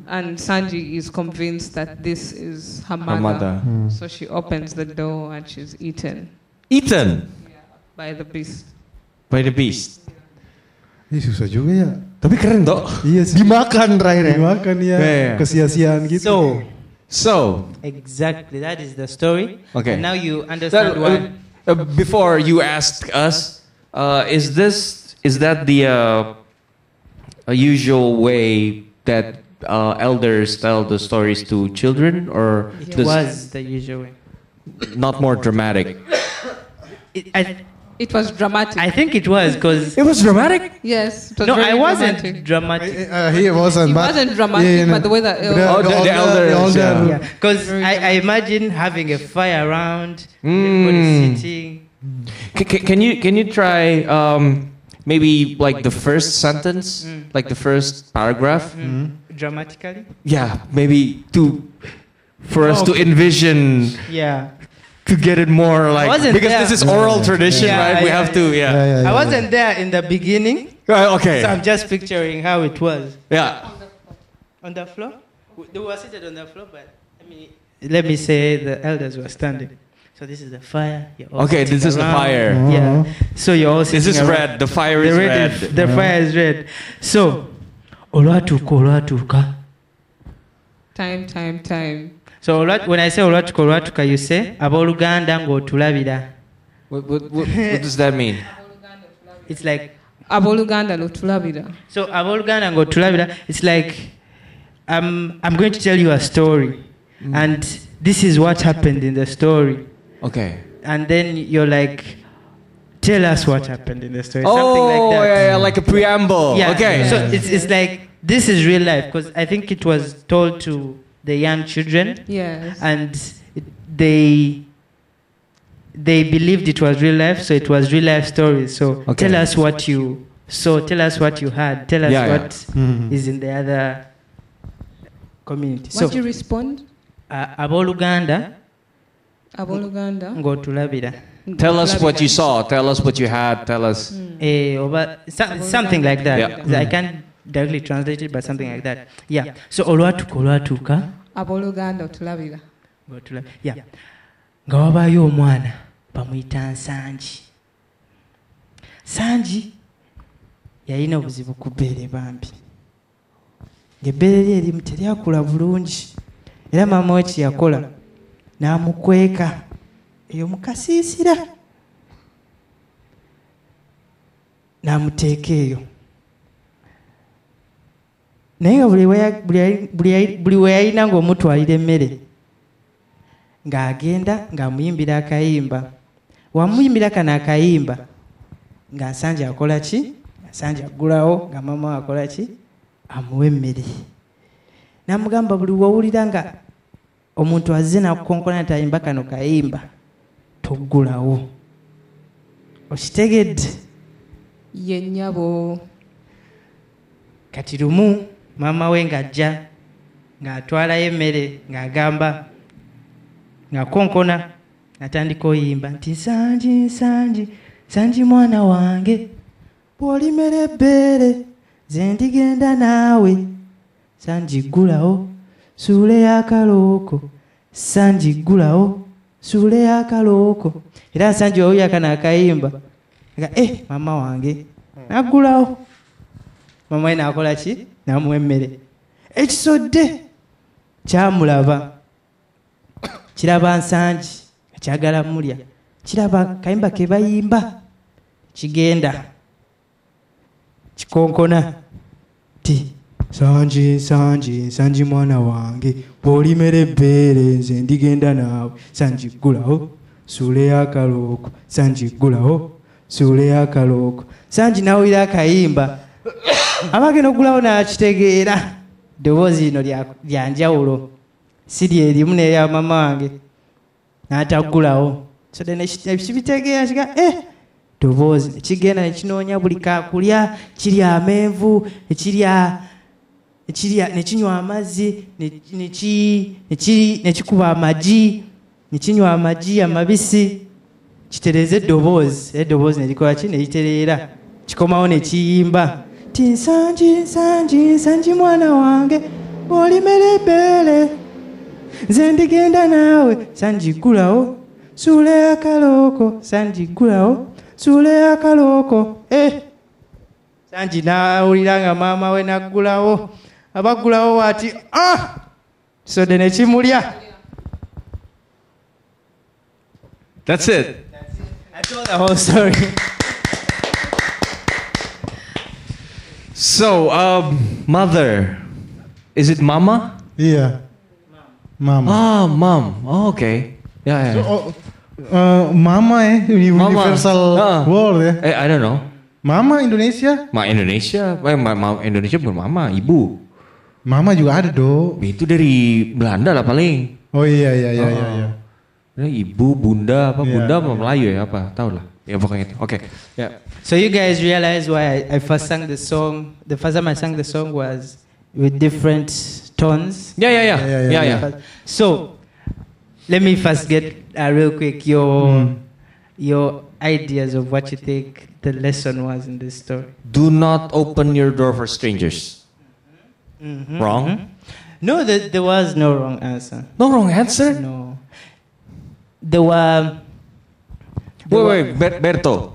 Speaker 7: Uh,
Speaker 11: and Sanji is convinced that this is her mother.
Speaker 7: mother. Hmm.
Speaker 11: So she opens the door and she's eaten
Speaker 7: Eaten
Speaker 11: by the beast.
Speaker 7: by the beast.
Speaker 3: Ih, susah juga ya.
Speaker 7: Tapi keren dok.
Speaker 3: Iya sih.
Speaker 14: Dimakan terakhir ya.
Speaker 3: Dimakan ya.
Speaker 7: Yeah.
Speaker 3: Kesia-siaan gitu.
Speaker 1: So,
Speaker 7: So
Speaker 1: exactly that is the story
Speaker 7: okay.
Speaker 1: And now you understand
Speaker 7: That-
Speaker 1: why
Speaker 7: uh, uh, before you asked us, uh, is this is that the uh, a usual way that uh, elders tell the stories to children, or
Speaker 1: it
Speaker 7: does-
Speaker 1: was the usual way
Speaker 7: not more dramatic?
Speaker 1: it, I,
Speaker 11: it was dramatic
Speaker 1: i think it was because
Speaker 7: it was dramatic
Speaker 11: Yes. It was
Speaker 1: no
Speaker 11: very
Speaker 1: i wasn't dramatic
Speaker 11: dramatic.
Speaker 3: Uh, he wasn't.
Speaker 11: It
Speaker 3: but-
Speaker 11: wasn't dramatic,
Speaker 3: Yeah, yeah,
Speaker 11: but the way that
Speaker 3: the- Oh, the- the the elders, elders, yeah. yeah.
Speaker 1: Because I, I imagine having a fire around,
Speaker 7: Mm.
Speaker 1: everybody sitting.
Speaker 7: C- c- can you can you try um, maybe like the first sentence,
Speaker 1: Mm.
Speaker 7: like the first paragraph?
Speaker 1: Dramatically?
Speaker 7: Yeah, maybe to for us to
Speaker 1: Okay.
Speaker 7: envision
Speaker 1: Yeah.
Speaker 7: to get it more
Speaker 1: Oh. I
Speaker 7: like
Speaker 1: wasn't
Speaker 7: because
Speaker 1: there.
Speaker 7: this is oral tradition,
Speaker 1: Yeah,
Speaker 7: right? we
Speaker 1: yeah,
Speaker 7: have to, yeah.
Speaker 1: I wasn't there in the beginning.
Speaker 7: Uh, okay.
Speaker 1: So I'm just picturing how it was.
Speaker 7: Yeah.
Speaker 1: On the floor? They were seated on the floor, but I mean. Let me say the elders were standing. So this is the fire. you're all
Speaker 7: Okay,
Speaker 1: sitting
Speaker 7: this is the
Speaker 1: around.
Speaker 7: fire.
Speaker 3: Uh-huh.
Speaker 1: Yeah. So you're all
Speaker 7: This
Speaker 1: sitting
Speaker 7: is
Speaker 1: around.
Speaker 7: red. The fire
Speaker 1: The
Speaker 7: is red.
Speaker 1: is- The fire is red. So, olwatuuka olwatuuka.
Speaker 11: Time, time, time.
Speaker 1: So olwa- when I say olwatuka olwatuka you say abooluganda ng'otulabira.
Speaker 7: What, what, what, what does that mean?
Speaker 1: It's like
Speaker 11: Aboluganda lutulabira.
Speaker 1: so abooluganda ng'otulabira it's like um, I'm going to tell you a story and this is what happened in the story.
Speaker 7: Okay.
Speaker 1: And then you're like tell us what happened in the story. Something
Speaker 7: Oh,
Speaker 1: like that.
Speaker 7: yeah, yeah, like a preamble.
Speaker 1: Yeah.
Speaker 7: Oh, okay.
Speaker 1: So it's, it's like this is real life because I think it was told to the young children.
Speaker 11: Yes.
Speaker 1: And it, they they believed it was real life, so it was real life stories. So
Speaker 7: Okay.
Speaker 1: tell us what you saw. Tell us what you heard. Tell us
Speaker 7: Yeah, yeah.
Speaker 1: what is
Speaker 7: Mhm.
Speaker 1: in the other community.
Speaker 11: What
Speaker 1: so
Speaker 11: do you respond?
Speaker 1: uh, abooluganda
Speaker 11: Aboluganda.
Speaker 1: ng'otulabira.
Speaker 7: Tell us what you saw. Tell us what you had. Tell us.
Speaker 11: Mm.
Speaker 1: Eh, oba, so, something like that.
Speaker 7: Yeah.
Speaker 1: I can't directly translate it, but something like that. Yeah. So olwatuka olwatuuka
Speaker 11: Aboluganda otulabira.
Speaker 1: ng'otula- yeah. nga wabaayo omwana bamuyita nsangi
Speaker 7: sanji yalina obuzibu ku bbeere bambi ngaebbeere lye erimu teryakula bulungi era maama we kye yakola n'amukweka eyo mukasiisira n'amuteeka eyo naye nga buli we ya- buli yali- buli yali- buli we yalina ng'omutwalira emmere ng'agenda ng'amuyimbira akayimba wamuyimbira kano akayimba nga nsanja akola ki nsanja agulawo nga mama we akola ki amuwa emmere n'amugamba buli wowulira nga omuntu azze nakukonkona tayimba kano kayimba toggulawo okitegedde
Speaker 11: ye nnyabo
Speaker 7: kati lumu maama we ng'ajja ng'atwalayo emmere ng'agamba ng'akonkona natandika oyimba nti nsanji nsanji nsanji mwana wange bw'olimera ebbeere ze ndigenda naawe sanji ggulawo suula eyakalooko sanji ggulawo suula eyakalooko era nsanji wawulyakano akayimba aga e maama wange naggulawo maama we n'akola ki n'amuwa emmere ekisodde kyamulaba kiraba nsangi akyagala mulya kiraba kayimba ke bayimba kigenda kikonkona ti sanji sanji sanji mwana wange bw'olimera ebbeere nze ndigenda naawe sanji ggulawo suula eyakalooko sanji ggulawo suula eyakalooko sanji n'awulira akayimba abagenda okugulawo n'akitegeera ddoboozi lino lya- lya njawulo si lyerimu n'erya mama wange n'ataggulawo so then eki- ekibitegeera kiga e ddoboozi ekigenda nekinoonya buli kakulya kirya amenvu ekirya ekirya nekinywa amazzi ne- neki- neki- nekikuba amagi nekinywa amagi amabisi kitereze eddoboozi era eddoboozi nerikola ki neritereera kikomawo nekiyimba ti nsanji nsanji nsanji mwana wange bw'olimera ebbeere nze ndigenda naawe sanjiggulawo suula yakalooko sanjiggulawo suula yakalooko eh sanji n'awulira nga maama we n'aggulawo abaggulawo waati ah kisodde nekimulya
Speaker 6: That's it.
Speaker 7: the whole story
Speaker 6: So, um, mother, is it mama?
Speaker 3: Iya. Mama.
Speaker 6: Ah, mom. Oh, okay. Yeah. yeah.
Speaker 3: Oh, eh, mama eh universal
Speaker 6: Ah.
Speaker 3: world ya.
Speaker 6: Eh, I don't know.
Speaker 3: Mama Indonesia?
Speaker 6: Ma Indonesia, eh, ma, ma- Indonesia bukan mama, ibu.
Speaker 3: Mama juga ada dong.
Speaker 6: Itu dari Belanda lah paling.
Speaker 3: Oh iya iya iya iya. iya.
Speaker 6: Ini Ibu, bunda, apa
Speaker 3: Iya.
Speaker 6: bunda apa Melayu ya apa? Tahu lah. Ya pokoknya itu. Oke. Ya.
Speaker 7: So you guys realize why I, I first sang the song. The first time I sang the song was with different tones.
Speaker 3: Iya,
Speaker 6: Yeah, yeah, yeah, yeah, yeah.
Speaker 7: So let me first get uh, real quick your your ideas of what you think the lesson was in this story.
Speaker 6: Do not open your door for strangers. Wrong?
Speaker 7: No, there, there was no wrong answer.
Speaker 6: No wrong answer?
Speaker 7: No. There were.
Speaker 6: Wait, wait, Ber- Berto.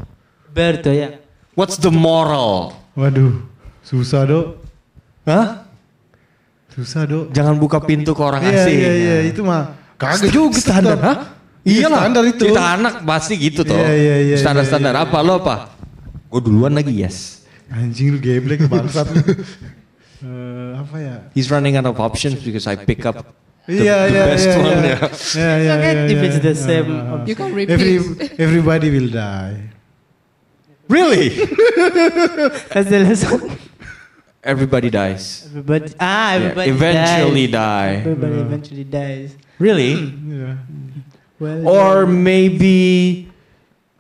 Speaker 7: Berto, yeah.
Speaker 6: What's the moral?
Speaker 3: Waduh, susah dok.
Speaker 6: Hah?
Speaker 3: Susah dok.
Speaker 6: Jangan buka pintu ke orang
Speaker 3: Iya
Speaker 6: asing.
Speaker 3: iya iya itu mah kagak juga
Speaker 6: standar. Hah?
Speaker 3: Iya
Speaker 6: Iyalah,
Speaker 3: standar itu.
Speaker 6: Kita anak pasti gitu toh.
Speaker 3: Iya, iya, iya,
Speaker 6: Standar-standar apa lo apa? Gue duluan lagi, yes.
Speaker 3: Anjing lu geblek bangsat. lu. Eh, apa ya?
Speaker 6: He's running out of options because I pick up the,
Speaker 3: Iya
Speaker 6: the
Speaker 3: iya
Speaker 6: best
Speaker 3: iya.
Speaker 6: one. ya.
Speaker 3: iya. Iya
Speaker 6: Yeah.
Speaker 3: iya
Speaker 7: okay
Speaker 3: iya,
Speaker 7: if it's
Speaker 3: iya,
Speaker 7: the
Speaker 3: iya,
Speaker 7: same
Speaker 3: iya, iya.
Speaker 11: You can
Speaker 3: Every,
Speaker 11: repeat.
Speaker 3: everybody will die.
Speaker 6: Really?
Speaker 7: That's the lesson.
Speaker 6: Everybody dies.
Speaker 7: Everybody, ah,
Speaker 6: Yeah,
Speaker 7: everybody
Speaker 6: eventually Mm.
Speaker 7: dies.
Speaker 6: die.
Speaker 7: Everybody eventually dies.
Speaker 6: Really?
Speaker 3: Yeah.
Speaker 7: Well,
Speaker 6: Or maybe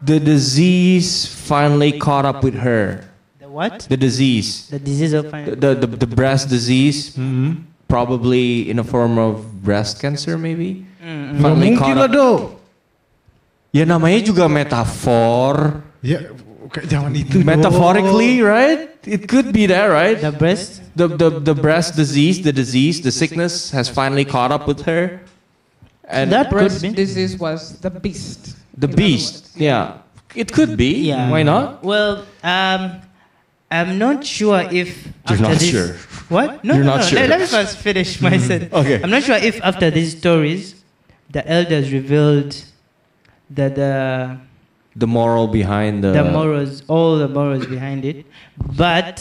Speaker 6: the disease finally caught up with her.
Speaker 7: the what?
Speaker 6: The disease.
Speaker 7: The disease of
Speaker 6: The, the, the, the breast disease, probably in a form of breast cancer, maybe?
Speaker 3: Nggak
Speaker 6: Finally
Speaker 3: mungkin
Speaker 6: caught
Speaker 3: lah
Speaker 6: up.
Speaker 3: dok.
Speaker 6: Ya namanya juga metafor.
Speaker 3: Ya kayak jangan itu. dok.
Speaker 6: Metaphorically, right? It could be that, right?
Speaker 7: the breast.
Speaker 6: The, the, the breast disease, the disease, the sickness has finally caught up with her. And
Speaker 7: that could
Speaker 11: breast
Speaker 7: be.
Speaker 11: disease was the beast.
Speaker 6: the
Speaker 11: in other
Speaker 6: beast,
Speaker 11: words.
Speaker 6: yeah.
Speaker 20: It could be.
Speaker 7: Yeah.
Speaker 20: Why not?
Speaker 7: Well, um, I'm not sure if
Speaker 20: You're
Speaker 7: after
Speaker 20: not
Speaker 7: this,
Speaker 20: sure.
Speaker 7: What? No,
Speaker 20: You're
Speaker 7: no,
Speaker 20: not
Speaker 7: no.
Speaker 20: sure. Mm-hmm.
Speaker 7: Let, let me first finish my sentence.
Speaker 20: Okay.
Speaker 7: I'm not sure if after these stories, the elders revealed that the
Speaker 6: The moral behind the,
Speaker 7: the morals, all the morals behind it. But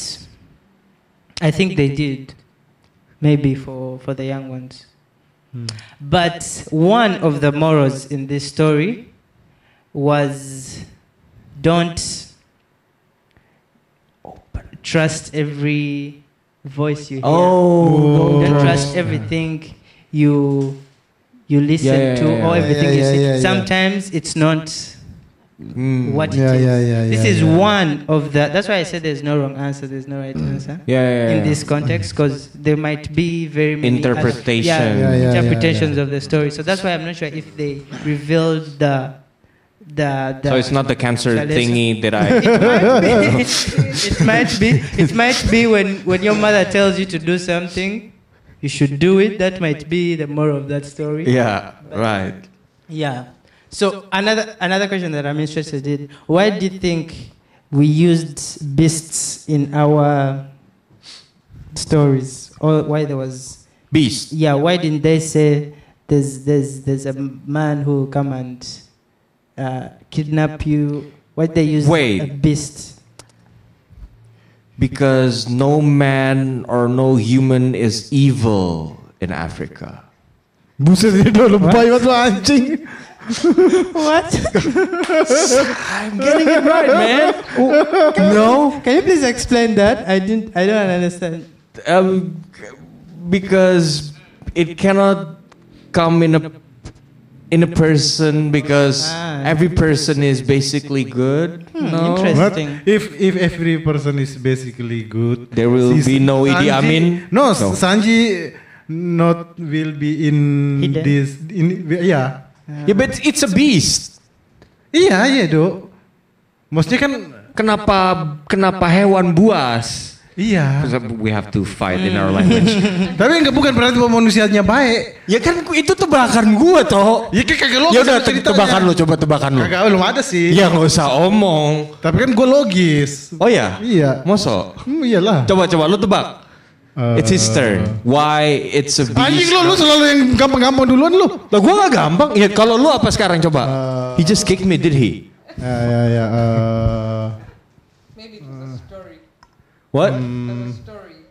Speaker 7: I think they did, maybe for, for the young ones.
Speaker 6: Hmm.
Speaker 7: But one of the morals in this story was don't trust every voice you hear.
Speaker 6: Oh,
Speaker 7: don't
Speaker 6: don't
Speaker 7: trust
Speaker 6: trust.
Speaker 7: everything you you listen
Speaker 6: Yeah, yeah,
Speaker 7: to
Speaker 6: yeah,
Speaker 7: or
Speaker 6: yeah.
Speaker 7: everything
Speaker 6: Yeah,
Speaker 7: you
Speaker 6: yeah,
Speaker 7: see.
Speaker 6: yeah, yeah.
Speaker 7: Sometimes it's not what it is.
Speaker 6: Yeah,
Speaker 3: Ya,
Speaker 6: yeah, yeah,
Speaker 7: this
Speaker 6: yeah,
Speaker 7: is
Speaker 6: yeah. Hmm.
Speaker 7: one of the. That's why I said there's no wrong answer. There's no right answer.
Speaker 6: Yeah, yeah,
Speaker 7: in
Speaker 6: yeah.
Speaker 7: this context, because there might be very many other-
Speaker 6: Interpretation. Yeah,
Speaker 7: yeah,
Speaker 6: yeah, yeah,
Speaker 7: interpretations of the story. So that's why I'm not sure if they revealed the. The, the
Speaker 6: So it's not the cancer
Speaker 7: the lesson.
Speaker 6: thingy that I-
Speaker 7: it, might be, it might be. It might be when when your mother tells you to do something, you should do it. That might be the moral of that story.
Speaker 6: Yeah, right.
Speaker 7: Yeah. So another another question that I'm interested in: Why do you think we used beasts in our stories, or why there was
Speaker 6: beasts?
Speaker 7: Yeah. Why didn't they say there's there's there's a man who come and uh, kidnap you? Why they use a
Speaker 6: Wait.
Speaker 7: beast?
Speaker 6: Because no man or no human is evil in Africa.
Speaker 3: Buset dia udah lebay banget lo anjing.
Speaker 7: What?
Speaker 21: I'm
Speaker 7: getting it right, man.
Speaker 6: no.
Speaker 7: Can you please explain that? I didn't. I don't understand.
Speaker 6: Um, because it cannot come in a in a person because
Speaker 7: Ah,
Speaker 6: every person is basically good.
Speaker 7: Hmm,
Speaker 6: no?
Speaker 3: But if if every person is basically good,
Speaker 6: There will
Speaker 3: si
Speaker 6: be no Idi
Speaker 3: Sanji-
Speaker 6: Amin?
Speaker 3: No,
Speaker 6: No.
Speaker 3: Sanji not will be in
Speaker 6: Hidden.
Speaker 3: this. In yeah.
Speaker 6: Yeah, but it's a beast.
Speaker 3: Iya, iya, do. Maksudnya kan
Speaker 6: kenapa kenapa hewan buas?
Speaker 3: Iya.
Speaker 6: We have to fight in our language.
Speaker 3: Tapi enggak bukan berarti bahwa manusianya baik.
Speaker 6: Ya kan itu tebakan gua toh.
Speaker 3: Ya kan kagak lo.
Speaker 6: Ya udah te- tebakan lu, coba tebakan lu.
Speaker 3: Kagak belum ada sih.
Speaker 6: Ya nggak usah omong.
Speaker 3: Tapi kan gue logis.
Speaker 6: Oh ya?
Speaker 3: Iya.
Speaker 6: Moso.
Speaker 3: Hmm, iyalah.
Speaker 6: Coba coba lu tebak. It's his turn. Why it's a beast?
Speaker 3: Anjing lo, lo selalu yang gampang-gampang duluan lo.
Speaker 6: Lah gua nggak gampang. Ya kalau lu apa sekarang coba? he just kicked me, did he?
Speaker 3: Ya, ya, ya. eh,
Speaker 6: What? Hmm.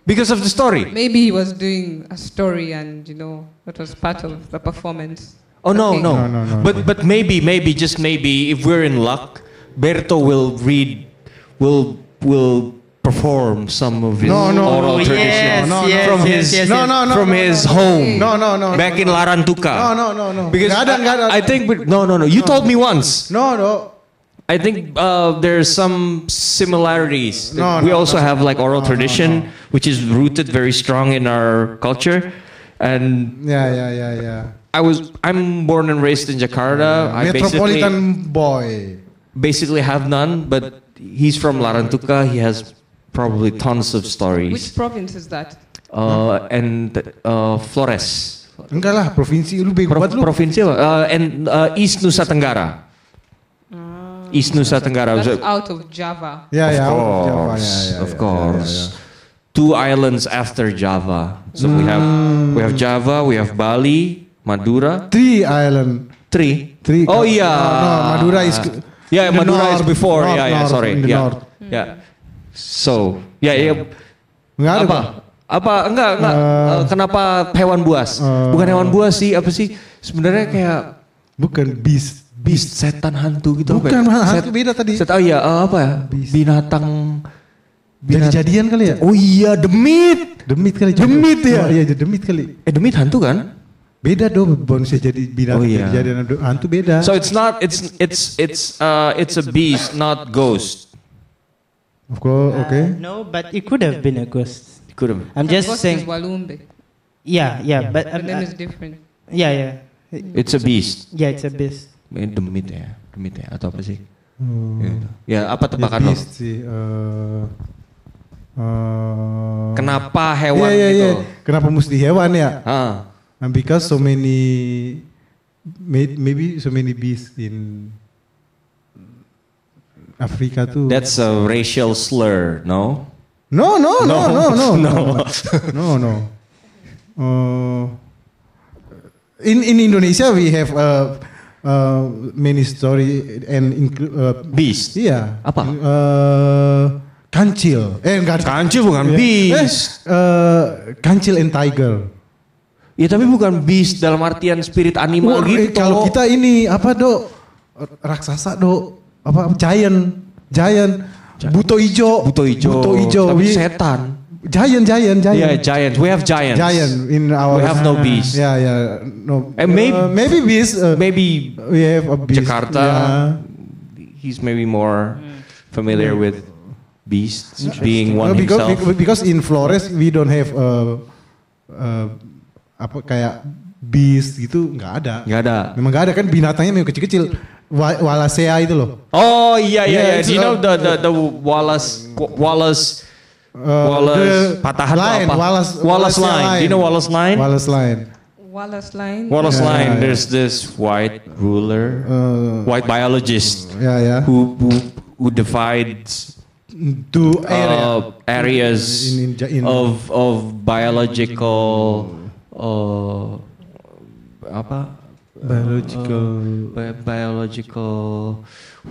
Speaker 6: Because of the story.
Speaker 11: Maybe he was doing a story and, you know, that was part of the performance.
Speaker 6: Oh no,
Speaker 11: Okay.
Speaker 3: No,
Speaker 6: no.
Speaker 3: no, no,
Speaker 6: but but maybe maybe just maybe if we're in luck, Berto will read will will perform some of his
Speaker 3: No, no, no,
Speaker 6: oral
Speaker 3: Oh,
Speaker 6: tradition
Speaker 3: yes, No, no, yes,
Speaker 6: from
Speaker 3: yes,
Speaker 6: his
Speaker 3: yes, No, yes. no, no,
Speaker 6: from
Speaker 3: no,
Speaker 6: his
Speaker 3: no, no.
Speaker 6: home.
Speaker 3: No, no, no,
Speaker 6: Back
Speaker 3: no,
Speaker 6: in
Speaker 3: no.
Speaker 6: Larantuka.
Speaker 3: No, no, no, no.
Speaker 6: Because
Speaker 3: Nggak ada, nggak ada.
Speaker 6: I think we- no, no, no. You told me once.
Speaker 3: No, no.
Speaker 6: I think uh, there's some similarities.
Speaker 3: No,
Speaker 6: we
Speaker 3: no,
Speaker 6: also
Speaker 3: no.
Speaker 6: have like
Speaker 3: No,
Speaker 6: oral
Speaker 3: no,
Speaker 6: tradition, which is rooted very strong in our culture, and
Speaker 3: Ya, ya, ya, ya.
Speaker 6: I was I'm born and raised in Jakarta. I
Speaker 3: Metropolitan
Speaker 6: basically
Speaker 3: boy.
Speaker 6: basically have none, but he's from Larantuka. He has probably tons of stories.
Speaker 11: Which province is that?
Speaker 6: Uh, and uh, Flores.
Speaker 3: Enggak lah, provinsi lu bego
Speaker 6: Pro-
Speaker 3: banget lu.
Speaker 6: provincial uh, and uh, East Nusa Tenggara. East Nusa Tenggara.
Speaker 11: That's
Speaker 6: So-
Speaker 11: out of Java.
Speaker 3: Ya,
Speaker 6: of
Speaker 3: ya, out of Java,
Speaker 6: course,
Speaker 3: ya, ya,
Speaker 6: of
Speaker 3: ya,
Speaker 6: course. Two islands after Java. So we have we have Java, we have Bali, Madura.
Speaker 3: Three island.
Speaker 6: Three.
Speaker 3: Three.
Speaker 6: Oh yeah.
Speaker 3: No, no, Madura is.
Speaker 6: Yeah,
Speaker 3: in the
Speaker 6: Madura is
Speaker 3: north,
Speaker 6: before.
Speaker 3: north,
Speaker 6: yeah, yeah,
Speaker 3: north,
Speaker 6: sorry.
Speaker 3: in the
Speaker 6: yeah.
Speaker 3: north.
Speaker 6: yeah. So, yeah, yeah.
Speaker 3: Enggak ada.
Speaker 6: Apa?
Speaker 3: Pak.
Speaker 6: Apa enggak enggak Eh,
Speaker 3: kan-
Speaker 6: kenapa hewan buas?
Speaker 3: eh,
Speaker 6: Bukan hewan buas sih, apa sih? Sebenarnya kayak
Speaker 3: bukan beast,
Speaker 6: beast setan hantu gitu apa
Speaker 3: Bukan,
Speaker 6: ya?
Speaker 3: hantu
Speaker 6: Set-
Speaker 3: beda tadi.
Speaker 6: set- oh iya, eh, apa ya? Binatang
Speaker 3: Jadi-jadian kali ya?
Speaker 6: Oh iya, demit.
Speaker 3: Demit kali.
Speaker 6: Demit ya?
Speaker 3: Oh, Iya, demit kali.
Speaker 6: Eh, demit hantu kan?
Speaker 3: Beda dong manusia jadi binatang
Speaker 6: Oh, iya.
Speaker 3: jadi jadian hantu beda.
Speaker 6: So it's not it's it's it's uh it's a beast, not ghost.
Speaker 3: of course, oke.
Speaker 7: Uh, No, but it could have been a ghost.
Speaker 6: Could have.
Speaker 7: I'm
Speaker 11: Her
Speaker 7: just
Speaker 11: ghost
Speaker 7: saying.
Speaker 11: is Walumbe.
Speaker 7: Yeah, yeah, but
Speaker 11: The
Speaker 7: um,
Speaker 11: name
Speaker 7: uh,
Speaker 11: is different.
Speaker 7: yeah, yeah,
Speaker 6: It's a beast.
Speaker 7: yeah. It's a beast.
Speaker 6: Eh, demit ya, demit ya atau apa sih?
Speaker 3: Hmm.
Speaker 6: Gitu. Ya, apa
Speaker 3: Ya,
Speaker 6: tebakan lo?
Speaker 3: beast sih. eh, eh,
Speaker 6: Kenapa hewan
Speaker 3: Iya, iya,
Speaker 6: gitu?
Speaker 3: iya. Kenapa mesti hewan ya?
Speaker 6: Ah.
Speaker 3: And because so many may- maybe so many beasts in Afrika tuh.
Speaker 6: That's a racial slur, no?
Speaker 3: No, no, no, no, no,
Speaker 6: No.
Speaker 3: no, no, no. Uh, in in Indonesia we have uh, uh, many story and inclu- uh,
Speaker 6: beast.
Speaker 3: Iya. Apa? Uh, kancil. Eh enggak.
Speaker 6: Kancil bukan
Speaker 3: Iya.
Speaker 6: beast.
Speaker 3: Eh, uh, kancil and tiger.
Speaker 6: Ya tapi bukan beast dalam artian spirit animal
Speaker 3: Wah, eh,
Speaker 6: gitu.
Speaker 3: Kalau kita ini apa dok? Raksasa dok. Apa giant? Giant. Buto ijo.
Speaker 6: Buto ijo.
Speaker 3: Buto ijo.
Speaker 6: Tapi
Speaker 3: We-
Speaker 6: setan.
Speaker 3: Giant, giant, giant.
Speaker 6: Yeah, Ya, giant. We have giants.
Speaker 3: Giant in our.
Speaker 6: We have no beast.
Speaker 3: Yeah, yeah. No.
Speaker 6: And maybe-
Speaker 3: Uh, maybe beast. uh,
Speaker 6: Maybe
Speaker 3: we have a beast.
Speaker 6: Jakarta.
Speaker 3: Yeah.
Speaker 6: He's maybe more
Speaker 3: Hmm.
Speaker 6: familiar with beasts being
Speaker 3: Uh,
Speaker 6: one
Speaker 3: because,
Speaker 6: himself.
Speaker 3: because- because in Flores we don't have uh, uh, apa kayak beast gitu nggak ada.
Speaker 6: Nggak ada.
Speaker 3: Memang nggak ada kan binatangnya memang kecil-kecil. Wa- Wallacea itu loh.
Speaker 6: Oh
Speaker 3: Yeah,
Speaker 6: yeah, yeah, yeah.
Speaker 3: it's,
Speaker 6: Do you know
Speaker 3: uh,
Speaker 6: the the, the Wallace Wallace Wallace
Speaker 3: the
Speaker 6: patahan atau
Speaker 3: line,
Speaker 6: apa?
Speaker 3: Wallace,
Speaker 6: Wallace
Speaker 3: Wallacea
Speaker 6: line. Do you know Wallace line?
Speaker 3: Wallace line.
Speaker 11: Wallace line.
Speaker 6: Wallace
Speaker 3: Yeah,
Speaker 6: line.
Speaker 3: yeah,
Speaker 6: There's this white ruler,
Speaker 3: Uh,
Speaker 6: white biologist
Speaker 3: yeah, yeah.
Speaker 6: who who who divides
Speaker 3: Do area.
Speaker 6: uh, areas
Speaker 3: In- in- in-
Speaker 6: of of biological uh, apa Uh,
Speaker 3: biological.
Speaker 6: bi- biological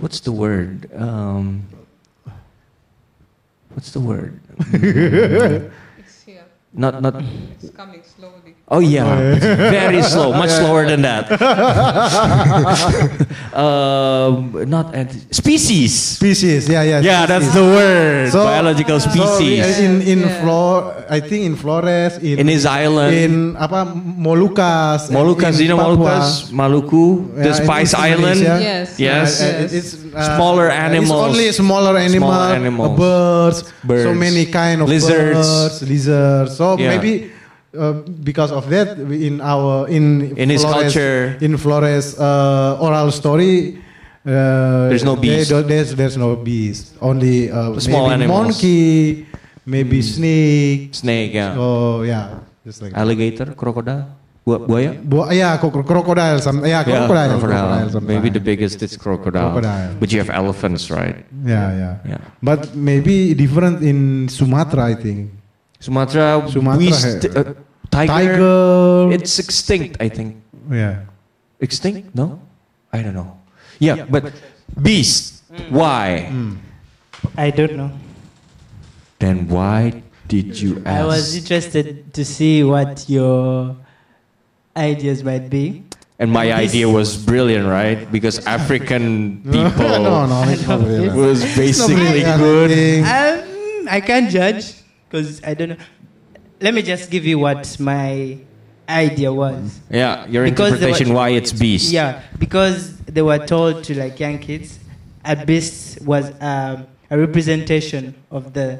Speaker 6: what's the word um, what's the word
Speaker 11: It's here.
Speaker 6: not not
Speaker 11: It's coming slowly.
Speaker 6: oh yeah very slow much slower than that um, not anti- species
Speaker 3: species. Yeah, yeah.
Speaker 6: yeah that's the word biological
Speaker 3: so we-
Speaker 6: species
Speaker 3: in in
Speaker 11: Yeah.
Speaker 3: Flor, I think in Flores, in
Speaker 6: in his island
Speaker 3: in apa Molucas,
Speaker 6: Moluccas,
Speaker 3: in
Speaker 6: you know
Speaker 3: Papua.
Speaker 6: Moluccas, Maluku,
Speaker 3: Yeah,
Speaker 6: the
Speaker 3: in
Speaker 6: Spice
Speaker 3: East
Speaker 6: Island.
Speaker 3: Indonesia.
Speaker 11: Yes.
Speaker 6: Yes.
Speaker 3: Uh,
Speaker 11: Yes.
Speaker 3: it- it's uh,
Speaker 6: Smaller
Speaker 3: It's
Speaker 6: animals.
Speaker 3: only smaller animal, uh,
Speaker 6: Smaller animals.
Speaker 3: birds, so
Speaker 6: Birds.
Speaker 3: many kind of
Speaker 6: Lizards.
Speaker 3: birds, lizards. So
Speaker 6: Yeah.
Speaker 3: maybe uh, because of that, we- in our in
Speaker 6: In his culture.
Speaker 3: in Flores uh, oral story. Uh,
Speaker 6: There's no
Speaker 3: they
Speaker 6: beast.
Speaker 3: don't- there's, there's no beast. Only uh,
Speaker 6: Small
Speaker 3: maybe
Speaker 6: animals.
Speaker 3: monkey, maybe snake.
Speaker 6: Snake, yeah.
Speaker 3: Oh yeah, just like that.
Speaker 6: Alligator, crocodile, bu- buaya.
Speaker 3: Bo- ya, yeah, cro- crocodile. Some yeah, crocodile. crocodile sometimes.
Speaker 6: Ya, Maybe the biggest is crocodile.
Speaker 3: Crocodile.
Speaker 6: But you have elephants, right?
Speaker 3: Yeah, yeah.
Speaker 6: Yeah.
Speaker 3: Ya, But maybe different in Sumatra, I think.
Speaker 6: Sumatra,
Speaker 3: Sumatra,
Speaker 6: we st-
Speaker 3: eh,
Speaker 6: uh, tiger,
Speaker 3: Tiger.
Speaker 6: It's extinct, I think.
Speaker 3: yeah.
Speaker 6: Extinct? No, I don't know. Yeah, but beast.
Speaker 3: Mm.
Speaker 6: Why?
Speaker 7: I don't know.
Speaker 6: Then why did you ask?
Speaker 7: I was interested to see what your ideas might be.
Speaker 6: and my
Speaker 7: This-
Speaker 6: idea was brilliant, right? Because African people
Speaker 3: no, no, it's not really that.
Speaker 6: was basically
Speaker 3: Yeah,
Speaker 6: good.
Speaker 7: Um, I can't judge because I don't know. Let me just give you what my idea was.
Speaker 6: Yeah, your
Speaker 7: Because they were-
Speaker 6: interpretation why it's beast.
Speaker 7: Yeah, because they were told to like young kids, a beast was um, a representation of the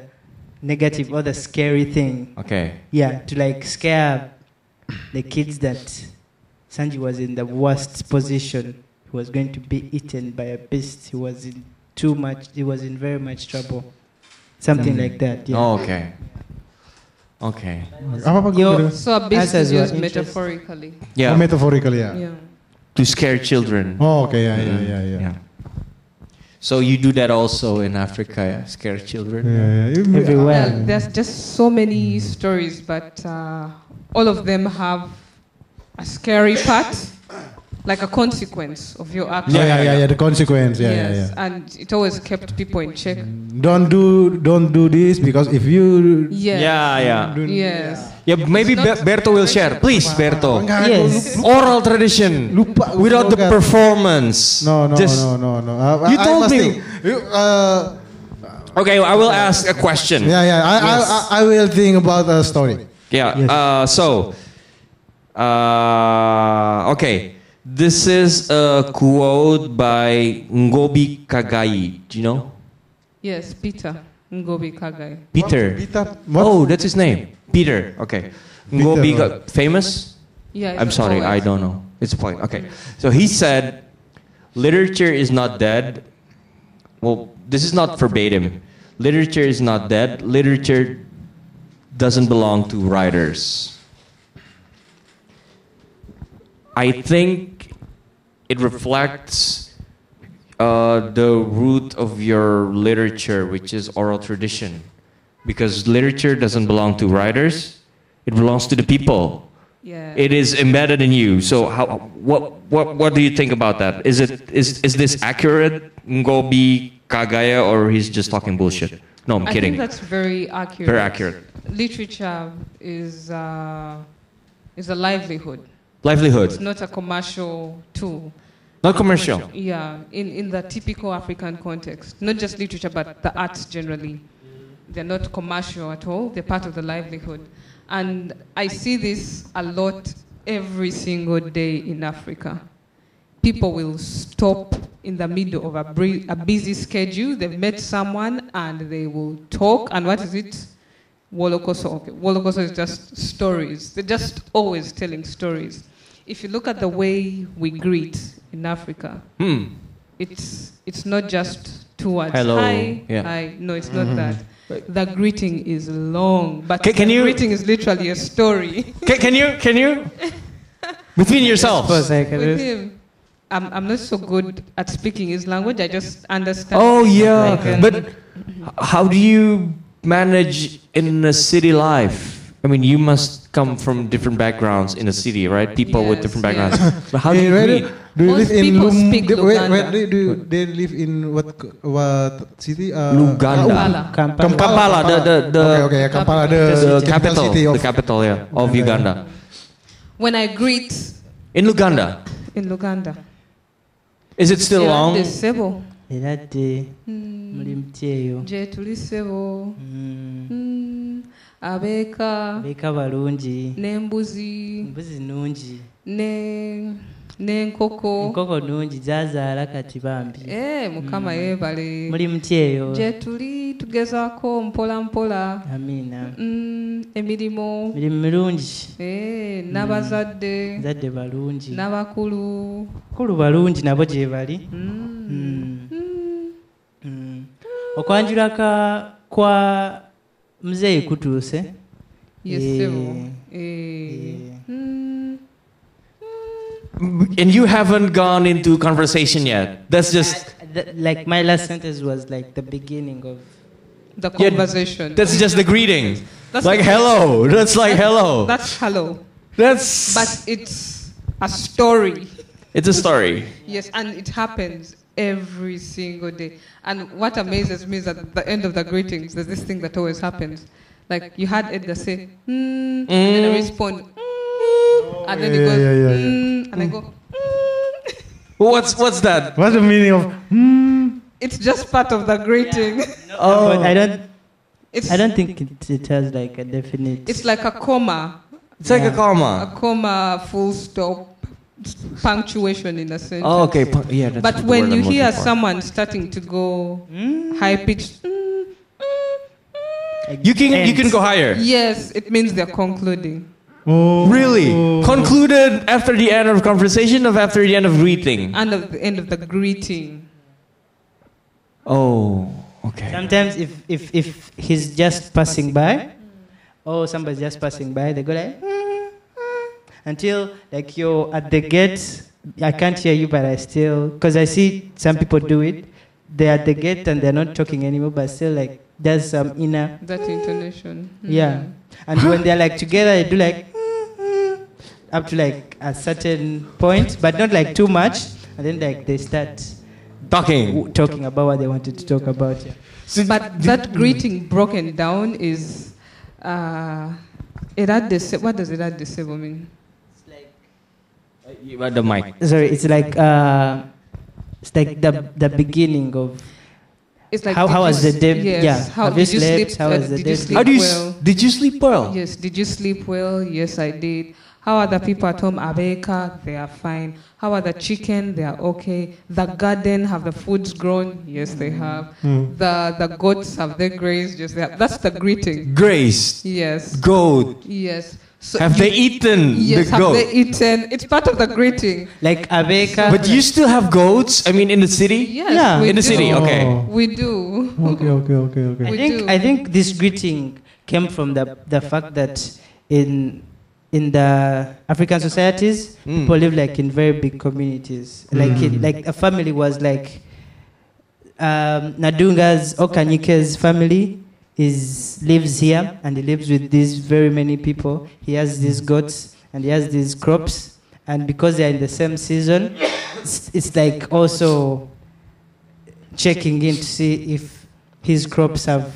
Speaker 7: negative or the scary thing.
Speaker 6: Okay.
Speaker 7: Yeah, to like scare the kids that Sanji was in the worst position. He was going to be eaten by a beast. He was in too much. He was in very much trouble. Something like that. Yeah.
Speaker 6: Oh, okay. Okay.
Speaker 3: Apa apa?
Speaker 7: Yo-
Speaker 11: So a beast
Speaker 7: Answers
Speaker 11: is
Speaker 7: were
Speaker 11: used
Speaker 7: interest-
Speaker 11: metaphorically.
Speaker 3: Oh,
Speaker 6: Yeah.
Speaker 3: metaphorically, yeah.
Speaker 11: Yeah.
Speaker 6: to scare children.
Speaker 3: Oh, okay, yeah, yeah, yeah, yeah.
Speaker 6: Yeah. So you do that also in Africa, yeah? scare
Speaker 3: Yeah,
Speaker 6: children.
Speaker 3: yeah. Even-
Speaker 7: Everywhere.
Speaker 11: Well, there's just so many stories, but uh, all of them have a scary part, like a consequence of your action.
Speaker 3: Yeah, yeah, yeah, yeah. The consequence, yeah,
Speaker 11: yes,
Speaker 3: yeah, yeah.
Speaker 11: and it always kept people in check.
Speaker 3: Don't do, don't do this because if you.
Speaker 11: Yes.
Speaker 6: Yeah, yeah.
Speaker 3: do-
Speaker 11: Yes.
Speaker 6: Yeah, maybe Be-
Speaker 11: not-
Speaker 6: Berto will share. Please, Berto.
Speaker 3: Enggak,
Speaker 7: Yes.
Speaker 6: Oral tradition.
Speaker 3: Lupa-
Speaker 6: Without the
Speaker 3: forgot.
Speaker 6: performance.
Speaker 3: No, no,
Speaker 6: Just-
Speaker 3: no, no, no. I-
Speaker 6: You
Speaker 3: I- I
Speaker 6: told
Speaker 3: must
Speaker 6: me.
Speaker 3: think. You, uh,
Speaker 6: Okay, I will ask a question.
Speaker 3: yeah, yeah. I, I, I, I will think about a story.
Speaker 6: Yeah. Uh, so, uh, okay. This is a quote by Ngobi Kagai. Do you know?
Speaker 11: Yes, Peter Ngobi Kagai.
Speaker 6: Peter.
Speaker 3: Peter, what?
Speaker 6: Oh, that's his name. Peter. Okay. Ngobi
Speaker 3: Peter.
Speaker 6: Ka- famous?
Speaker 11: Yeah, it's
Speaker 6: I'm
Speaker 11: a
Speaker 6: sorry,
Speaker 11: poet.
Speaker 6: I don't know. It's a point. Okay. So he said, literature is not dead. Well, this is not verbatim. Literature is not dead. Literature doesn't belong to writers. I think it reflects uh, the root of your literature, which is oral tradition, because literature doesn't belong to writers; it belongs to the people.
Speaker 11: Yeah.
Speaker 6: It is embedded in you. So, how, what, what, what do you think about that? Is it is is this accurate, Ngobi Kagaya, or he's just talking bullshit? No, I'm
Speaker 11: I
Speaker 6: kidding.
Speaker 11: think that's very accurate.
Speaker 6: Very accurate.
Speaker 11: Literature is uh, is a livelihood.
Speaker 6: Livelihood.
Speaker 11: It's not a commercial tool.
Speaker 6: Not commercial.
Speaker 11: Yeah, in, in the typical African context, not just literature, but the arts generally. They're not commercial at all, they're part of the livelihood. And I see this a lot every single day in Africa. People will stop in the middle of a, bri- a busy schedule, they've met someone, and they will talk. And what is it? Wolokoso. Okay, Wolokoso is just stories. They're just always telling stories. If you look at the way we greet in Africa,
Speaker 6: Hmm.
Speaker 11: it's it's not just two words.
Speaker 6: Hello.
Speaker 11: Hi.
Speaker 6: Yeah.
Speaker 11: Hi. No, it's
Speaker 6: Mhm.
Speaker 11: not that. The greeting is long, but
Speaker 6: Ca- can
Speaker 11: the
Speaker 6: you-
Speaker 11: greeting is literally a story.
Speaker 6: Can, can you can you between yourselves?
Speaker 11: With him, I'm, I'm not so good at speaking his language. I just understand.
Speaker 6: Oh
Speaker 11: I
Speaker 6: yeah,
Speaker 11: can-
Speaker 6: but h- how do you manage in a city life? I mean, you must come from different backgrounds in a city, right? People with different backgrounds. But how do
Speaker 3: Hey,
Speaker 6: you
Speaker 3: where
Speaker 6: greet?
Speaker 3: Do you
Speaker 11: Most
Speaker 3: live in
Speaker 11: people
Speaker 3: Lum-
Speaker 11: speak
Speaker 3: do- where,
Speaker 11: Luganda.
Speaker 3: where do you- do you- they live in what co- what city? Uh,
Speaker 6: Luganda.
Speaker 3: Kampala.
Speaker 6: Kampala, the the the,
Speaker 3: okay, okay, Kampala, the,
Speaker 6: the capital,
Speaker 3: city of
Speaker 6: the capital, yeah, of Uganda.
Speaker 11: When I greet
Speaker 6: In Luganda,
Speaker 11: in Luganda,
Speaker 6: is it still long?
Speaker 11: Sirande Sebo.
Speaker 7: Erade,
Speaker 6: Mm.
Speaker 7: mulimtieyo.
Speaker 11: Je tuli Sebo. Mm, Abeka.
Speaker 6: Mm.
Speaker 7: Beka balungi.
Speaker 11: Nembuzi.
Speaker 7: Mbuzi nungi.
Speaker 11: Ne, n'enkoko.
Speaker 7: Enkoko nungi zazaala kati bambi.
Speaker 11: Eh, mukama
Speaker 6: Mm.
Speaker 11: yeebale
Speaker 7: Muli mutieyo.
Speaker 11: gye tuli tugezaako mpola mpola
Speaker 7: Amina.
Speaker 11: mm, emirimu
Speaker 7: Muli mulungi.
Speaker 11: eh, n'abazadde
Speaker 7: Zadde balungi.
Speaker 11: n'abakulu
Speaker 7: Kulu balungi nabo gye bali. Mm. Mm. Okwanjula ka kwa muzeeyi kutuuse.
Speaker 11: Yes,
Speaker 7: Eh,
Speaker 11: sebo. Eh, mm,
Speaker 6: And you haven't gone into conversation yet. That's just
Speaker 7: th- Like my last sentence was like the beginning of
Speaker 11: the
Speaker 6: Yeah,
Speaker 11: conversation
Speaker 6: that's just the greeting.
Speaker 11: That's
Speaker 6: like
Speaker 11: the-
Speaker 6: hello. That's like hello.
Speaker 11: that's hello
Speaker 6: That's
Speaker 11: but it's a story
Speaker 6: it's a story.
Speaker 11: Yes, and it happens every single day. And what amazes me is that at the end of the greetings, there's this thing that always happens. Like you had Edna say, mm, and then I respond, mm, and then it
Speaker 3: yeah,
Speaker 11: goes,
Speaker 3: yeah, yeah, yeah.
Speaker 11: Mm, and I go, "Mm."
Speaker 6: Well, What's what's that?
Speaker 3: What's the meaning of? hmm?
Speaker 11: it's just part of the greeting.
Speaker 7: Oh, but I don't.
Speaker 11: It's-
Speaker 7: I don't think it, it has like a definite.
Speaker 11: it's like a comma,
Speaker 6: It's like a
Speaker 7: Yeah.
Speaker 11: a
Speaker 6: comma.
Speaker 11: comma, full stop, punctuation in a sentence.
Speaker 6: Oh, okay. pu- Yeah. That's
Speaker 11: But
Speaker 6: the
Speaker 11: when
Speaker 6: word
Speaker 11: you
Speaker 6: I'm
Speaker 11: hear
Speaker 6: looking for.
Speaker 11: someone starting to go high pitched, mm,
Speaker 6: you can you can go higher.
Speaker 11: yes, it means they're concluding.
Speaker 3: Oh,
Speaker 6: Really? Concluded after the end of conversation of after the end of greeting.
Speaker 11: And at the end of the greeting.
Speaker 6: Oh. Okay.
Speaker 7: Sometimes if if if he's just passing by, oh somebody's just passing by, they go like "Mm, mm," until like you're at the gate. I can't hear you, but I still because I see some people do it. They're at the gate and they're not talking anymore, but still like there's some inner
Speaker 11: That intonation. Mm.
Speaker 7: yeah. And when they're like together, they do like "Mm, mm," up to like a certain point, but not like too much. And then like they start
Speaker 6: Talking.
Speaker 7: w- talking about what they wanted to talk about. Yeah.
Speaker 11: But that greeting broken down is. Uh, eradese- what does erad disable mean?
Speaker 6: Uh, you- uh, The mic.
Speaker 7: Sorry, it's like uh, it's like the the beginning of
Speaker 11: It's like
Speaker 7: How-
Speaker 11: did
Speaker 7: how
Speaker 11: you
Speaker 7: was the
Speaker 11: s-
Speaker 7: day-
Speaker 11: Yes.
Speaker 7: yeah.
Speaker 11: How
Speaker 7: Have
Speaker 11: did
Speaker 7: you
Speaker 11: you
Speaker 7: slept?
Speaker 11: sleep?
Speaker 7: How
Speaker 11: Uh,
Speaker 7: was the
Speaker 11: did
Speaker 7: day?
Speaker 11: you
Speaker 7: How
Speaker 11: sleep
Speaker 6: How do you
Speaker 11: well?
Speaker 6: s- did you sleep well?
Speaker 11: Yes. Did you sleep well? Yes, I did. How are the people at home? Abeka, they are fine. How are the chicken? They are okay. The garden, have the foods grown? Yes, they
Speaker 6: Mm.
Speaker 11: have. The the goats, have they grazed? Yes, they have. That's the greeting.
Speaker 6: Grace.
Speaker 11: Yes.
Speaker 6: Goat.
Speaker 11: Yes. So
Speaker 6: Have they eaten
Speaker 11: Yes,
Speaker 6: the
Speaker 11: have they
Speaker 6: goat?
Speaker 11: eaten? It's part of the greeting.
Speaker 7: like Abeka.
Speaker 6: But you still have goats? I mean, in the city?
Speaker 11: Yes,
Speaker 7: Yeah.
Speaker 11: we
Speaker 6: In the
Speaker 11: do.
Speaker 6: city, okay.
Speaker 11: We do.
Speaker 3: Oh. Okay, okay, okay, okay.
Speaker 7: I
Speaker 11: We
Speaker 7: think
Speaker 11: do.
Speaker 7: I think this greeting came from the the fact that in in the African societies,
Speaker 6: Mm.
Speaker 7: Mm. people live like in very big communities. Like it, like a family was like um, Nadunga's Okanyike's family is lives here and he lives with these very many people. He has these goats and he has these crops, and because they are in the same season, it's, it's like also checking in to see if his crops have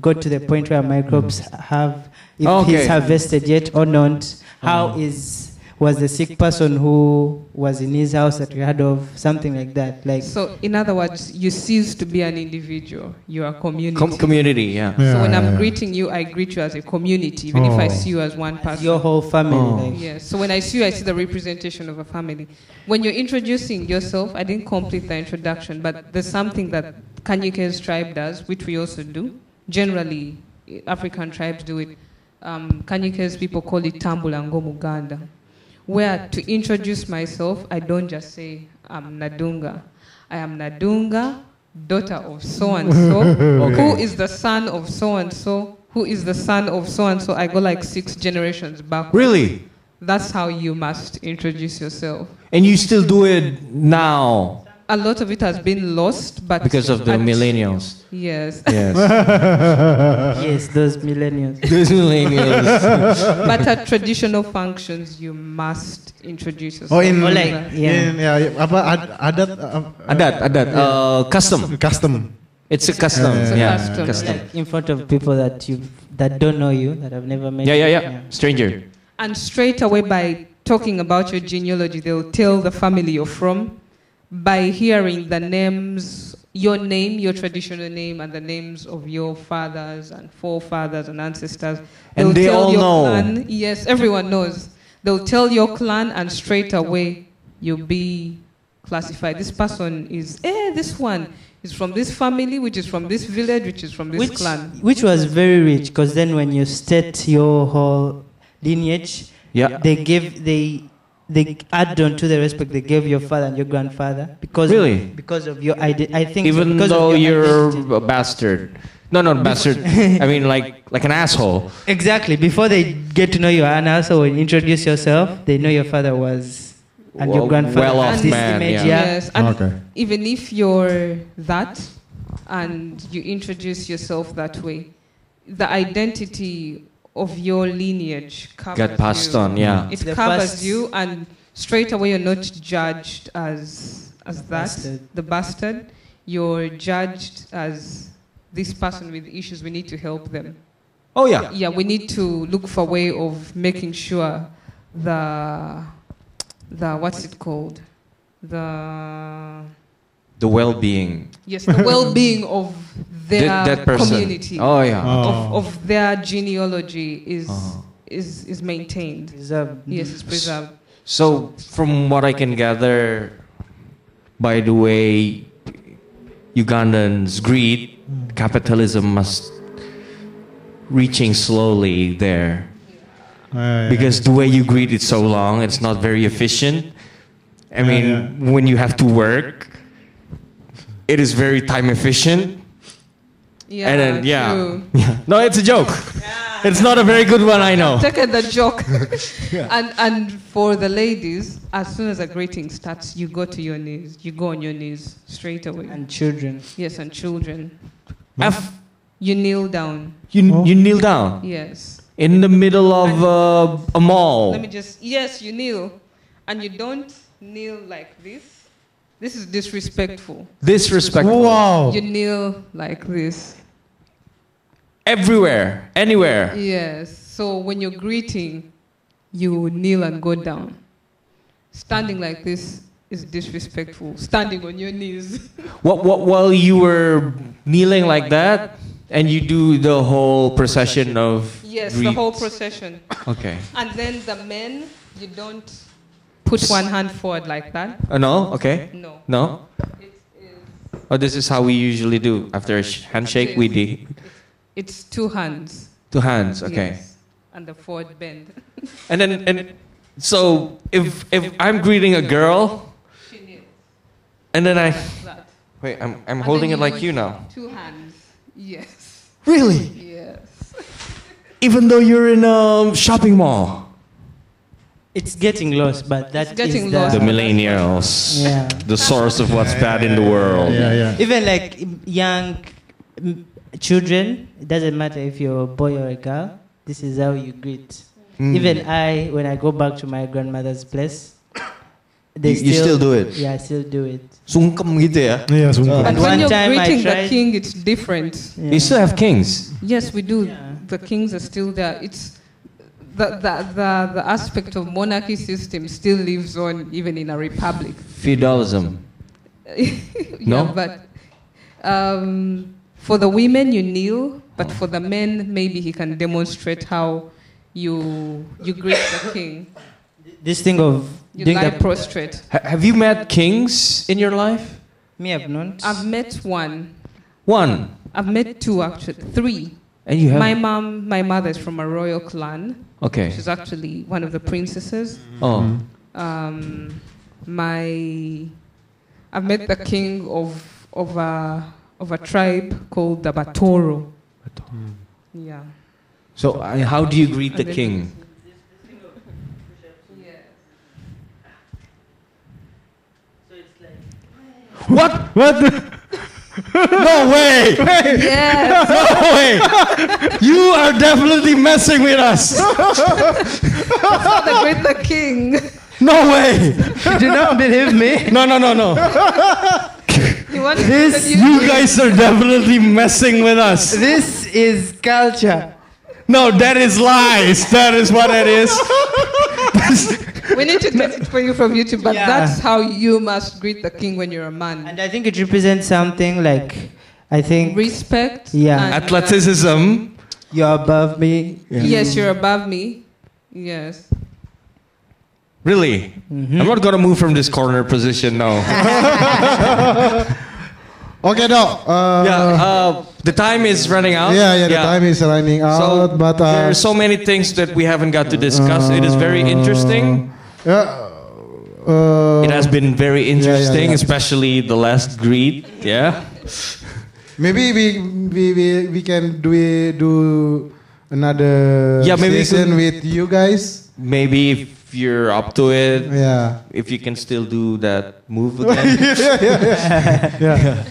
Speaker 7: got to the point where my crops have if he's
Speaker 6: Okay. Uh-huh.
Speaker 7: harvested yet or not. How is was the sick person who was in his house that we heard of something like that? Like
Speaker 11: So, in other words, you cease to be an individual. You are a community.
Speaker 7: Com- community, yeah.
Speaker 11: so
Speaker 7: Yeah,
Speaker 11: when I'm
Speaker 7: yeah, yeah.
Speaker 11: greeting you, I greet you as a community, even if I
Speaker 7: Oh.
Speaker 11: see you as one person.
Speaker 7: your whole family. Like,
Speaker 11: Yes. So when I see you, I see the representation of a family. When you're introducing yourself, I didn't complete the introduction, but there's something that Kanyike's tribe does, which we also do. Generally, eh, African tribes do it. Um, Kanyike's people call it Tambulango Muganda, where to introduce myself, I don't just say, I'm Nadunga. I am Nadunga, daughter of so and so, who
Speaker 22: Okay.
Speaker 11: is the son of so and so, who is the son of so and so. I go like six generations back.
Speaker 6: Really?
Speaker 11: That's how you must introduce yourself.
Speaker 6: And you still do it now
Speaker 11: A lot of it has been lost, but
Speaker 6: because of the
Speaker 11: at-
Speaker 6: millennials.
Speaker 11: Yes.
Speaker 6: Yes. Oh.
Speaker 7: yes, those millennials.
Speaker 6: Those millennials.
Speaker 11: but at traditional functions, you must introduce yourself.
Speaker 3: Oh, in
Speaker 11: Or
Speaker 3: in, ya, ya, apa ad, adat uh,
Speaker 6: Adat, adat,
Speaker 3: ya.
Speaker 6: uh, custom.
Speaker 3: custom.
Speaker 6: Oh, It's a custom.
Speaker 3: It's a
Speaker 6: yeah,
Speaker 3: custom.
Speaker 6: custom.
Speaker 7: Like in front of people that you that don't know you, that have never met.
Speaker 6: Yeah, yeah,
Speaker 7: you.
Speaker 6: yeah. Stranger.
Speaker 11: And straight away, by talking about your genealogy, they'll tell the family you're from by hearing the names, your name, your traditional name, and the names of your fathers and forefathers and ancestors.
Speaker 6: And
Speaker 11: They'll
Speaker 6: they
Speaker 11: tell
Speaker 6: all
Speaker 11: your
Speaker 6: know.
Speaker 11: Clan, yes, everyone knows. They'll tell your clan, and straight away, you'll be classified. This person is, eh, this one is from this family, which is from this village, which is from this clan.
Speaker 7: Which was very rich because then when you state your whole lineage,
Speaker 6: Yeah.
Speaker 7: they give they they add on to the respect they gave your father and your grandfather because
Speaker 6: Really?
Speaker 7: because of your idea. I think so,
Speaker 6: Even
Speaker 7: because of
Speaker 6: though
Speaker 7: your
Speaker 6: you're a bastard. No, no, bastard. I mean, like, like an asshole.
Speaker 7: Exactly. Before they get to know you, and also when you introduce yourself, they know your father was and your
Speaker 6: Well-
Speaker 7: grandfather
Speaker 6: well-off
Speaker 7: was this
Speaker 6: man,
Speaker 7: image,
Speaker 6: yeah.
Speaker 11: Yes, and
Speaker 6: Okay.
Speaker 11: even if you're that and you introduce yourself that way, the identity of your lineage covers
Speaker 6: Got passed
Speaker 11: you.
Speaker 6: on, yeah.
Speaker 11: It
Speaker 6: The
Speaker 11: covers
Speaker 6: past-
Speaker 11: you, and straight away you're not judged as as that,
Speaker 7: Bastard.
Speaker 11: the bastard. You're judged as this person with issues. We need to help them.
Speaker 6: Oh, yeah.
Speaker 11: Yeah, we need to look for a way of making sure the the what's it called the
Speaker 6: The well-being.
Speaker 11: yes the well-being of their
Speaker 6: That- that person.
Speaker 11: community
Speaker 6: Oh, yeah. Uh-huh.
Speaker 11: of, of their genealogy is is is maintained
Speaker 7: preserved
Speaker 11: yes it's preserved
Speaker 6: So, from what I can gather, by the way Ugandans greed, capitalism must reaching slowly there. Because the way you greet it so long, it's not very efficient. I mean, when you have to work, it is very time efficient.
Speaker 11: yeah
Speaker 6: and then, yeah.
Speaker 11: true.
Speaker 6: yeah. No, it's a joke. It's not a very good one, I know.
Speaker 11: Take the joke. and and for the ladies, as soon as the greeting starts, you go to your knees. You go on your knees straight away.
Speaker 7: And children.
Speaker 11: Yes, and children.
Speaker 6: Af-
Speaker 11: you kneel down.
Speaker 6: You, you kneel down.
Speaker 11: Yes.
Speaker 6: In the middle of uh, a mall.
Speaker 11: Let me just. Yes, you kneel, and you don't kneel like this. This is disrespectful.
Speaker 6: Disrespectful. Wow.
Speaker 11: You kneel like this.
Speaker 6: Everywhere, anywhere.
Speaker 11: Yes. So when you're greeting, you kneel and go down. Standing like this is disrespectful. Standing on your knees.
Speaker 6: What, what, while you were kneeling like that, and you do the whole procession of.
Speaker 11: yes, the
Speaker 6: greet-
Speaker 11: whole procession.
Speaker 6: Okay.
Speaker 11: And then the men, you don't put one hand forward like that.
Speaker 6: Uh, no? Okay.
Speaker 11: No.
Speaker 6: No? Oh, this is how we usually do. After a sh- handshake, we do
Speaker 11: It's two hands.
Speaker 6: two hands. Okay.
Speaker 11: Yes. And the forward bend.
Speaker 6: And then, and so if if I'm greeting a girl, and then I wait, I'm I'm holding it like you now.
Speaker 11: Two hands. Yes.
Speaker 6: Really?
Speaker 11: Yes.
Speaker 6: Even though you're in a shopping mall,
Speaker 1: It's getting lost, but that is
Speaker 11: getting
Speaker 1: the,
Speaker 6: the millennials,
Speaker 1: Yeah.
Speaker 6: the source of what's bad in the world.
Speaker 1: Even like m- young mm, children, it doesn't matter if you're a boy or a girl, this is how you greet.
Speaker 23: Mm.
Speaker 1: Even I, when I go back to my grandmother's place, they
Speaker 23: You- you still do it?
Speaker 1: Yeah, I still do it.
Speaker 23: Sungkem gitu ya?
Speaker 3: Iya,
Speaker 1: And
Speaker 3: sungkem.
Speaker 11: And when
Speaker 1: one
Speaker 11: you're
Speaker 1: time I
Speaker 11: greeting the
Speaker 1: tried-
Speaker 11: king, it's different.
Speaker 6: You still have kings.
Speaker 11: Yes, we do. The kings are still there. It's the, the, the, the aspect of monarchy system still lives on even in a republic.
Speaker 6: Feudalism.
Speaker 11: Yeah,
Speaker 6: No?
Speaker 11: but um, for the women you kneel, but for the men maybe he can demonstrate how you you greet the king.
Speaker 1: This thing of
Speaker 11: You
Speaker 1: doing
Speaker 11: lie
Speaker 1: the-
Speaker 11: prostrate.
Speaker 6: Ha- have you met kings in your life?
Speaker 1: Me, I've not.
Speaker 11: I've met one.
Speaker 6: One.
Speaker 11: I've met two actually, three.
Speaker 6: And you have-
Speaker 11: my mom. My mother is from a royal clan.
Speaker 6: Okay.
Speaker 11: She's actually one of the princesses.
Speaker 6: Oh.
Speaker 11: Um, my, I've met the king of of a of a tribe called the Batoro. Yeah.
Speaker 6: So, I- how do you greet the
Speaker 11: And then-
Speaker 6: king? What?
Speaker 3: What?
Speaker 6: no way!
Speaker 11: Yes.
Speaker 6: No way! You are definitely messing with us.
Speaker 11: That's how they greet the king.
Speaker 6: No way!
Speaker 1: You do not believe me?
Speaker 6: No, no, no, no.
Speaker 11: You want
Speaker 1: this?
Speaker 6: You guys are definitely messing with us.
Speaker 1: This is culture.
Speaker 6: No, that is lies. That is what it is.
Speaker 11: We need to get it for you from YouTube, but
Speaker 1: Yeah.
Speaker 11: that's how you must greet the king when you're a man. And
Speaker 1: I think it represents something like I think
Speaker 11: respect.
Speaker 1: Yeah.
Speaker 11: and, uh,
Speaker 6: Athleticism.
Speaker 1: You're above me.
Speaker 11: Yes, you're above me. Yes.
Speaker 6: Really?
Speaker 3: Mm-hmm.
Speaker 6: I'm not gonna move from this corner position now.
Speaker 3: Okay, dok. Uh,
Speaker 6: yeah, uh, the time is running out.
Speaker 3: yeah, yeah, the time is running
Speaker 6: So
Speaker 3: out, but uh,
Speaker 6: there are so many things that we haven't got to discuss. it is very interesting.
Speaker 3: uh,
Speaker 6: It has been very interesting,
Speaker 3: yeah.
Speaker 6: especially the last greet. Yeah.
Speaker 3: Maybe we we we, we can do a- do another
Speaker 6: Yeah, maybe we
Speaker 3: session with
Speaker 6: could-
Speaker 3: you guys.
Speaker 6: Maybe if you're up to it.
Speaker 3: Yeah.
Speaker 6: If you can still do that move again.
Speaker 3: yeah, yeah, yeah. yeah.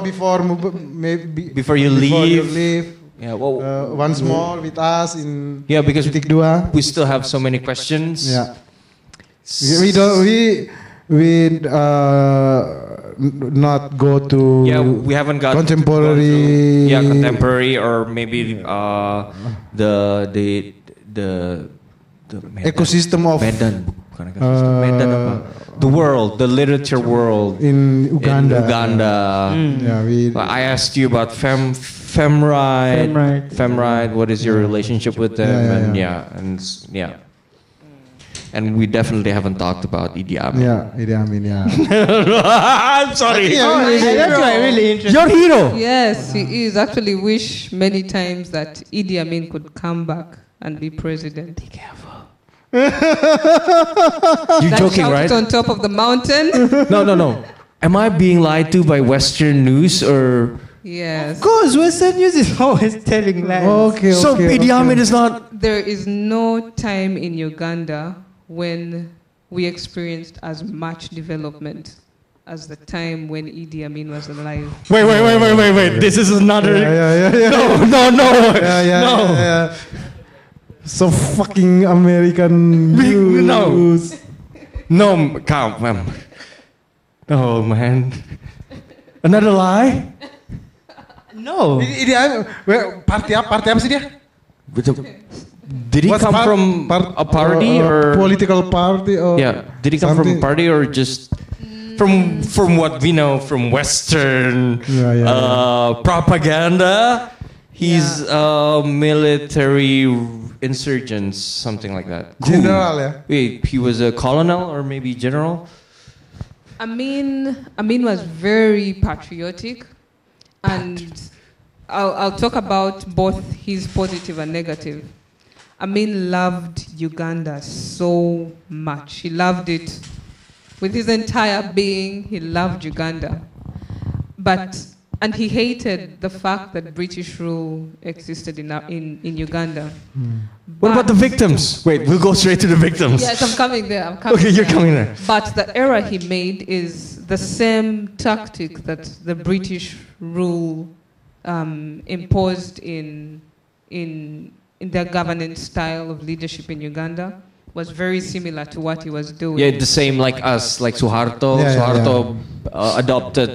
Speaker 3: before before move- maybe
Speaker 6: Before you
Speaker 3: before you
Speaker 6: leave.
Speaker 3: leave.
Speaker 6: Yeah, well,
Speaker 3: uh, once more with us in
Speaker 6: Yeah, because
Speaker 3: Titik Dua.
Speaker 6: we still have so many questions.
Speaker 3: Yeah. We- we don't we we uh, n- not go to
Speaker 6: Yeah, we haven't got
Speaker 3: contemporary
Speaker 6: yeah contemporary or maybe uh, the the the the Medan.
Speaker 3: ecosystem of
Speaker 6: Medan. Bukan
Speaker 3: Uh,
Speaker 6: ecosystem,
Speaker 3: Eh,
Speaker 6: Medan apa? uh, The world, the literature world
Speaker 3: in Uganda. Mm.
Speaker 6: In Uganda.
Speaker 3: Yeah, we
Speaker 6: I asked you about fem femride. Femride. What is your relationship with them?
Speaker 3: Yeah, yeah,
Speaker 6: and yeah, and s- yeah. And we definitely haven't talked about Idi Amin.
Speaker 3: yeah, Idi ya, Amin, yeah.
Speaker 6: Oh, I'm sorry.
Speaker 3: Iya,
Speaker 1: Yeah, Oh, really
Speaker 6: iya.
Speaker 1: that's why really interesting.
Speaker 6: Your hero.
Speaker 11: Yes, he is. Actually, wish many times that Idi Amin could come back and be president. Be careful.
Speaker 6: You're joking, right?
Speaker 11: On top of the mountain.
Speaker 6: No, no, no. Am I being lied to by Western news or?
Speaker 11: Yes.
Speaker 1: Of course, Western news is always telling lies.
Speaker 3: Okay,
Speaker 6: So okay, Idi Amin okay. is not-
Speaker 11: There is no time in Uganda when we experienced as much development as the time when Idi Amin was alive.
Speaker 6: Wait, wait, wait, wait, wait, wait. This is another.
Speaker 3: Yeah, yeah, yeah, yeah.
Speaker 6: No, no, no.
Speaker 3: Yeah, yeah,
Speaker 6: no.
Speaker 3: yeah, yeah. ya, So fucking American news.
Speaker 6: no. No, m- come, ma'am. No, man. Another lie?
Speaker 1: No.
Speaker 3: Idi Amin, well, party apa? Party ya, apa sih dia?
Speaker 6: Did he
Speaker 3: What's
Speaker 6: come
Speaker 3: par-
Speaker 6: from
Speaker 3: par-
Speaker 6: a party
Speaker 3: uh,
Speaker 6: or?
Speaker 3: political party or
Speaker 6: yeah. Did he come from a
Speaker 3: something?
Speaker 6: party or just from from what we know from Western
Speaker 3: yeah,
Speaker 6: uh, propaganda? He's a military insurgent, something like that.
Speaker 3: General, ya? yeah.
Speaker 6: Wait, he was a colonel or maybe general?
Speaker 11: Amin, Amin was very patriotic, and I'll, I'll talk about both his positive and negative. Amin loved Uganda so much. He loved it with his entire being. He loved Uganda. But And he hated the fact that British rule existed in, in, in Uganda.
Speaker 6: What about the victims? Wait, we'll go straight to the victims.
Speaker 11: Yes, I'm coming there. I'm coming
Speaker 6: Okay, you're
Speaker 11: there.
Speaker 6: coming there.
Speaker 11: But the error he made is the same tactic that the British rule um, imposed in, in, in their governance style of leadership in Uganda was very similar to what he was doing.
Speaker 6: Yeah, the same like us, like
Speaker 3: Ya,
Speaker 6: Suharto.
Speaker 11: Yeah, yeah,
Speaker 6: Oh, Suharto Uh, adopted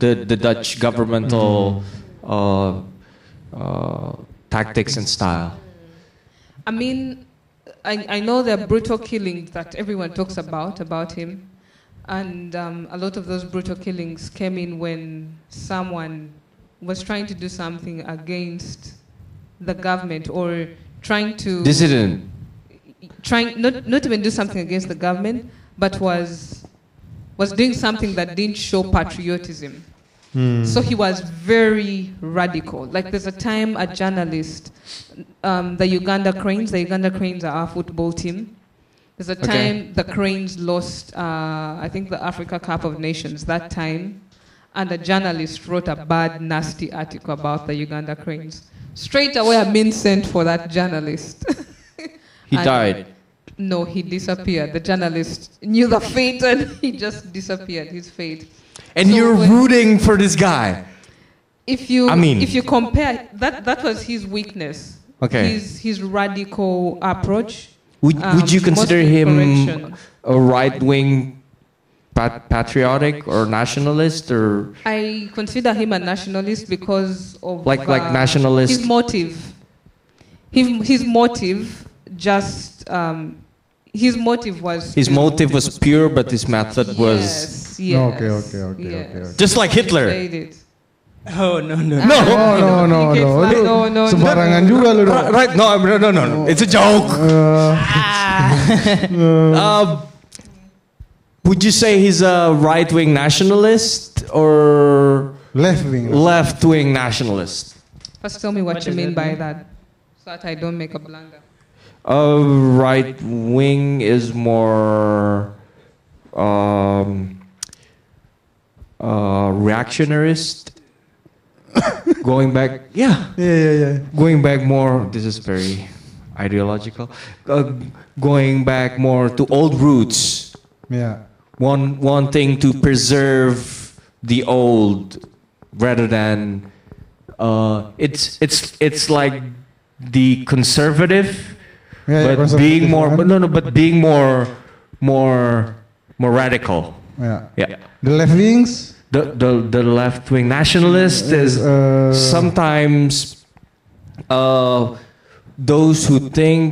Speaker 6: the, the Dutch governmental uh, uh, tactics and style.
Speaker 11: I mean, I, I know there are brutal killings that everyone talks about, about him. And um, a lot of those brutal killings came in when someone was trying to do something against the government or trying to.
Speaker 6: Dissident.
Speaker 11: Trying, not, not even do something against the government, but was, was doing something that didn't show patriotism.
Speaker 24: Hmm.
Speaker 11: So he was very radical. Like there's a time a journalist, um, the Uganda Cranes, the Uganda Cranes are our football team. There's a
Speaker 24: Okay.
Speaker 11: time the Cranes lost, uh, I think, the Africa Cup of Nations that time, and a journalist wrote a bad, nasty article about the Uganda Cranes. Straight away, a mean sent for that journalist.
Speaker 6: He
Speaker 11: And-
Speaker 6: died.
Speaker 11: No, he disappeared. The journalist knew the fate, and he just disappeared. His fate.
Speaker 6: And you're rooting for this guy.
Speaker 11: If you
Speaker 6: I mean-
Speaker 11: if you compare that that was his weakness.
Speaker 6: Okay.
Speaker 11: His his radical approach.
Speaker 6: Would, would you
Speaker 11: um,
Speaker 6: consider
Speaker 11: mostly
Speaker 6: him
Speaker 11: correction.
Speaker 6: a right wing pat- patriotic or nationalist or
Speaker 11: I consider him a nationalist because of uh,
Speaker 6: Like- like nationalist-
Speaker 11: His motive. His his motive just um, his motive was
Speaker 6: his
Speaker 11: to-
Speaker 6: motive was pure but his method was
Speaker 11: Yes,
Speaker 3: Okay, okay, okay, okay, okay.
Speaker 6: Just like Hitler.
Speaker 1: Oh no no
Speaker 3: No, no, no, no. Lu sembarangan juga lu. dong.
Speaker 6: Right, right, no, no, no, no, no. It's a joke. Uh, would you say he's a right wing nationalist or
Speaker 3: left wing?
Speaker 6: Left wing nationalist.
Speaker 11: First, tell me what, you mean by that, so that I don't make a blunder.
Speaker 6: A right wing Uh, is more um, uh, reactionarist. going back, yeah,
Speaker 3: yeah, yeah, yeah.
Speaker 6: Going back more. This is very ideological. Uh, going back more to old roots.
Speaker 3: Yeah.
Speaker 6: One wanting to preserve the old rather than uh, it's it's it's like the conservative,
Speaker 3: Yeah, yeah,
Speaker 6: but
Speaker 3: conservative
Speaker 6: being more
Speaker 3: one.
Speaker 6: but no no but being more more more radical.
Speaker 3: Yeah.
Speaker 6: Yeah.
Speaker 3: The left wings.
Speaker 6: The the, the left wing nationalist is
Speaker 3: uh,
Speaker 6: sometimes uh, those who think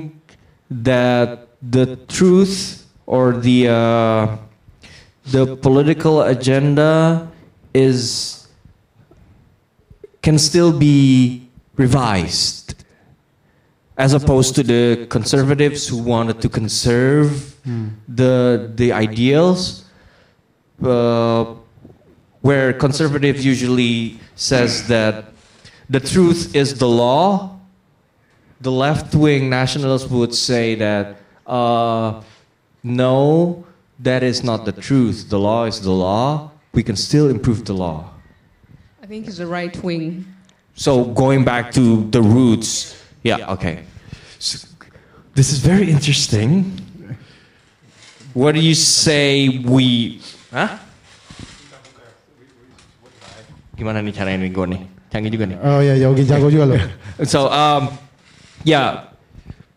Speaker 6: that the truth or the uh, the political agenda is can still be revised as opposed to the conservatives who wanted to conserve the the ideals uh, where conservative usually says that the truth is the law the left-wing nationalists would say that uh, no that is not the truth the law is the law we can still improve the law
Speaker 11: I think he's a right wing.
Speaker 6: so going back to the roots, yeah, okay. So, this is very interesting. What do you say we? Hah? Gimana nih cara ini gue nih? Canggih juga nih.
Speaker 3: Oh ya, Yogi jago juga loh.
Speaker 6: So um, yeah,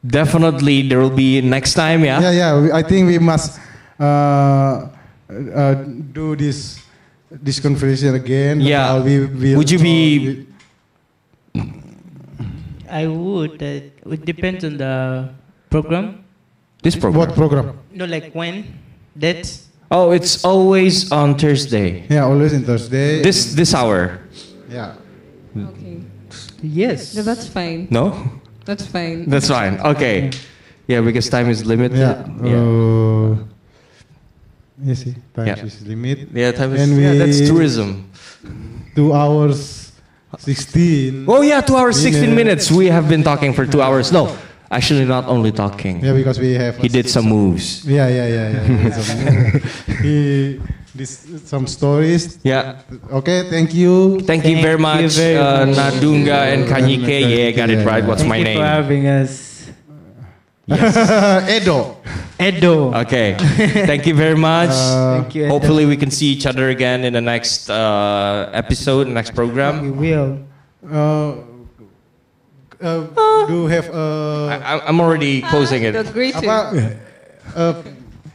Speaker 6: definitely there will be next time. Yeah.
Speaker 3: Yeah, yeah. we- I think we must uh, uh, do this this conversation again.
Speaker 6: Yeah.
Speaker 3: Uh, we, we
Speaker 6: Would you be?
Speaker 1: I would. Uh, it depends on the program.
Speaker 6: This program. What
Speaker 3: program?
Speaker 1: No, like when, date.
Speaker 6: Oh, it's always on Thursday.
Speaker 3: Yeah, always on Thursday.
Speaker 6: This this hour.
Speaker 3: Yeah.
Speaker 11: Okay.
Speaker 1: Yes.
Speaker 11: Yeah, that's fine.
Speaker 6: Hmm. No.
Speaker 11: That's fine.
Speaker 6: That's fine. Okay. Yeah, because time is limited.
Speaker 3: Yeah. Uh, yes, see, time
Speaker 6: Yeah.
Speaker 3: is limit.
Speaker 6: Yeah, time is-
Speaker 3: And
Speaker 6: yeah,
Speaker 3: we-
Speaker 6: that's tourism.
Speaker 3: Two hours sixteen.
Speaker 6: Oh yeah, two hours sixteen
Speaker 3: Minute.
Speaker 6: minutes. We have been talking for two hours. No, actually, not only talking.
Speaker 3: Yeah, because we have.
Speaker 6: He did some moves.
Speaker 3: Yeah, yeah, yeah, yeah. he this some stories.
Speaker 6: Yeah.
Speaker 3: Okay, thank you.
Speaker 6: Thank, you very much, uh, Nadunga and Kanyike. Yeah, got it right. What's
Speaker 7: Thank
Speaker 6: my
Speaker 7: you
Speaker 6: name?
Speaker 7: for having us.
Speaker 3: Edo. Uh,
Speaker 7: Edo.
Speaker 6: Okay. Thank you very much.
Speaker 7: Thank you, Edo.
Speaker 6: Hopefully, we can see each other again in the next uh, episode, next program.
Speaker 7: We will.
Speaker 3: Uh, uh, do have uh,
Speaker 6: I, I'm already
Speaker 11: Ah,
Speaker 6: closing it.
Speaker 3: apa, uh,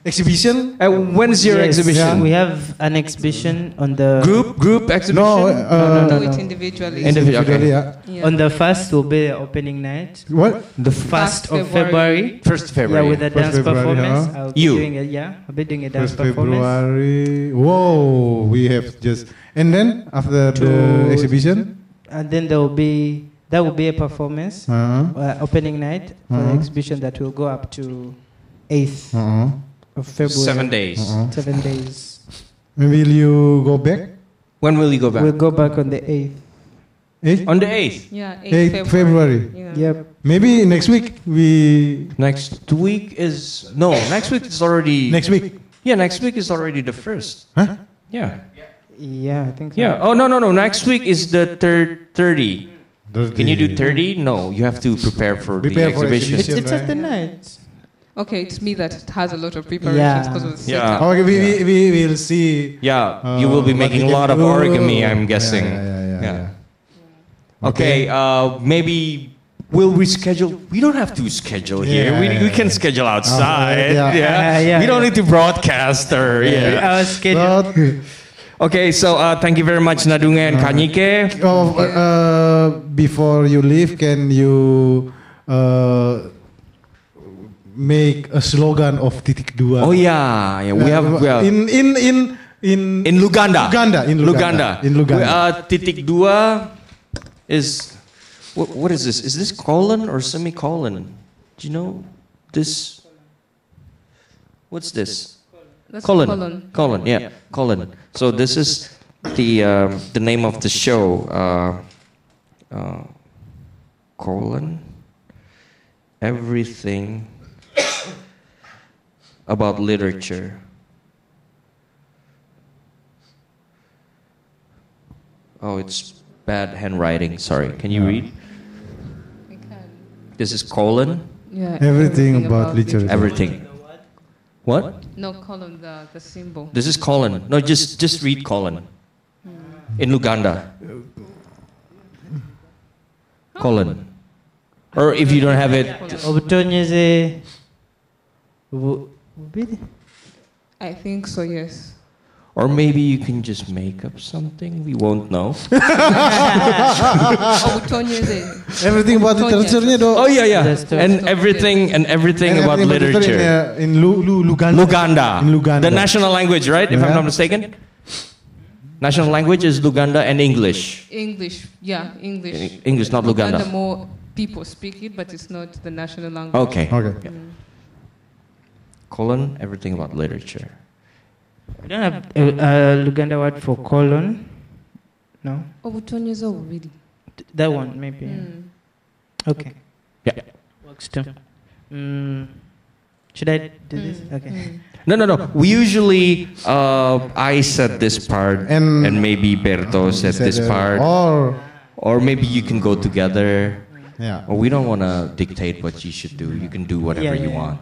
Speaker 3: exhibition?
Speaker 6: Uh, when's your
Speaker 7: Yes,
Speaker 6: exhibition?
Speaker 7: We have an exhibition on the
Speaker 6: Group- group exhibition? No, uh,
Speaker 11: Do it individually.
Speaker 7: Individual,
Speaker 6: Individually,
Speaker 7: okay.
Speaker 11: yeah.
Speaker 7: On the first will be opening night.
Speaker 3: What?
Speaker 7: The
Speaker 11: First
Speaker 7: first, of
Speaker 11: February.
Speaker 7: February.
Speaker 6: First
Speaker 3: February.
Speaker 7: Yeah, with a
Speaker 3: First
Speaker 7: dance
Speaker 3: February,
Speaker 7: performance.
Speaker 3: huh?
Speaker 7: I'll be
Speaker 3: You.
Speaker 7: doing a, yeah, I'll be doing a dance
Speaker 3: First
Speaker 7: performance.
Speaker 3: February. Whoa, we have just and then after the
Speaker 7: To-
Speaker 3: exhibition.
Speaker 7: And then there will be that will be a performance
Speaker 3: Uh-huh.
Speaker 7: uh, opening night for the
Speaker 3: Uh-huh.
Speaker 7: exhibition that will go up to 8th
Speaker 3: Uh-huh.
Speaker 7: of February.
Speaker 6: Seven days. Uh-huh.
Speaker 7: Seven days.
Speaker 3: Will you go back?
Speaker 6: When will you go back?
Speaker 7: We'll go back on the 8th.
Speaker 3: Eh?
Speaker 6: On the 8th.
Speaker 11: Yeah,
Speaker 3: 8th February.
Speaker 7: Yep.
Speaker 3: Maybe next week we
Speaker 6: Next week is no. Next week is already
Speaker 3: next week.
Speaker 6: Yeah, next week is already the first.
Speaker 3: Huh?
Speaker 6: Yeah.
Speaker 7: Yeah, I think so.
Speaker 6: Yeah. Oh no no no. Next week is the third thirty. Can you do
Speaker 3: 30.
Speaker 6: thirty? No, you have to prepare for
Speaker 3: Prepare
Speaker 6: the
Speaker 3: for
Speaker 6: exhibition.
Speaker 7: It's,
Speaker 3: exhibition.
Speaker 7: it's at the night.
Speaker 11: Okay, it's me that has a lot of preparations because of the
Speaker 6: Yeah.
Speaker 3: Okay, we, we, we will see.
Speaker 6: Yeah, you
Speaker 3: Uh,
Speaker 6: will be
Speaker 3: what
Speaker 6: making
Speaker 3: we
Speaker 6: a
Speaker 3: can
Speaker 6: lot of
Speaker 3: do.
Speaker 6: origami,
Speaker 3: Yeah,
Speaker 6: I'm guessing.
Speaker 3: yeah, yeah, yeah.
Speaker 6: Okay, uh, maybe we'll reschedule. We don't have to schedule here.
Speaker 3: Yeah. Uh,
Speaker 6: We, we can schedule outside.
Speaker 3: yeah. Uh,
Speaker 6: yeah.
Speaker 7: Yeah, yeah,
Speaker 6: we don't
Speaker 7: yeah.
Speaker 6: need to broadcast or yeah.
Speaker 7: Our schedule.
Speaker 3: But,
Speaker 6: Okay, so uh, thank you very much, Nadunga
Speaker 3: Uh,
Speaker 6: and Kanyike.
Speaker 3: oh, uh, before you leave, can you uh, make a slogan of Titik Dua?
Speaker 6: Oh yeah, yeah. We
Speaker 3: Uh,
Speaker 6: have, we have
Speaker 3: in in in in
Speaker 6: in Luganda.
Speaker 3: Luganda, in Luganda,
Speaker 6: Luganda.
Speaker 3: in Luganda.
Speaker 6: We- Uh, titik dua is what, what is this? Is this colon or semicolon? Do you know this? What's this?
Speaker 11: That's
Speaker 6: colon.
Speaker 11: colon.
Speaker 6: Colon, yeah, colon. So this is the um, the name of the show. Uh, uh, colon. Everything about literature. Oh, it's bad handwriting. Sorry. Can you read? This is colon.
Speaker 11: Yeah,
Speaker 3: Everything about literature.
Speaker 6: Everything. What?
Speaker 11: No, colon, the, the symbol.
Speaker 6: This is colon. No, just just read colon. In Luganda. Colon. Or if you don't have it,
Speaker 7: Obutonyeze. Ubu- ubidi?
Speaker 11: I think so, yes.
Speaker 6: or maybe you can just make up something. We won't know.
Speaker 11: Obutonyeze.
Speaker 3: everything about
Speaker 11: Tonya.
Speaker 3: literature-nya do.
Speaker 6: Oh yeah, yeah.
Speaker 7: That's true.
Speaker 6: And everything and everything
Speaker 3: And
Speaker 6: about
Speaker 3: everything in,
Speaker 6: literature.
Speaker 3: uh, in Lu, Lu, Luganda.
Speaker 6: Luganda.
Speaker 3: In Luganda.
Speaker 6: The national language, right? If I'm
Speaker 3: Yeah.
Speaker 6: not mistaken. National language is Luganda and English.
Speaker 11: English, yeah, English.
Speaker 6: English, not
Speaker 11: Uganda
Speaker 6: Luganda.
Speaker 11: more people speak it, but it's not the national language.
Speaker 6: Okay.
Speaker 3: Okay.
Speaker 6: Colon, everything about literature.
Speaker 7: We don't have a, a Luganda word for colon. No?
Speaker 11: Obutonyeze obubiri.
Speaker 7: Th- That one, maybe.
Speaker 11: Mm.
Speaker 7: Okay.
Speaker 6: Yeah.
Speaker 7: Works too. Mm. Should I do this? Okay.
Speaker 6: No, no, no. We usually, uh, I said this part,
Speaker 3: And-
Speaker 6: and, maybe Berto said
Speaker 3: Said,
Speaker 6: this
Speaker 3: uh,
Speaker 6: part,
Speaker 3: Or
Speaker 6: or maybe you can go together.
Speaker 3: yeah.
Speaker 6: Or we don't want to dictate what you should do. You can do whatever
Speaker 7: Yeah,
Speaker 6: you
Speaker 7: yeah, yeah.
Speaker 6: want.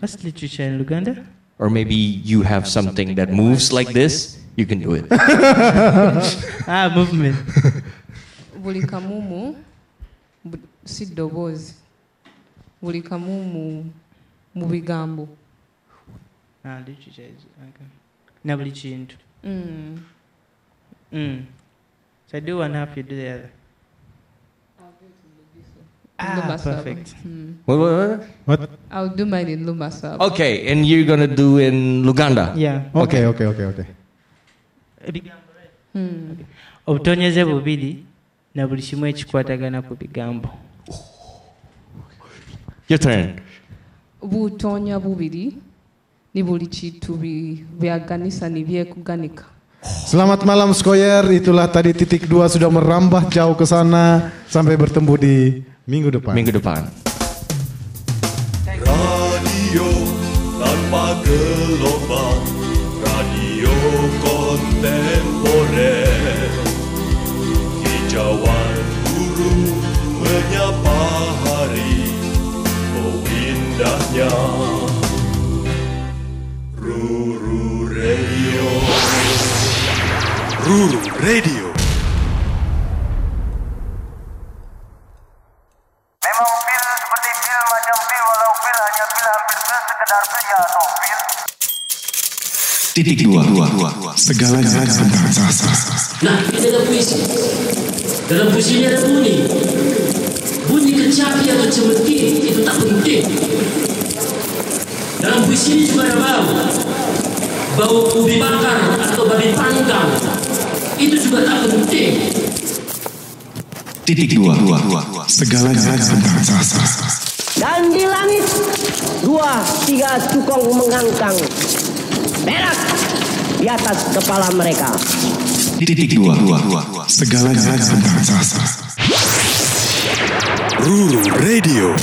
Speaker 7: What's literature in Luganda?
Speaker 6: Or maybe you have something that moves like this. You can do it.
Speaker 7: Ah, movement.
Speaker 11: buli kamumu bu- si ddoboozi buli kamumu mu bigambo
Speaker 7: ah, literature is. Okay. Na buli kintu.
Speaker 11: Mm.
Speaker 7: Mm. So I do one half, you do the other. Ah,
Speaker 11: Lumbasaba.
Speaker 7: perfect.
Speaker 11: Mm.
Speaker 6: What- what- what?
Speaker 3: What?
Speaker 11: I'll do mine in Lumbasaba.
Speaker 6: Okay, and you're gonna do in Luganda.
Speaker 7: Yeah.
Speaker 3: Okay, okay, okay, okay.
Speaker 11: Mm.
Speaker 7: obutonyeze bubiri na buli kimu ekikwatagana ku bigambo
Speaker 6: Your turn.
Speaker 11: buutoonya bubiri ne buli kintu bi- byaganisa ne byekuganika
Speaker 3: Selamat malam Skoyer, itulah tadi titik dua sudah merambah jauh ke sana. Sampai bertemu di minggu depan.
Speaker 6: Minggu depan.
Speaker 25: Radio tanpa
Speaker 6: gelombang radio kontemporer Hijauan guru menyapa hari Oh indahnya Ruru Radio Ruru Radio
Speaker 2: titik dua segala rasa rasa
Speaker 4: Nah, ini ada puisi. Dalam puisi ini ada bunyi. Bunyi kecapi atau cemetik itu tak penting. Dalam puisi ini juga ada bau. Bau ubi bakar atau babi panggang. Itu juga tak penting.
Speaker 2: titik dua segala rasa rasa
Speaker 5: Dan di langit dua tiga tukang mengangkang berak di atas kepala mereka.
Speaker 2: titik dua segala rasa rasa
Speaker 6: Ruru Radio